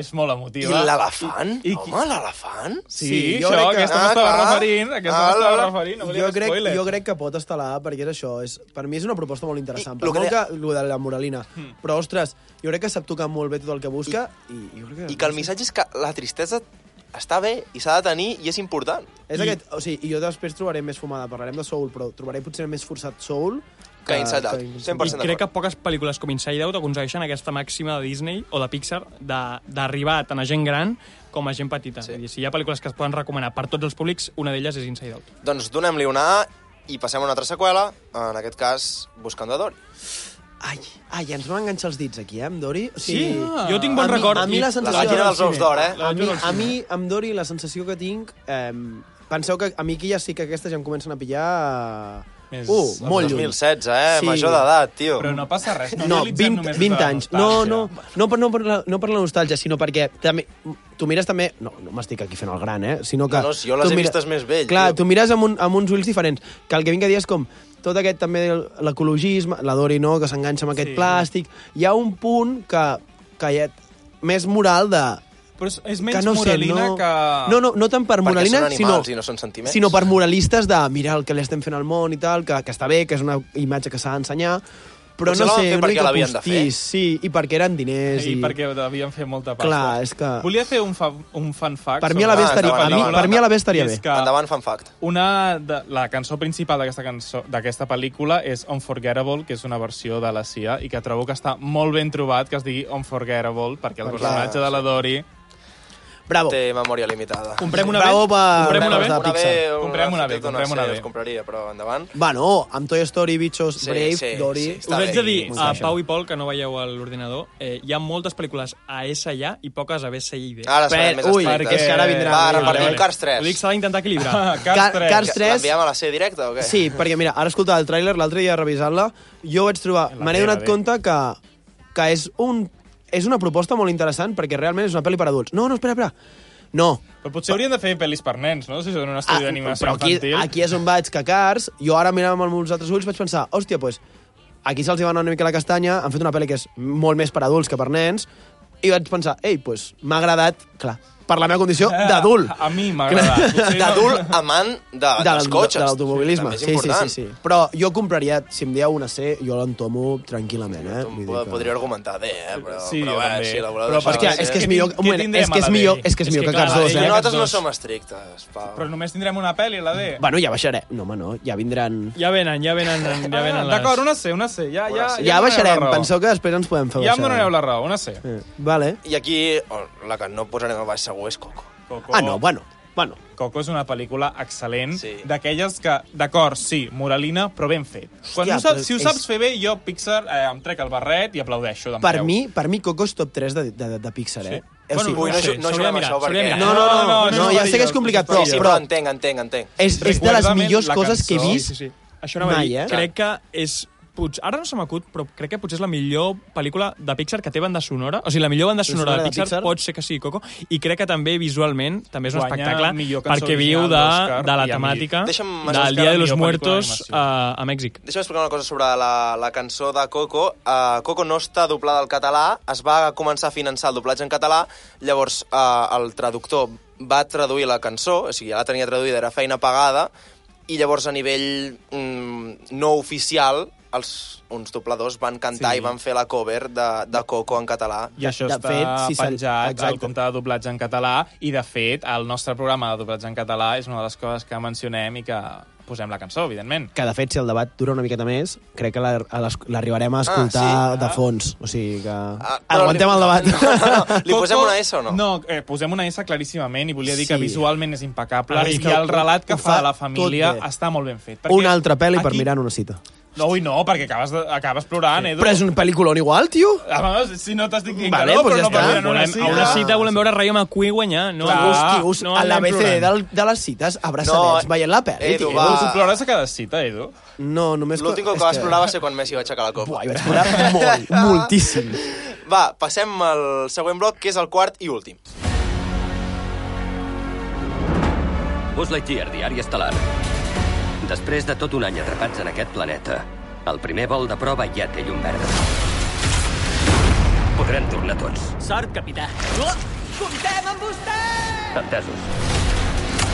[SPEAKER 3] és molt
[SPEAKER 1] I
[SPEAKER 3] emotiva.
[SPEAKER 1] l'elefant?
[SPEAKER 3] I- i-
[SPEAKER 1] Home, l'elefant?
[SPEAKER 3] Sí,
[SPEAKER 4] Sí,
[SPEAKER 3] això,
[SPEAKER 4] jo crec que-
[SPEAKER 3] aquesta
[SPEAKER 1] Ah,
[SPEAKER 3] m'estava
[SPEAKER 1] clar.
[SPEAKER 3] referint, aquesta
[SPEAKER 1] Ah,
[SPEAKER 3] m'estava
[SPEAKER 1] la-
[SPEAKER 3] referint, no volia
[SPEAKER 4] jo,
[SPEAKER 3] fer
[SPEAKER 4] crec,
[SPEAKER 3] spoiler.
[SPEAKER 4] jo crec que pot estar a la A, perquè és això. És, per mi és una proposta molt
[SPEAKER 1] I
[SPEAKER 4] interessant. I, per
[SPEAKER 1] lo que
[SPEAKER 4] molt que...
[SPEAKER 1] deia-
[SPEAKER 4] Lo de la moralina. Però, ostres, jo crec que sap tocar molt bé tot el que busca. I, i, jo crec que...
[SPEAKER 1] I que el missatge és que la tristesa està bé i s'ha de tenir i és important.
[SPEAKER 4] És I... aquest, o sigui, i jo després trobaré més fumada, parlarem de Soul, però trobaré potser més forçat Soul
[SPEAKER 1] Que Inside Out, 100%.
[SPEAKER 5] I crec que poques pel·lícules com Inside Out aconsegueixen aquesta màxima de Disney o de Pixar de- d'arribar tant a gent gran com a gent petita. Sí. Dir, si hi ha pel·lícules que es poden recomanar per tots els públics, una d'elles és Inside Out.
[SPEAKER 1] Doncs donem-li una A i passem a una altra seqüela, en aquest cas Buscando a Dory.
[SPEAKER 4] Ai, ai, ens van enganxar els dits aquí, eh, amb Dori. O
[SPEAKER 5] Sí, jo tinc bon
[SPEAKER 4] a mi-
[SPEAKER 5] record
[SPEAKER 4] A mi
[SPEAKER 5] i-
[SPEAKER 4] la
[SPEAKER 5] La
[SPEAKER 4] sensació...
[SPEAKER 1] màquina
[SPEAKER 4] del
[SPEAKER 1] dels ous
[SPEAKER 4] cine-
[SPEAKER 1] d'or, eh?
[SPEAKER 4] A
[SPEAKER 1] La
[SPEAKER 4] mi,
[SPEAKER 1] màquina del
[SPEAKER 4] a mi, amb Dori, la sensació que tinc... Eh, penseu que a mi aquí ja sí que aquestes ja em comencen a pillar... Eh,
[SPEAKER 3] Més
[SPEAKER 4] uh,
[SPEAKER 1] el
[SPEAKER 4] molt lluny.
[SPEAKER 1] 2016, eh? Major d'edat, tio.
[SPEAKER 3] Però no passa res, no,
[SPEAKER 4] No,
[SPEAKER 3] analitzem
[SPEAKER 4] 20,
[SPEAKER 3] només
[SPEAKER 4] 20
[SPEAKER 3] des de la
[SPEAKER 4] anys. No,
[SPEAKER 3] nostàlgia.
[SPEAKER 4] no, no per, no, per la, no per la nostàlgia, sinó perquè també, tu mires també... No, no m'estic aquí fent el gran, eh? Sinó que
[SPEAKER 1] No, no, si jo les
[SPEAKER 4] tu
[SPEAKER 1] he
[SPEAKER 4] mira-
[SPEAKER 1] vistes més vell,
[SPEAKER 4] Clar,
[SPEAKER 1] tio.
[SPEAKER 4] tu mires amb, un, amb uns ulls diferents. Que el que vinc a dir és com tot aquest també l'ecologisme, la Dori no, que s'enganxa amb aquest
[SPEAKER 5] Sí.
[SPEAKER 4] sí. plàstic... Hi ha un punt que, que hi ha més moral de...
[SPEAKER 3] Però és, és
[SPEAKER 4] que
[SPEAKER 3] menys
[SPEAKER 4] no sé,
[SPEAKER 3] moralina
[SPEAKER 4] no...
[SPEAKER 3] que...
[SPEAKER 4] No, no, no tant per
[SPEAKER 1] Perquè
[SPEAKER 4] moralina,
[SPEAKER 1] són animals
[SPEAKER 4] sinó,
[SPEAKER 1] i no són sentiments.
[SPEAKER 4] sinó per moralistes de mirar el que li estem fent al món i tal, que, que està bé, que és una imatge que s'ha d'ensenyar, però
[SPEAKER 1] Potser la
[SPEAKER 4] no
[SPEAKER 1] van
[SPEAKER 4] sé,
[SPEAKER 1] fer
[SPEAKER 4] una
[SPEAKER 1] perquè
[SPEAKER 4] mica
[SPEAKER 1] l'havien de fer.
[SPEAKER 4] postís, sí, i perquè eren diners.
[SPEAKER 3] I perquè devien fer molta pasta.
[SPEAKER 4] Clar, és que-
[SPEAKER 3] Volia fer un, fa... un fun fact.
[SPEAKER 4] Per mi a
[SPEAKER 3] sobre
[SPEAKER 4] la B
[SPEAKER 1] Ah,
[SPEAKER 4] estaria,
[SPEAKER 1] endavant,
[SPEAKER 4] a mi,
[SPEAKER 1] endavant.
[SPEAKER 4] per mi a la B estaria bé.
[SPEAKER 3] És que
[SPEAKER 1] Endavant, fan fact.
[SPEAKER 3] una de, la cançó principal d'aquesta cançó d'aquesta pel·lícula és Unforgettable, que és una versió de la CIA, i que trobo que està molt ben trobat que es digui Unforgettable, perquè el personatge de la Dori...
[SPEAKER 4] Bravo.
[SPEAKER 1] Té memòria limitada.
[SPEAKER 5] Comprem una
[SPEAKER 4] Bravo
[SPEAKER 5] B?
[SPEAKER 4] per-
[SPEAKER 5] Comprem una
[SPEAKER 4] Bravo
[SPEAKER 5] B?
[SPEAKER 4] per- Pixar.
[SPEAKER 3] Comprem una B,
[SPEAKER 1] Feta, no
[SPEAKER 3] comprem
[SPEAKER 1] sé,
[SPEAKER 3] una B.
[SPEAKER 1] els compraria, però endavant.
[SPEAKER 4] Bueno, amb Toy Story, Bichos,
[SPEAKER 1] Sí,
[SPEAKER 4] Brave,
[SPEAKER 1] sí,
[SPEAKER 4] Dory...
[SPEAKER 1] sí, està
[SPEAKER 5] Us
[SPEAKER 1] bé.
[SPEAKER 5] haig de dir
[SPEAKER 4] Molt
[SPEAKER 5] a
[SPEAKER 4] bé,
[SPEAKER 5] Pau i Pol, que no veieu a l'ordinador, eh, hi ha moltes pel·lícules a S i A i poques a B, C i D.
[SPEAKER 1] Ara serem
[SPEAKER 4] Per-
[SPEAKER 1] més
[SPEAKER 4] ui,
[SPEAKER 1] estrictes.
[SPEAKER 4] perquè és que ara vindrà-
[SPEAKER 1] Va,
[SPEAKER 5] Vale,
[SPEAKER 1] repartim
[SPEAKER 5] vale.
[SPEAKER 1] Cars 3.
[SPEAKER 5] Ho dic, s'ha d'intentar equilibrar.
[SPEAKER 4] <laughs>
[SPEAKER 3] Ah,
[SPEAKER 4] Ca-
[SPEAKER 3] <laughs> Cars 3.
[SPEAKER 4] Cars
[SPEAKER 1] Que
[SPEAKER 4] 3.
[SPEAKER 1] L'enviem a la C directa o què?
[SPEAKER 4] Sí, perquè mira, ara escoltava el tràiler, l'altre dia revisant-la, jo vaig trobar...
[SPEAKER 3] La
[SPEAKER 4] Me n'he
[SPEAKER 3] teva,
[SPEAKER 4] adonat
[SPEAKER 3] bé.
[SPEAKER 4] compte que, que és, un, és una proposta molt interessant perquè realment és una pel·li per adults. No, no, espera, espera. No.
[SPEAKER 3] Però potser haurien de fer pel·lis per nens, no? Si són un
[SPEAKER 4] Ah,
[SPEAKER 3] estudi d'animació
[SPEAKER 4] però aquí,
[SPEAKER 3] infantil.
[SPEAKER 4] aquí és on vaig, que Cars, jo ara mirava amb els altres ulls, vaig pensar, hòstia, doncs, aquí se'ls hi va anar una mica la castanya, han fet una pel·li que és molt més per adults que per nens, i vaig pensar, ei, doncs, m'ha agradat, clar, per la meva condició
[SPEAKER 3] Ah,
[SPEAKER 4] d'adult.
[SPEAKER 3] A mi m'ha
[SPEAKER 4] <laughs>
[SPEAKER 3] agradat. ah, Potser no- Ah,
[SPEAKER 1] D'adult amant de,
[SPEAKER 4] de
[SPEAKER 1] dels
[SPEAKER 4] l'au-
[SPEAKER 1] cotxes.
[SPEAKER 4] De l'automobilisme,
[SPEAKER 1] També és
[SPEAKER 4] sí, sí, sí,
[SPEAKER 1] important.
[SPEAKER 4] sí. Però jo compraria, si em dieu una C, jo l'entomo tranquil·lament, eh?
[SPEAKER 1] Em
[SPEAKER 4] Vull
[SPEAKER 1] po-
[SPEAKER 4] dir que-
[SPEAKER 1] Podria argumentar D, eh? Però,
[SPEAKER 3] Sí,
[SPEAKER 1] però
[SPEAKER 3] jo
[SPEAKER 1] bé,
[SPEAKER 3] també.
[SPEAKER 1] si la eh? voleu
[SPEAKER 3] Però
[SPEAKER 1] deixar
[SPEAKER 4] Hòstia,
[SPEAKER 1] a la
[SPEAKER 4] és
[SPEAKER 1] C.
[SPEAKER 4] que és
[SPEAKER 3] Què
[SPEAKER 4] millor,
[SPEAKER 3] tin-
[SPEAKER 4] un
[SPEAKER 3] què
[SPEAKER 4] moment, és
[SPEAKER 3] tindrem
[SPEAKER 4] que
[SPEAKER 3] a
[SPEAKER 4] és
[SPEAKER 3] la
[SPEAKER 4] millor,
[SPEAKER 3] Deli?
[SPEAKER 4] és que és
[SPEAKER 5] És
[SPEAKER 4] millor
[SPEAKER 5] que
[SPEAKER 4] que
[SPEAKER 5] clar,
[SPEAKER 4] Cars
[SPEAKER 5] la
[SPEAKER 4] 2,
[SPEAKER 5] Deli
[SPEAKER 4] eh?
[SPEAKER 5] ja
[SPEAKER 1] Nosaltres no
[SPEAKER 5] Cars dos.
[SPEAKER 1] som estrictes, Pau.
[SPEAKER 3] Però només tindrem una pel·li, la D.
[SPEAKER 4] Bueno, ja baixaré. No, home, no, ja vindran...
[SPEAKER 5] Ja venen, ja venen, ja venen
[SPEAKER 3] Ah,
[SPEAKER 5] les...
[SPEAKER 3] D'acord, una C, una C. Ja, ja,
[SPEAKER 4] Ja
[SPEAKER 3] em donareu
[SPEAKER 4] baixarem,
[SPEAKER 3] la raó.
[SPEAKER 4] penseu que després ens podem fer
[SPEAKER 3] Ja em donareu
[SPEAKER 4] baixar.
[SPEAKER 3] la raó, una C.
[SPEAKER 4] Eh, Vale.
[SPEAKER 1] I aquí, oh, la que no posarem a baix segur és Coco.
[SPEAKER 3] Coco.
[SPEAKER 4] Ah, no, bueno, bueno.
[SPEAKER 3] Coco és una pel·lícula excel·lent,
[SPEAKER 1] Sí.
[SPEAKER 3] d'aquelles que, d'acord, sí, moralina, però ben fet. Quan
[SPEAKER 4] Hòstia,
[SPEAKER 3] ho saps,
[SPEAKER 4] però
[SPEAKER 3] si ho
[SPEAKER 4] és-
[SPEAKER 3] saps fer bé, jo, Pixar, eh, em trec el barret i aplaudeixo d'en
[SPEAKER 4] Per
[SPEAKER 3] peu.
[SPEAKER 4] mi, per mi Coco és top 3 de, de, de Pixar, eh?
[SPEAKER 5] Bueno,
[SPEAKER 4] O sigui,
[SPEAKER 1] Ui, no,
[SPEAKER 5] sé,
[SPEAKER 1] ju- no
[SPEAKER 5] s'hauria
[SPEAKER 1] juguem
[SPEAKER 5] de
[SPEAKER 1] a
[SPEAKER 5] mirar,
[SPEAKER 1] això,
[SPEAKER 5] s'hauria de
[SPEAKER 1] perquè...
[SPEAKER 5] mirar.
[SPEAKER 4] No, no, no,
[SPEAKER 3] eh, No, no,
[SPEAKER 4] no,
[SPEAKER 3] no,
[SPEAKER 4] ja
[SPEAKER 3] no,
[SPEAKER 4] sé que és
[SPEAKER 3] no,
[SPEAKER 4] complicat,
[SPEAKER 3] no,
[SPEAKER 4] però,
[SPEAKER 1] Sí, sí, però
[SPEAKER 4] però
[SPEAKER 1] entenc, entenc, entenc. Eh,
[SPEAKER 4] és, és de les
[SPEAKER 3] Recuerda-me
[SPEAKER 4] millors
[SPEAKER 3] la
[SPEAKER 4] coses que he
[SPEAKER 3] cançó.
[SPEAKER 4] vist.
[SPEAKER 5] Sí, sí, sí. Això anava
[SPEAKER 4] Mai,
[SPEAKER 5] a dir.
[SPEAKER 4] eh?
[SPEAKER 5] Crec que és... Potser, ara no se m'acut, però crec que potser és la millor pel·lícula de Pixar que té banda sonora. O sigui, la millor banda sonora, de, Pixar, pot ser que sigui Coco. I crec que també visualment també és un
[SPEAKER 3] Guanya
[SPEAKER 5] espectacle
[SPEAKER 3] millor cançó
[SPEAKER 5] perquè viu de,
[SPEAKER 3] original
[SPEAKER 5] de la
[SPEAKER 3] d'Òscar i a mi.
[SPEAKER 5] temàtica
[SPEAKER 1] Deixa'm
[SPEAKER 3] Òscar,
[SPEAKER 5] del Dia de
[SPEAKER 3] millor
[SPEAKER 5] los
[SPEAKER 3] pel·lícula
[SPEAKER 5] Muertos eh,
[SPEAKER 3] d'animació.
[SPEAKER 5] a, a Mèxic.
[SPEAKER 1] Deixa'm explicar una cosa sobre la, la cançó de Coco. Uh, Coco no està doblada al català, es va començar a finançar el doblatge en català, llavors uh, el traductor va traduir la cançó, o sigui, ja la tenia traduïda, era feina pagada, i llavors a nivell mm, no oficial els, uns dobladors van cantar sí.
[SPEAKER 3] Sí.
[SPEAKER 1] i van fer la cover de, de Coco en català.
[SPEAKER 3] I això
[SPEAKER 4] de
[SPEAKER 3] està
[SPEAKER 4] fet, si se-
[SPEAKER 3] penjat al
[SPEAKER 4] exacte.
[SPEAKER 3] compte de doblatge en català i, de fet, el nostre programa de doblatge en català és una de les coses que mencionem i que posem la cançó, evidentment.
[SPEAKER 4] que de fet si el debat dura una miqueta més crec que la- a les- l'arribarem a escoltar
[SPEAKER 1] Ah,
[SPEAKER 4] de fons o sigui que
[SPEAKER 1] Ah, però
[SPEAKER 4] aguantem
[SPEAKER 1] li-
[SPEAKER 4] el
[SPEAKER 1] <laughs>
[SPEAKER 4] debat
[SPEAKER 1] No,
[SPEAKER 4] <laughs>
[SPEAKER 1] no, no. Li posem una S o no?
[SPEAKER 3] No, eh, posem una S claríssimament i volia dir
[SPEAKER 4] Sí.
[SPEAKER 3] que visualment és impecable
[SPEAKER 4] Ara, és
[SPEAKER 3] i
[SPEAKER 4] que
[SPEAKER 3] el relat que
[SPEAKER 4] ho
[SPEAKER 3] fa
[SPEAKER 4] fa
[SPEAKER 3] de la família
[SPEAKER 4] tot bé.
[SPEAKER 3] està molt ben fet.
[SPEAKER 4] una altra pel·li per
[SPEAKER 3] aquí-
[SPEAKER 4] mirar en una cita
[SPEAKER 3] No, ui, no, perquè acabes, de, acabes plorant, Edu.
[SPEAKER 4] però és un pel·lículon igual tio
[SPEAKER 3] A vegades, si no t'estic dient
[SPEAKER 4] Vale,
[SPEAKER 3] que no,
[SPEAKER 4] pues
[SPEAKER 3] però
[SPEAKER 4] ja
[SPEAKER 3] no
[SPEAKER 4] està.
[SPEAKER 3] per mirar una
[SPEAKER 5] Volem,
[SPEAKER 3] cita.
[SPEAKER 5] a una cita volem veure Rayo McQueen guanyar. No,
[SPEAKER 3] Clar.
[SPEAKER 4] ah, tios,
[SPEAKER 5] Ah. no
[SPEAKER 4] no, a
[SPEAKER 5] anem
[SPEAKER 4] l'ABCD
[SPEAKER 5] plorant.
[SPEAKER 4] del, de les cites abraçadets
[SPEAKER 1] No,
[SPEAKER 4] no, veient la pel·li
[SPEAKER 1] Edu,
[SPEAKER 4] tio.
[SPEAKER 1] va.
[SPEAKER 3] Tu plores a cada cita, Edu.
[SPEAKER 4] no, només
[SPEAKER 1] L'últim cop
[SPEAKER 4] és
[SPEAKER 1] que vas plorar va ser quan Messi va aixecar la copa.
[SPEAKER 4] Buah, eh. hi vaig plorar <laughs> molt, moltíssim
[SPEAKER 1] Va, passem al següent bloc, que és el quart i últim.
[SPEAKER 12] Buzz Lightyear, diari estel·lar. Després de tot un any atrapats en aquest planeta, el primer vol de prova ja té llum verda. Podrem tornar tots,
[SPEAKER 7] Sort, capità.
[SPEAKER 13] Comptem amb vostè!
[SPEAKER 12] entesos.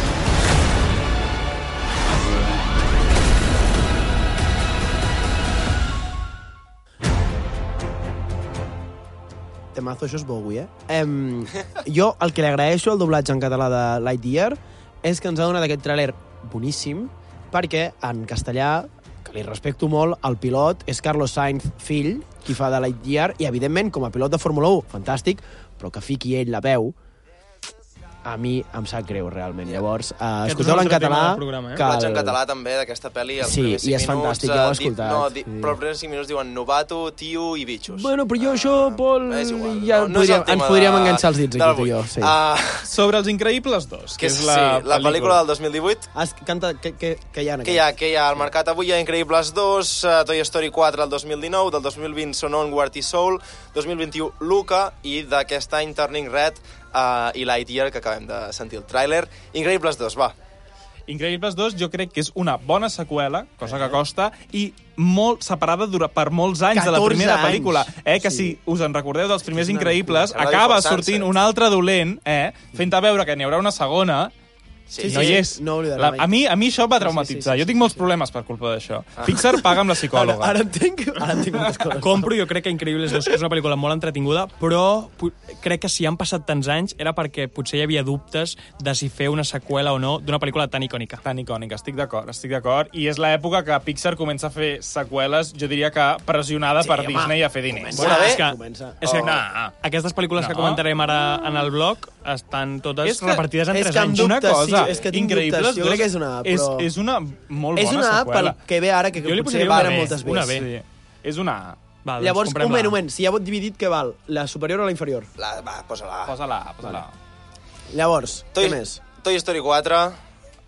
[SPEAKER 4] temazo, això és Bowie, eh? Em, jo el que li agraeixo al doblatge en català de Lightyear és que ens ha donat aquest tràiler boníssim, perquè en castellà, que li respecto molt, el pilot és Carlos Sainz, fill, qui fa de Lightyear, i evidentment, com a pilot de Fórmula 1, fantàstic, però que fiqui ell la veu, a mi em sap greu, realment. Llavors, uh,
[SPEAKER 5] Aquest és
[SPEAKER 4] escolteu-la en
[SPEAKER 5] un altre
[SPEAKER 4] català.
[SPEAKER 5] tema del programa, eh?
[SPEAKER 4] que
[SPEAKER 1] Platja
[SPEAKER 4] el-
[SPEAKER 1] en català també d'aquesta pel·li. Els
[SPEAKER 4] Sí,
[SPEAKER 1] primers
[SPEAKER 4] i és
[SPEAKER 1] cinc minuts,
[SPEAKER 4] fantàstic, ja ho he
[SPEAKER 1] eh, di-
[SPEAKER 4] escoltat,
[SPEAKER 1] No,
[SPEAKER 4] sí.
[SPEAKER 1] di, però els primers 5 minuts diuen novato, tio i bitxos.
[SPEAKER 4] Bueno, però jo això, Pol,
[SPEAKER 1] Ah, és igual,
[SPEAKER 4] ja
[SPEAKER 1] no- no és
[SPEAKER 4] podríem,
[SPEAKER 1] el tema
[SPEAKER 4] ens podríem
[SPEAKER 1] de-
[SPEAKER 4] enganxar els dits
[SPEAKER 1] del
[SPEAKER 4] aquí, tu i jo. Sí.
[SPEAKER 1] Ah,
[SPEAKER 3] Sobre Els Increïbles 2,
[SPEAKER 1] que és la, sí, la pel·lícula del 2018
[SPEAKER 4] Has, canta, Ah, que, que, que hi ha en
[SPEAKER 1] que hi, ha, que hi ha al mercat avui, hi ha Increïbles 2, eh, Toy Story 4 del 2019, del 2020 Son Onward i Soul, 2021 Luca i d'aquest any Turning Red uh, i Lightyear, que acabem de sentir el tràiler. Increïbles 2, va.
[SPEAKER 3] Increïbles 2 jo crec que és una bona seqüela, cosa que costa, i molt separada dura per molts anys de la
[SPEAKER 4] 14
[SPEAKER 3] primera
[SPEAKER 4] anys.
[SPEAKER 3] pel·lícula. Eh? Que
[SPEAKER 4] Sí.
[SPEAKER 3] sí. si us en recordeu dels primers
[SPEAKER 4] És una
[SPEAKER 3] Increïbles,
[SPEAKER 1] locura.
[SPEAKER 3] acaba
[SPEAKER 1] Anava
[SPEAKER 3] sortint
[SPEAKER 1] forçant-se.
[SPEAKER 3] un altre dolent, eh? fent a veure que n'hi haurà una segona,
[SPEAKER 1] Sí,
[SPEAKER 3] no hi és.
[SPEAKER 4] no ho oblidaré
[SPEAKER 3] la,
[SPEAKER 4] mai.
[SPEAKER 3] a, mi, a mi això em va traumatitzar. Jo tinc molts problemes per culpa d'això. Pixar paga amb la
[SPEAKER 4] Ara,
[SPEAKER 3] psicòloga.
[SPEAKER 4] ara entenc, ara entenc moltes
[SPEAKER 5] <laughs>
[SPEAKER 4] coses.
[SPEAKER 5] Compro, jo crec que Increïbles 2 és una pel·lícula molt entretinguda, però pu- crec que si han passat tants anys era perquè potser hi havia dubtes de si fer una seqüela o no d'una pel·lícula tan icònica.
[SPEAKER 3] Tan icònica, estic d'acord, estic d'acord. I és l'època que Pixar comença a fer seqüeles, jo diria que pressionada sí, per Disney a fer diners.
[SPEAKER 1] Bueno, bé,
[SPEAKER 5] és que,
[SPEAKER 4] comença.
[SPEAKER 5] és que ah.
[SPEAKER 3] Oh. No.
[SPEAKER 5] aquestes pel·lícules que
[SPEAKER 3] No.
[SPEAKER 5] comentarem ara en el blog estan totes
[SPEAKER 3] És que-
[SPEAKER 5] repartides en
[SPEAKER 4] és
[SPEAKER 5] 3
[SPEAKER 4] que em
[SPEAKER 5] anys.
[SPEAKER 4] dubte
[SPEAKER 3] una cosa,
[SPEAKER 4] sí, és que tinc
[SPEAKER 3] Increïbles
[SPEAKER 4] dubtes, jo
[SPEAKER 3] dos
[SPEAKER 4] crec que és una app, però-
[SPEAKER 3] És, és una molt
[SPEAKER 4] és
[SPEAKER 3] bona
[SPEAKER 4] una A pel
[SPEAKER 3] seqüela.
[SPEAKER 4] que ve ara, que
[SPEAKER 5] Jo li
[SPEAKER 4] potser
[SPEAKER 5] posaria
[SPEAKER 4] va
[SPEAKER 5] una
[SPEAKER 4] ara
[SPEAKER 5] B,
[SPEAKER 4] moltes
[SPEAKER 5] una
[SPEAKER 4] veces.
[SPEAKER 5] B.
[SPEAKER 3] Sí, és una A.
[SPEAKER 5] Va, doncs
[SPEAKER 4] Llavors, un
[SPEAKER 5] comprem-la.
[SPEAKER 4] moment, un moment, si ja heu dividit, què val? La superior o la inferior?
[SPEAKER 1] La, va, posa-la.
[SPEAKER 3] Posa-la, posa-la.
[SPEAKER 4] Llavors,
[SPEAKER 1] Toy,
[SPEAKER 4] què més?
[SPEAKER 1] Toy Story 4,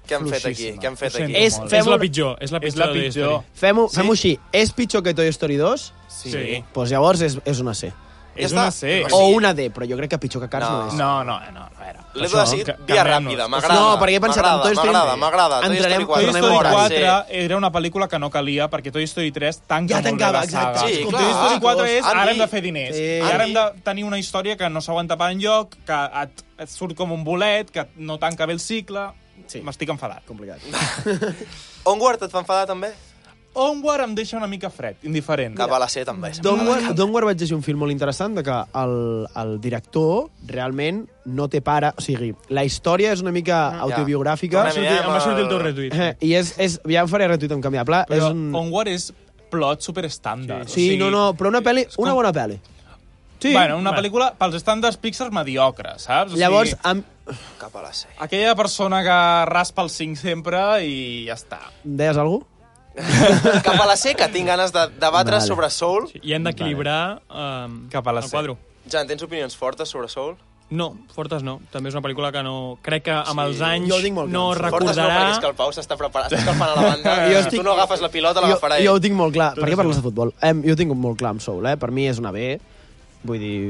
[SPEAKER 1] què han fet aquí?
[SPEAKER 3] Fluixíssima.
[SPEAKER 1] Què han fet
[SPEAKER 3] Ho sento
[SPEAKER 1] aquí?
[SPEAKER 4] És-
[SPEAKER 3] molt.
[SPEAKER 4] fem
[SPEAKER 5] És la
[SPEAKER 4] un-
[SPEAKER 5] pitjor, és la
[SPEAKER 3] És
[SPEAKER 5] pitjor.
[SPEAKER 3] la
[SPEAKER 5] de la
[SPEAKER 3] pitjor.
[SPEAKER 5] història.
[SPEAKER 4] Fem-ho fem així. És pitjor que Toy Story 2?
[SPEAKER 3] Sí.
[SPEAKER 5] Sí.
[SPEAKER 4] Doncs llavors és, és una C.
[SPEAKER 1] Ja
[SPEAKER 3] És
[SPEAKER 1] està.
[SPEAKER 3] una C.
[SPEAKER 1] O
[SPEAKER 4] O
[SPEAKER 1] sigui-
[SPEAKER 4] una D, però jo crec que pitjor que Cars no,
[SPEAKER 1] No.
[SPEAKER 4] és.
[SPEAKER 3] No, no, no, a veure.
[SPEAKER 1] L'he
[SPEAKER 3] Això,
[SPEAKER 1] decidit
[SPEAKER 3] ca-
[SPEAKER 1] via
[SPEAKER 3] canviem-nos.
[SPEAKER 1] ràpida, m'agrada.
[SPEAKER 4] No, perquè he pensat en
[SPEAKER 1] M'agrada,
[SPEAKER 4] Toy Story.
[SPEAKER 1] M'agrada, m'agrada. Toy Story
[SPEAKER 4] Entrarem-
[SPEAKER 1] 4.
[SPEAKER 3] Toy
[SPEAKER 4] Tornem
[SPEAKER 3] Story
[SPEAKER 4] hores.
[SPEAKER 3] 4
[SPEAKER 1] Sí.
[SPEAKER 3] era una pel·lícula que no calia, perquè Toy Story 3 tanca
[SPEAKER 4] Ja
[SPEAKER 3] molt
[SPEAKER 4] tancava,
[SPEAKER 3] bé la saga.
[SPEAKER 4] exacte.
[SPEAKER 1] Sí,
[SPEAKER 3] Toy
[SPEAKER 1] clar.
[SPEAKER 3] Story 4 és,
[SPEAKER 1] Andy.
[SPEAKER 3] ara hem de fer diners.
[SPEAKER 4] Sí.
[SPEAKER 3] I ara hem de
[SPEAKER 1] Andy.
[SPEAKER 3] tenir una història que no s'aguanta per enlloc, que et, et surt com un bolet, que no tanca bé el cicle...
[SPEAKER 4] Sí.
[SPEAKER 3] M'estic enfadat.
[SPEAKER 4] Complicat.
[SPEAKER 1] Onward et fa enfadar, també?
[SPEAKER 3] Onward em deixa una mica fred, indiferent.
[SPEAKER 1] Cap a la C, també.
[SPEAKER 4] Donward, Donward vaig llegir un film molt interessant de que el, el director realment no té pare, o sigui, la història és una mica
[SPEAKER 1] Mm,
[SPEAKER 4] autobiogràfica
[SPEAKER 1] Tornem-hi, eh,
[SPEAKER 5] Sortir, em va sortir el teu
[SPEAKER 1] amb el-
[SPEAKER 5] retuit.
[SPEAKER 4] eh, i és, és, ja em faré retuit en canvi de pla.
[SPEAKER 3] Però
[SPEAKER 4] és un...
[SPEAKER 3] Onward és plot superestàndard.
[SPEAKER 4] Sí, no, no, però una pel·li,
[SPEAKER 3] és com-
[SPEAKER 4] una bona pel·li.
[SPEAKER 3] Sí, bueno, una
[SPEAKER 5] Bueno.
[SPEAKER 3] pel·lícula pels estàndards Pixar mediocre, saps? O
[SPEAKER 4] Llavors,
[SPEAKER 3] sigui,
[SPEAKER 4] amb,
[SPEAKER 1] Cap a la C.
[SPEAKER 3] aquella persona que raspa el cinc sempre i ja està.
[SPEAKER 4] deies algú?
[SPEAKER 1] Cap a la C, que tinc ganes de debatre
[SPEAKER 4] Vale.
[SPEAKER 1] sobre Soul.
[SPEAKER 5] Sí, I hem d'equilibrar um,
[SPEAKER 3] Cap a la
[SPEAKER 5] el
[SPEAKER 3] C.
[SPEAKER 5] quadro.
[SPEAKER 1] Jan, tens opinions fortes sobre Soul?
[SPEAKER 5] No, Fortes no. També és una pel·lícula que no... Crec que amb els anys
[SPEAKER 4] Jo ho tinc molt
[SPEAKER 5] no
[SPEAKER 4] clar.
[SPEAKER 1] Fortes no, perquè
[SPEAKER 5] recordarà...
[SPEAKER 1] és que el Pau s'està preparant, s'està escalfant a la banda.
[SPEAKER 4] Jo
[SPEAKER 1] Si
[SPEAKER 4] estic-
[SPEAKER 1] Eh, tu no agafes la pilota,
[SPEAKER 4] jo,
[SPEAKER 1] l'agafarà ell.
[SPEAKER 4] jo ho tinc molt clar. Per què parles de futbol? Em, jo ho tinc molt clar amb Soul, eh? Per mi és una B, vull dir...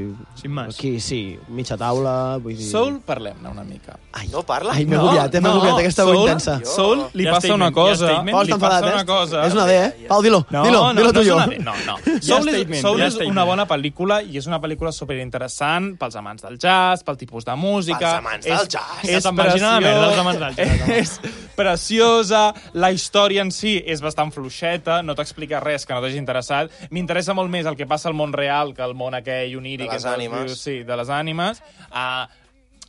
[SPEAKER 5] Sin más.
[SPEAKER 4] Aquí, sí, mitja taula, vull dir...
[SPEAKER 3] Soul, parlem-ne una mica.
[SPEAKER 4] Ai,
[SPEAKER 1] No parla?
[SPEAKER 4] Ai, m'he agobiat, eh? m'he agobiat, aquesta veu
[SPEAKER 3] Soul,
[SPEAKER 4] intensa.
[SPEAKER 3] Soul li
[SPEAKER 5] Ja
[SPEAKER 3] passa
[SPEAKER 5] statement,
[SPEAKER 3] una
[SPEAKER 5] ja
[SPEAKER 3] cosa.
[SPEAKER 5] statement.
[SPEAKER 4] Pau
[SPEAKER 3] li
[SPEAKER 4] està enfadat,
[SPEAKER 3] passa
[SPEAKER 4] eh?
[SPEAKER 3] una cosa.
[SPEAKER 4] És una D, eh? Pau, dilo,
[SPEAKER 3] No,
[SPEAKER 4] dilo,
[SPEAKER 3] no,
[SPEAKER 4] dilo
[SPEAKER 3] no
[SPEAKER 4] tu
[SPEAKER 3] és
[SPEAKER 4] jo.
[SPEAKER 3] una D, no, no. Soul, és,
[SPEAKER 5] statement,
[SPEAKER 3] Soul
[SPEAKER 5] ja
[SPEAKER 3] és una
[SPEAKER 5] statement.
[SPEAKER 3] bona pel·lícula i és una pel·lícula superinteressant pels amants del jazz, pel tipus de música...
[SPEAKER 1] Pels amants del jazz.
[SPEAKER 5] Ja te'n vagin
[SPEAKER 3] eh?
[SPEAKER 5] a la merda, els amants del jazz, home.
[SPEAKER 3] És preciosa, la història en si és bastant fluixeta, no t'explica res que no t'hagi interessat. M'interessa molt més el que passa al món real que el món aquell oníric...
[SPEAKER 1] De les
[SPEAKER 3] entre els
[SPEAKER 1] ànimes.
[SPEAKER 3] rius, Sí, de les ànimes. Ah...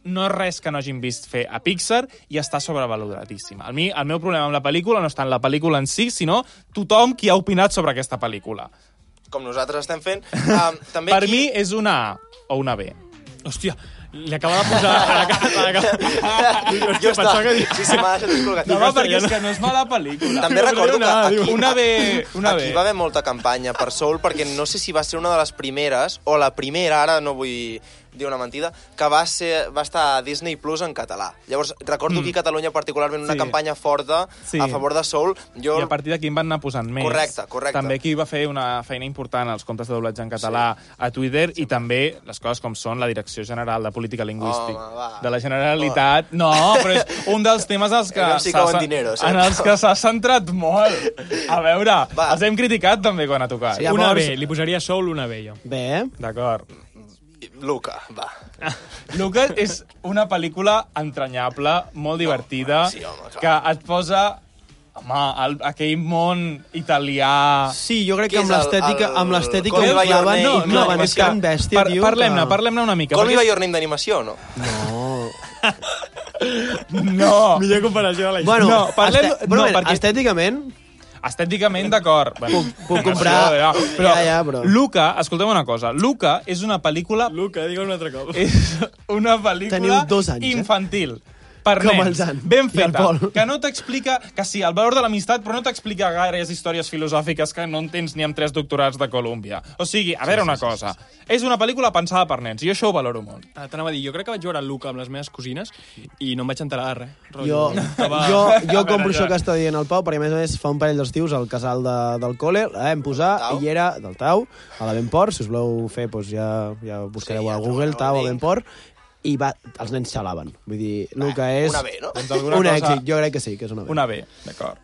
[SPEAKER 3] no és res que no hagin vist fer a Pixar i està sobrevaloradíssima. A mi, el meu problema amb la pel·lícula no està en la pel·lícula en si, sinó tothom qui ha opinat sobre aquesta pel·lícula.
[SPEAKER 1] Com nosaltres estem
[SPEAKER 4] <laughs>
[SPEAKER 1] fent. Um, també
[SPEAKER 3] Per
[SPEAKER 1] aquí...
[SPEAKER 3] mi és una A o una B.
[SPEAKER 5] Hòstia, li acaba de
[SPEAKER 3] <laughs>
[SPEAKER 5] posar... Ara,
[SPEAKER 1] <laughs>
[SPEAKER 5] ara, ara,
[SPEAKER 1] Jo està... Sí, sí, m'ha deixat descol·locat.
[SPEAKER 3] No, perquè és que no és mala pel·lícula.
[SPEAKER 1] També recordo que aquí,
[SPEAKER 3] Una B... Una
[SPEAKER 1] aquí
[SPEAKER 3] B.
[SPEAKER 1] va haver molta campanya per Soul, perquè no sé si va ser una de les primeres, o la primera, ara no vull dir una mentida, que va, ser, va estar a Disney Plus en català. Llavors, recordo mm. aquí a Catalunya particularment una sí.
[SPEAKER 3] Sí.
[SPEAKER 1] campanya forta
[SPEAKER 3] Sí.
[SPEAKER 1] sí. a favor de Soul. Jo...
[SPEAKER 3] I a partir d'aquí en van anar posant més.
[SPEAKER 1] Correcte, correcte.
[SPEAKER 3] També aquí va fer una feina important als comptes de doblatge en català sí. a Twitter i també les coses com són la Direcció General de Política Lingüística
[SPEAKER 1] Home, va. Oh.
[SPEAKER 3] de la Generalitat. No, però és un dels temes
[SPEAKER 1] <laughs>
[SPEAKER 3] als que
[SPEAKER 1] Aviam si
[SPEAKER 3] s'ha-
[SPEAKER 1] cauen dineros, eh?
[SPEAKER 3] en els que s'ha centrat molt. A veure,
[SPEAKER 1] Va.
[SPEAKER 3] els hem criticat també quan ha tocat.
[SPEAKER 4] Sí,
[SPEAKER 5] Una
[SPEAKER 4] Llavors-
[SPEAKER 5] B, li posaria Soul una B, jo.
[SPEAKER 4] Bé, eh?
[SPEAKER 3] D'acord.
[SPEAKER 1] Luca, va.
[SPEAKER 3] Ah. Luca és una pel·lícula entranyable, molt divertida,
[SPEAKER 1] sí, home, clar.
[SPEAKER 3] que et posa home, el, aquell món italià...
[SPEAKER 4] Sí, jo crec
[SPEAKER 1] Què
[SPEAKER 4] que amb
[SPEAKER 1] és el-
[SPEAKER 4] l'estètica
[SPEAKER 1] el-
[SPEAKER 4] amb l'estètica
[SPEAKER 1] Call
[SPEAKER 4] ho
[SPEAKER 1] Me By Your
[SPEAKER 4] claven,
[SPEAKER 1] Name?
[SPEAKER 4] eh? no,
[SPEAKER 1] No,
[SPEAKER 4] claven
[SPEAKER 1] no,
[SPEAKER 4] és tan bèstia,
[SPEAKER 3] Par
[SPEAKER 4] tio.
[SPEAKER 3] Parlem-ne,
[SPEAKER 4] que-
[SPEAKER 3] parlem-ne una mica.
[SPEAKER 1] Call me
[SPEAKER 3] perquè
[SPEAKER 1] by your name d'animació, no?
[SPEAKER 3] No.
[SPEAKER 5] Millor comparació de la història.
[SPEAKER 4] Bueno,
[SPEAKER 3] No, parlem-
[SPEAKER 4] este...
[SPEAKER 3] no,
[SPEAKER 4] bueno,
[SPEAKER 3] perquè-
[SPEAKER 4] estèticament,
[SPEAKER 3] Estèticament, d'acord. Bueno,
[SPEAKER 4] Puc- puc comprar-
[SPEAKER 3] això, ja, però,
[SPEAKER 4] Ja,
[SPEAKER 3] ja,
[SPEAKER 4] ja,
[SPEAKER 3] ja,
[SPEAKER 4] però-
[SPEAKER 3] però... Luca, escolteu una cosa. Luca és una pel·lícula...
[SPEAKER 5] Luca, digue'm un altre cop.
[SPEAKER 3] És una pel·lícula
[SPEAKER 4] Teniu dos anys, eh?
[SPEAKER 3] infantil. Per
[SPEAKER 4] Com
[SPEAKER 3] nens,
[SPEAKER 4] els han-
[SPEAKER 3] ben
[SPEAKER 4] i el
[SPEAKER 3] feta,
[SPEAKER 4] Pol.
[SPEAKER 3] que no t'explica... Que sí, el valor de l'amistat, però no t'explica gaires històries filosòfiques que no entens ni amb tres doctorats de Colúmbia. O sigui, a veure una cosa. És una pel·lícula pensada per nens, i jo això ho valoro molt.
[SPEAKER 5] Ah, T'anava a dir, jo crec que vaig veure Luca amb les meves cosines i no em vaig enterar de res.
[SPEAKER 4] Jo,
[SPEAKER 5] Rotllo, estava-
[SPEAKER 4] jo,
[SPEAKER 3] A
[SPEAKER 4] jo
[SPEAKER 3] veure,
[SPEAKER 4] compro això
[SPEAKER 3] ja.
[SPEAKER 4] que està dient el Pau, perquè a més a més fa un parell d'estius al casal de, del col·le, la vam posar,
[SPEAKER 1] Tau.
[SPEAKER 4] i era del Tau, a la Benport, si us voleu fer, doncs ja, ja buscareu
[SPEAKER 1] Sí, ja
[SPEAKER 4] a
[SPEAKER 1] trobareu
[SPEAKER 4] Google,
[SPEAKER 1] el
[SPEAKER 4] Tau, a
[SPEAKER 1] link.
[SPEAKER 4] Benport, i va, els nens xalaven. Vull dir, el que és...
[SPEAKER 1] una B, no? Doncs
[SPEAKER 3] alguna
[SPEAKER 4] un
[SPEAKER 3] cosa-
[SPEAKER 4] èxit, jo crec que sí, que és una B.
[SPEAKER 3] Una B, d'acord.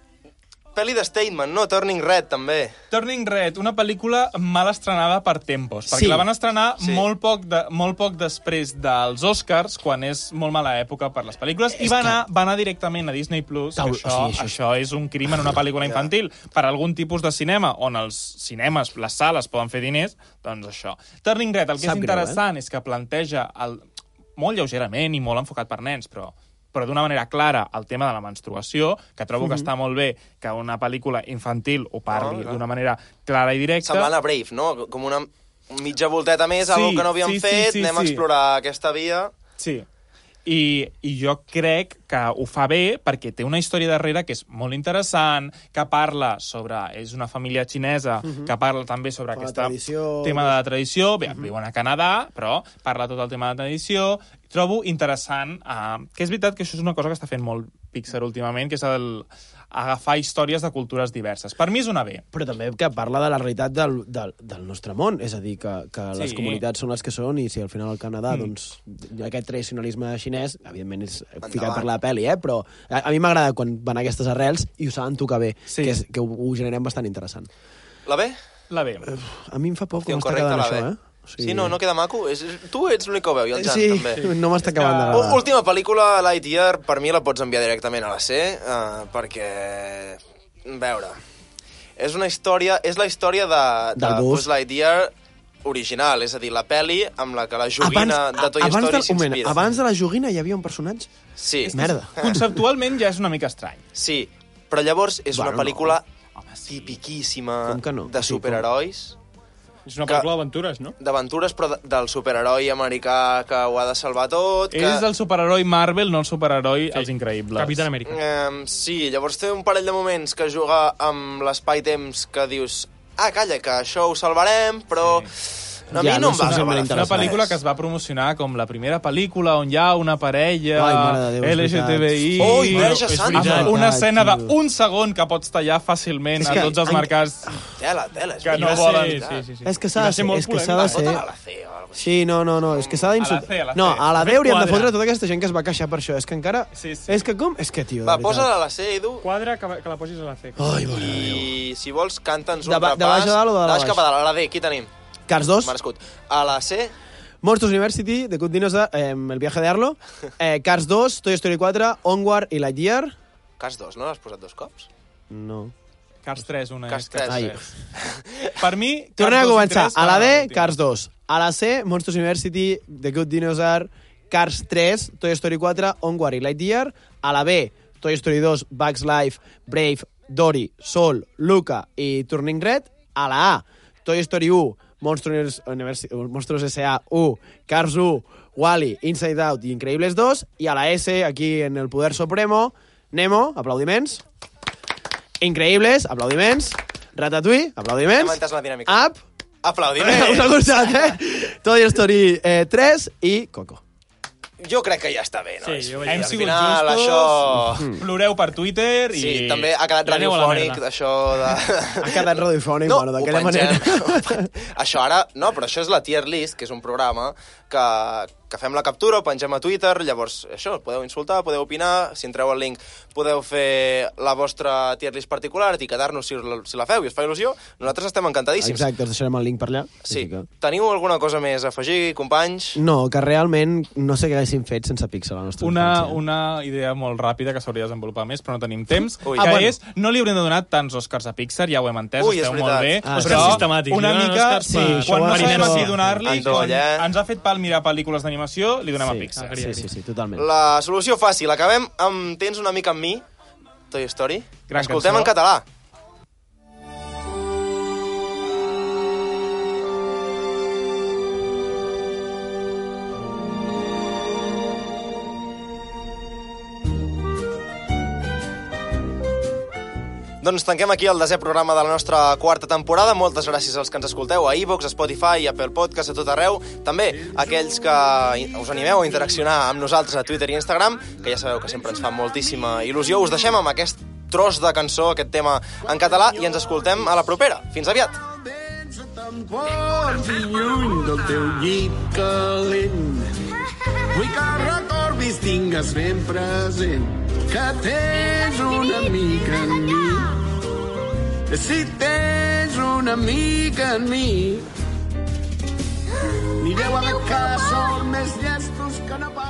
[SPEAKER 1] Pel·li de Statement, no? Turning Red, també.
[SPEAKER 3] Turning Red, una pel·lícula mal estrenada per tempos, perquè
[SPEAKER 4] Sí.
[SPEAKER 3] la van estrenar
[SPEAKER 1] Sí.
[SPEAKER 3] sí. molt, poc de, molt poc després dels Oscars, quan és molt mala època per les pel·lícules, i va anar, va anar directament a Disney+, Plus.
[SPEAKER 4] Taul-
[SPEAKER 3] Taul, això, o
[SPEAKER 4] o sigui,
[SPEAKER 3] sigui,
[SPEAKER 4] això és-
[SPEAKER 3] això és un crim en una pel·lícula infantil per algun tipus de cinema, on els cinemes, les sales, poden fer diners, doncs això. Turning Red, el que
[SPEAKER 4] Sap
[SPEAKER 3] és
[SPEAKER 4] greu, eh?
[SPEAKER 3] interessant és que planteja el, molt lleugerament i molt enfocat per nens, però però d'una manera clara el tema de la menstruació, que trobo
[SPEAKER 4] Mhm.
[SPEAKER 3] que està molt bé que una pel·lícula infantil ho parli
[SPEAKER 1] Oh, clar.
[SPEAKER 3] d'una manera clara i directa.
[SPEAKER 1] Semblant a Brave, no? Com una mitja volteta més,
[SPEAKER 3] Sí,
[SPEAKER 1] sí, algo que no havíem
[SPEAKER 3] sí, sí,
[SPEAKER 1] fet,
[SPEAKER 3] sí,
[SPEAKER 1] anem a
[SPEAKER 3] sí.
[SPEAKER 1] explorar aquesta via.
[SPEAKER 3] Sí. I, I jo crec que ho fa bé perquè té una història darrere que és molt interessant, que parla sobre... És una família xinesa que parla també sobre
[SPEAKER 4] Fa la
[SPEAKER 3] aquest
[SPEAKER 4] tradició.
[SPEAKER 3] tema de la tradició. Bé, viuen a Canadà, però parla tot el tema de la tradició. Trobo interessant... Eh, que és veritat que això és una cosa que està fent molt Pixar últimament, que és el agafar històries de cultures diverses. Per mi és una B.
[SPEAKER 4] Però també que parla de la realitat del, del, del nostre món, és a dir, que, que sí. les
[SPEAKER 3] Sí.
[SPEAKER 4] comunitats són les que són i si al final al Canadà, mm. doncs, aquest tradicionalisme xinès, evidentment és ficat per la peli, eh? però a, a mi m'agrada quan van a aquestes arrels i ho saben tocar bé, sí.
[SPEAKER 3] Sí.
[SPEAKER 4] que, és, que ho, ho generem bastant interessant.
[SPEAKER 1] La B?
[SPEAKER 3] La B.
[SPEAKER 4] Eh. A mi em fa por
[SPEAKER 1] Hòstia,
[SPEAKER 4] com està
[SPEAKER 1] correcte,
[SPEAKER 4] quedant
[SPEAKER 1] la B.
[SPEAKER 4] això, eh?
[SPEAKER 1] Sí. sí, no, no queda maco. És, tu ets l'únic que ho veu, i el Jan,
[SPEAKER 4] sí, <laughs>
[SPEAKER 1] també.
[SPEAKER 4] no m'està acabant
[SPEAKER 3] que-
[SPEAKER 1] U-
[SPEAKER 4] d'agradar.
[SPEAKER 1] Última pel·lícula, Lightyear, per mi la pots enviar directament a la C, uh, perquè... A veure... És una història... És la història de... de
[SPEAKER 4] Del bus.
[SPEAKER 1] Buzz Lightyear original, és a dir, la peli amb la que la joguina
[SPEAKER 4] Abans,
[SPEAKER 1] de Toy Story
[SPEAKER 4] abans, del, un moment,
[SPEAKER 1] s'inspira.
[SPEAKER 4] abans de la joguina hi havia un personatge?
[SPEAKER 1] Sí,
[SPEAKER 4] Merda.
[SPEAKER 3] Conceptualment ja és una mica estrany.
[SPEAKER 1] sí. Però llavors és
[SPEAKER 4] Bueno,
[SPEAKER 1] una pel·lícula
[SPEAKER 3] Home, sí.
[SPEAKER 1] tipiquíssima
[SPEAKER 4] Com que no?
[SPEAKER 1] de
[SPEAKER 4] Sí, com-
[SPEAKER 1] superherois.
[SPEAKER 5] És una
[SPEAKER 1] que-
[SPEAKER 5] pel·lícula d'aventures, no?
[SPEAKER 1] d'aventures, però de- del superheroi americà que ho ha de salvar tot. Que...
[SPEAKER 3] Que... És el superheroi Marvel, no el superheroi sí. Els Increïbles.
[SPEAKER 5] Capitán Amèrica.
[SPEAKER 1] Eh, sí, llavors té un parell de moments que juga amb l'espai-temps que dius ah, calla, que això ho salvarem, però sí. a mi
[SPEAKER 4] Ja,
[SPEAKER 1] ja, no, em
[SPEAKER 4] no
[SPEAKER 1] va
[SPEAKER 4] se'ls sembla
[SPEAKER 1] salvar.
[SPEAKER 3] Una
[SPEAKER 4] interessant.
[SPEAKER 3] pel·lícula que es va promocionar com la primera pel·lícula on hi ha una parella
[SPEAKER 4] Ai, mare de Déu, és
[SPEAKER 3] LGTBI...
[SPEAKER 1] veritat. Ui, Verge
[SPEAKER 5] és
[SPEAKER 1] Santa.
[SPEAKER 5] veritat.
[SPEAKER 3] Amb una
[SPEAKER 4] Veritat,
[SPEAKER 3] escena
[SPEAKER 4] tio.
[SPEAKER 3] d'un segon que pots tallar fàcilment
[SPEAKER 4] És
[SPEAKER 3] a
[SPEAKER 4] que- Ah,
[SPEAKER 3] tots els
[SPEAKER 4] en-
[SPEAKER 3] mercats
[SPEAKER 1] Tela, tela, és
[SPEAKER 3] que
[SPEAKER 1] veritat.
[SPEAKER 3] no volen...
[SPEAKER 5] Sí, sí, sí.
[SPEAKER 4] És que s'ha
[SPEAKER 5] I va
[SPEAKER 4] de
[SPEAKER 5] ser
[SPEAKER 4] ser,
[SPEAKER 5] molt
[SPEAKER 4] és que s'ha
[SPEAKER 5] polèmica,
[SPEAKER 4] de
[SPEAKER 5] eh?
[SPEAKER 4] ser...
[SPEAKER 1] Fota-la a la C o alguna cosa.
[SPEAKER 4] Sí, no, no, no, és que
[SPEAKER 3] A
[SPEAKER 4] s'ha
[SPEAKER 3] la C, a
[SPEAKER 4] d'insultar...
[SPEAKER 3] la C.
[SPEAKER 4] No, a la
[SPEAKER 3] Ben
[SPEAKER 4] D hauríem de
[SPEAKER 3] quadra.
[SPEAKER 4] fotre tota aquesta gent que es va queixar per això. És que encara...
[SPEAKER 3] Sí, sí.
[SPEAKER 4] És que com? És que, tio, de
[SPEAKER 1] Va,
[SPEAKER 4] veritat.
[SPEAKER 1] posa-la a la C, Edu,
[SPEAKER 5] Quadra, que, que la posis a la C.
[SPEAKER 4] Ai, mare de Déu.
[SPEAKER 1] i si vols canta'ns un
[SPEAKER 4] De ba-
[SPEAKER 1] repàs.
[SPEAKER 4] de baix a dalt o de baix?
[SPEAKER 1] cap a dalt, a la D, qui tenim?
[SPEAKER 4] Cars 2,
[SPEAKER 1] Merescut. A la C,
[SPEAKER 4] Monsters University, The Good Dinosaur, eh, El viaje de Arlo, eh, Cars 2, Toy Story 4, Onward i Lightyear...
[SPEAKER 1] cas 2, no? L'has posat dos cops?
[SPEAKER 4] No.
[SPEAKER 3] Cars 3, una
[SPEAKER 1] Cars
[SPEAKER 3] és Cars
[SPEAKER 1] 3.
[SPEAKER 4] Ai.
[SPEAKER 3] 3. Per mi...
[SPEAKER 4] Tornem a
[SPEAKER 3] Cars 2 i
[SPEAKER 4] començar.
[SPEAKER 3] 3
[SPEAKER 4] A la
[SPEAKER 3] van
[SPEAKER 4] D,
[SPEAKER 3] l'últim.
[SPEAKER 4] Cars 2. A la C, Monsters University, The Good Dinosaur, Cars 3, Toy Story 4, Onward i Lightyear. A la B, Toy Story 2, Bugs Life, Brave, Dory, Sol, Luca i Turning Red. A la A, Toy Story 1, Monsters, Univers Monsters S.A. 1, Cars 1, Wall-E, Inside Out i Increïbles 2. I a la S, aquí en el Poder Supremo, Nemo, aplaudiments. Increïbles, aplaudiments. Ratatouille,
[SPEAKER 1] Hem
[SPEAKER 4] aplaudiments.
[SPEAKER 1] entès la dinàmica.
[SPEAKER 4] Up, <laughs> Eh, us ha
[SPEAKER 1] Aplaudiment!
[SPEAKER 4] gustat, eh? Toy Story eh, 3 i Coco.
[SPEAKER 1] Jo crec que ja està bé, no?
[SPEAKER 5] Sí, jo vaig
[SPEAKER 3] Hem
[SPEAKER 5] dir.
[SPEAKER 1] Al
[SPEAKER 3] sigut
[SPEAKER 1] final,
[SPEAKER 3] justos,
[SPEAKER 1] això...
[SPEAKER 4] Mm.
[SPEAKER 3] ploreu per Twitter
[SPEAKER 1] Sí,
[SPEAKER 3] i...
[SPEAKER 1] també ha quedat
[SPEAKER 5] Ja aneu a la
[SPEAKER 1] radiofònic,
[SPEAKER 5] merda.
[SPEAKER 1] això de...
[SPEAKER 4] <laughs> Ha quedat radiofònic,
[SPEAKER 1] No, <laughs>
[SPEAKER 4] bueno,
[SPEAKER 1] ho
[SPEAKER 4] d'aquella
[SPEAKER 1] pengem.
[SPEAKER 4] manera.
[SPEAKER 1] això ara... No, però això és la tier list, que és un programa que, que fem la captura, ho pengem a Twitter, llavors això, podeu insultar, podeu opinar, si entreu al link podeu fer la vostra tier list particular, etiquetar-nos si, us- si la feu i us fa il·lusió. Nosaltres estem encantadíssims.
[SPEAKER 4] Exacte, us deixarem el link per allà.
[SPEAKER 1] Sí.
[SPEAKER 4] Així Que...
[SPEAKER 1] Teniu alguna cosa més a afegir, companys?
[SPEAKER 4] No, que realment no sé què haguéssim fet sense Pixar a la nostra
[SPEAKER 3] Una,
[SPEAKER 4] infància.
[SPEAKER 3] una idea molt ràpida que s'hauria de desenvolupar més, però no tenim temps,
[SPEAKER 1] Ui.
[SPEAKER 3] que
[SPEAKER 1] Ah,
[SPEAKER 3] ah,
[SPEAKER 1] bueno.
[SPEAKER 3] bueno. és, no li haurien de donar tants Oscars a Pixar, ja ho hem entès,
[SPEAKER 1] Ui, és
[SPEAKER 3] esteu
[SPEAKER 1] veritat.
[SPEAKER 3] molt bé,
[SPEAKER 4] Ah,
[SPEAKER 5] Oscars sistemàtics,
[SPEAKER 3] una
[SPEAKER 5] li donen
[SPEAKER 3] mica,
[SPEAKER 5] Oscars
[SPEAKER 3] sí,
[SPEAKER 5] per-
[SPEAKER 3] quan
[SPEAKER 4] per
[SPEAKER 3] no sabem a
[SPEAKER 4] inercia.
[SPEAKER 3] qui donar-li,
[SPEAKER 1] En
[SPEAKER 3] quan
[SPEAKER 1] doll, eh?
[SPEAKER 3] ens ha fet pal mirar pel·lícules d'animació, li donem a Pixar.
[SPEAKER 4] Sí, sí, sí, totalment. La...
[SPEAKER 1] La solució fàcil. Acabem amb Tens una mica amb mi, Toy Story.
[SPEAKER 3] Gran
[SPEAKER 1] Escoltem
[SPEAKER 3] cançó.
[SPEAKER 1] en català. Doncs tanquem aquí el desè programa de la nostra quarta temporada. Moltes gràcies als que ens escolteu a iVoox, a Spotify, a Apple Podcast, a tot arreu. També a aquells que i- us animeu a interaccionar amb nosaltres a Twitter i Instagram, que ja sabeu que sempre ens fa moltíssima il·lusió. Us deixem amb aquest tros de cançó, aquest tema en català, i ens escoltem a la propera. Fins aviat!
[SPEAKER 9] Pots i lluny del teu llit calent. Vull que recordis, tingues ben present, que tens un amic en mi. Si tens un amic en mi, mireu a veure que som més llestos que no pas.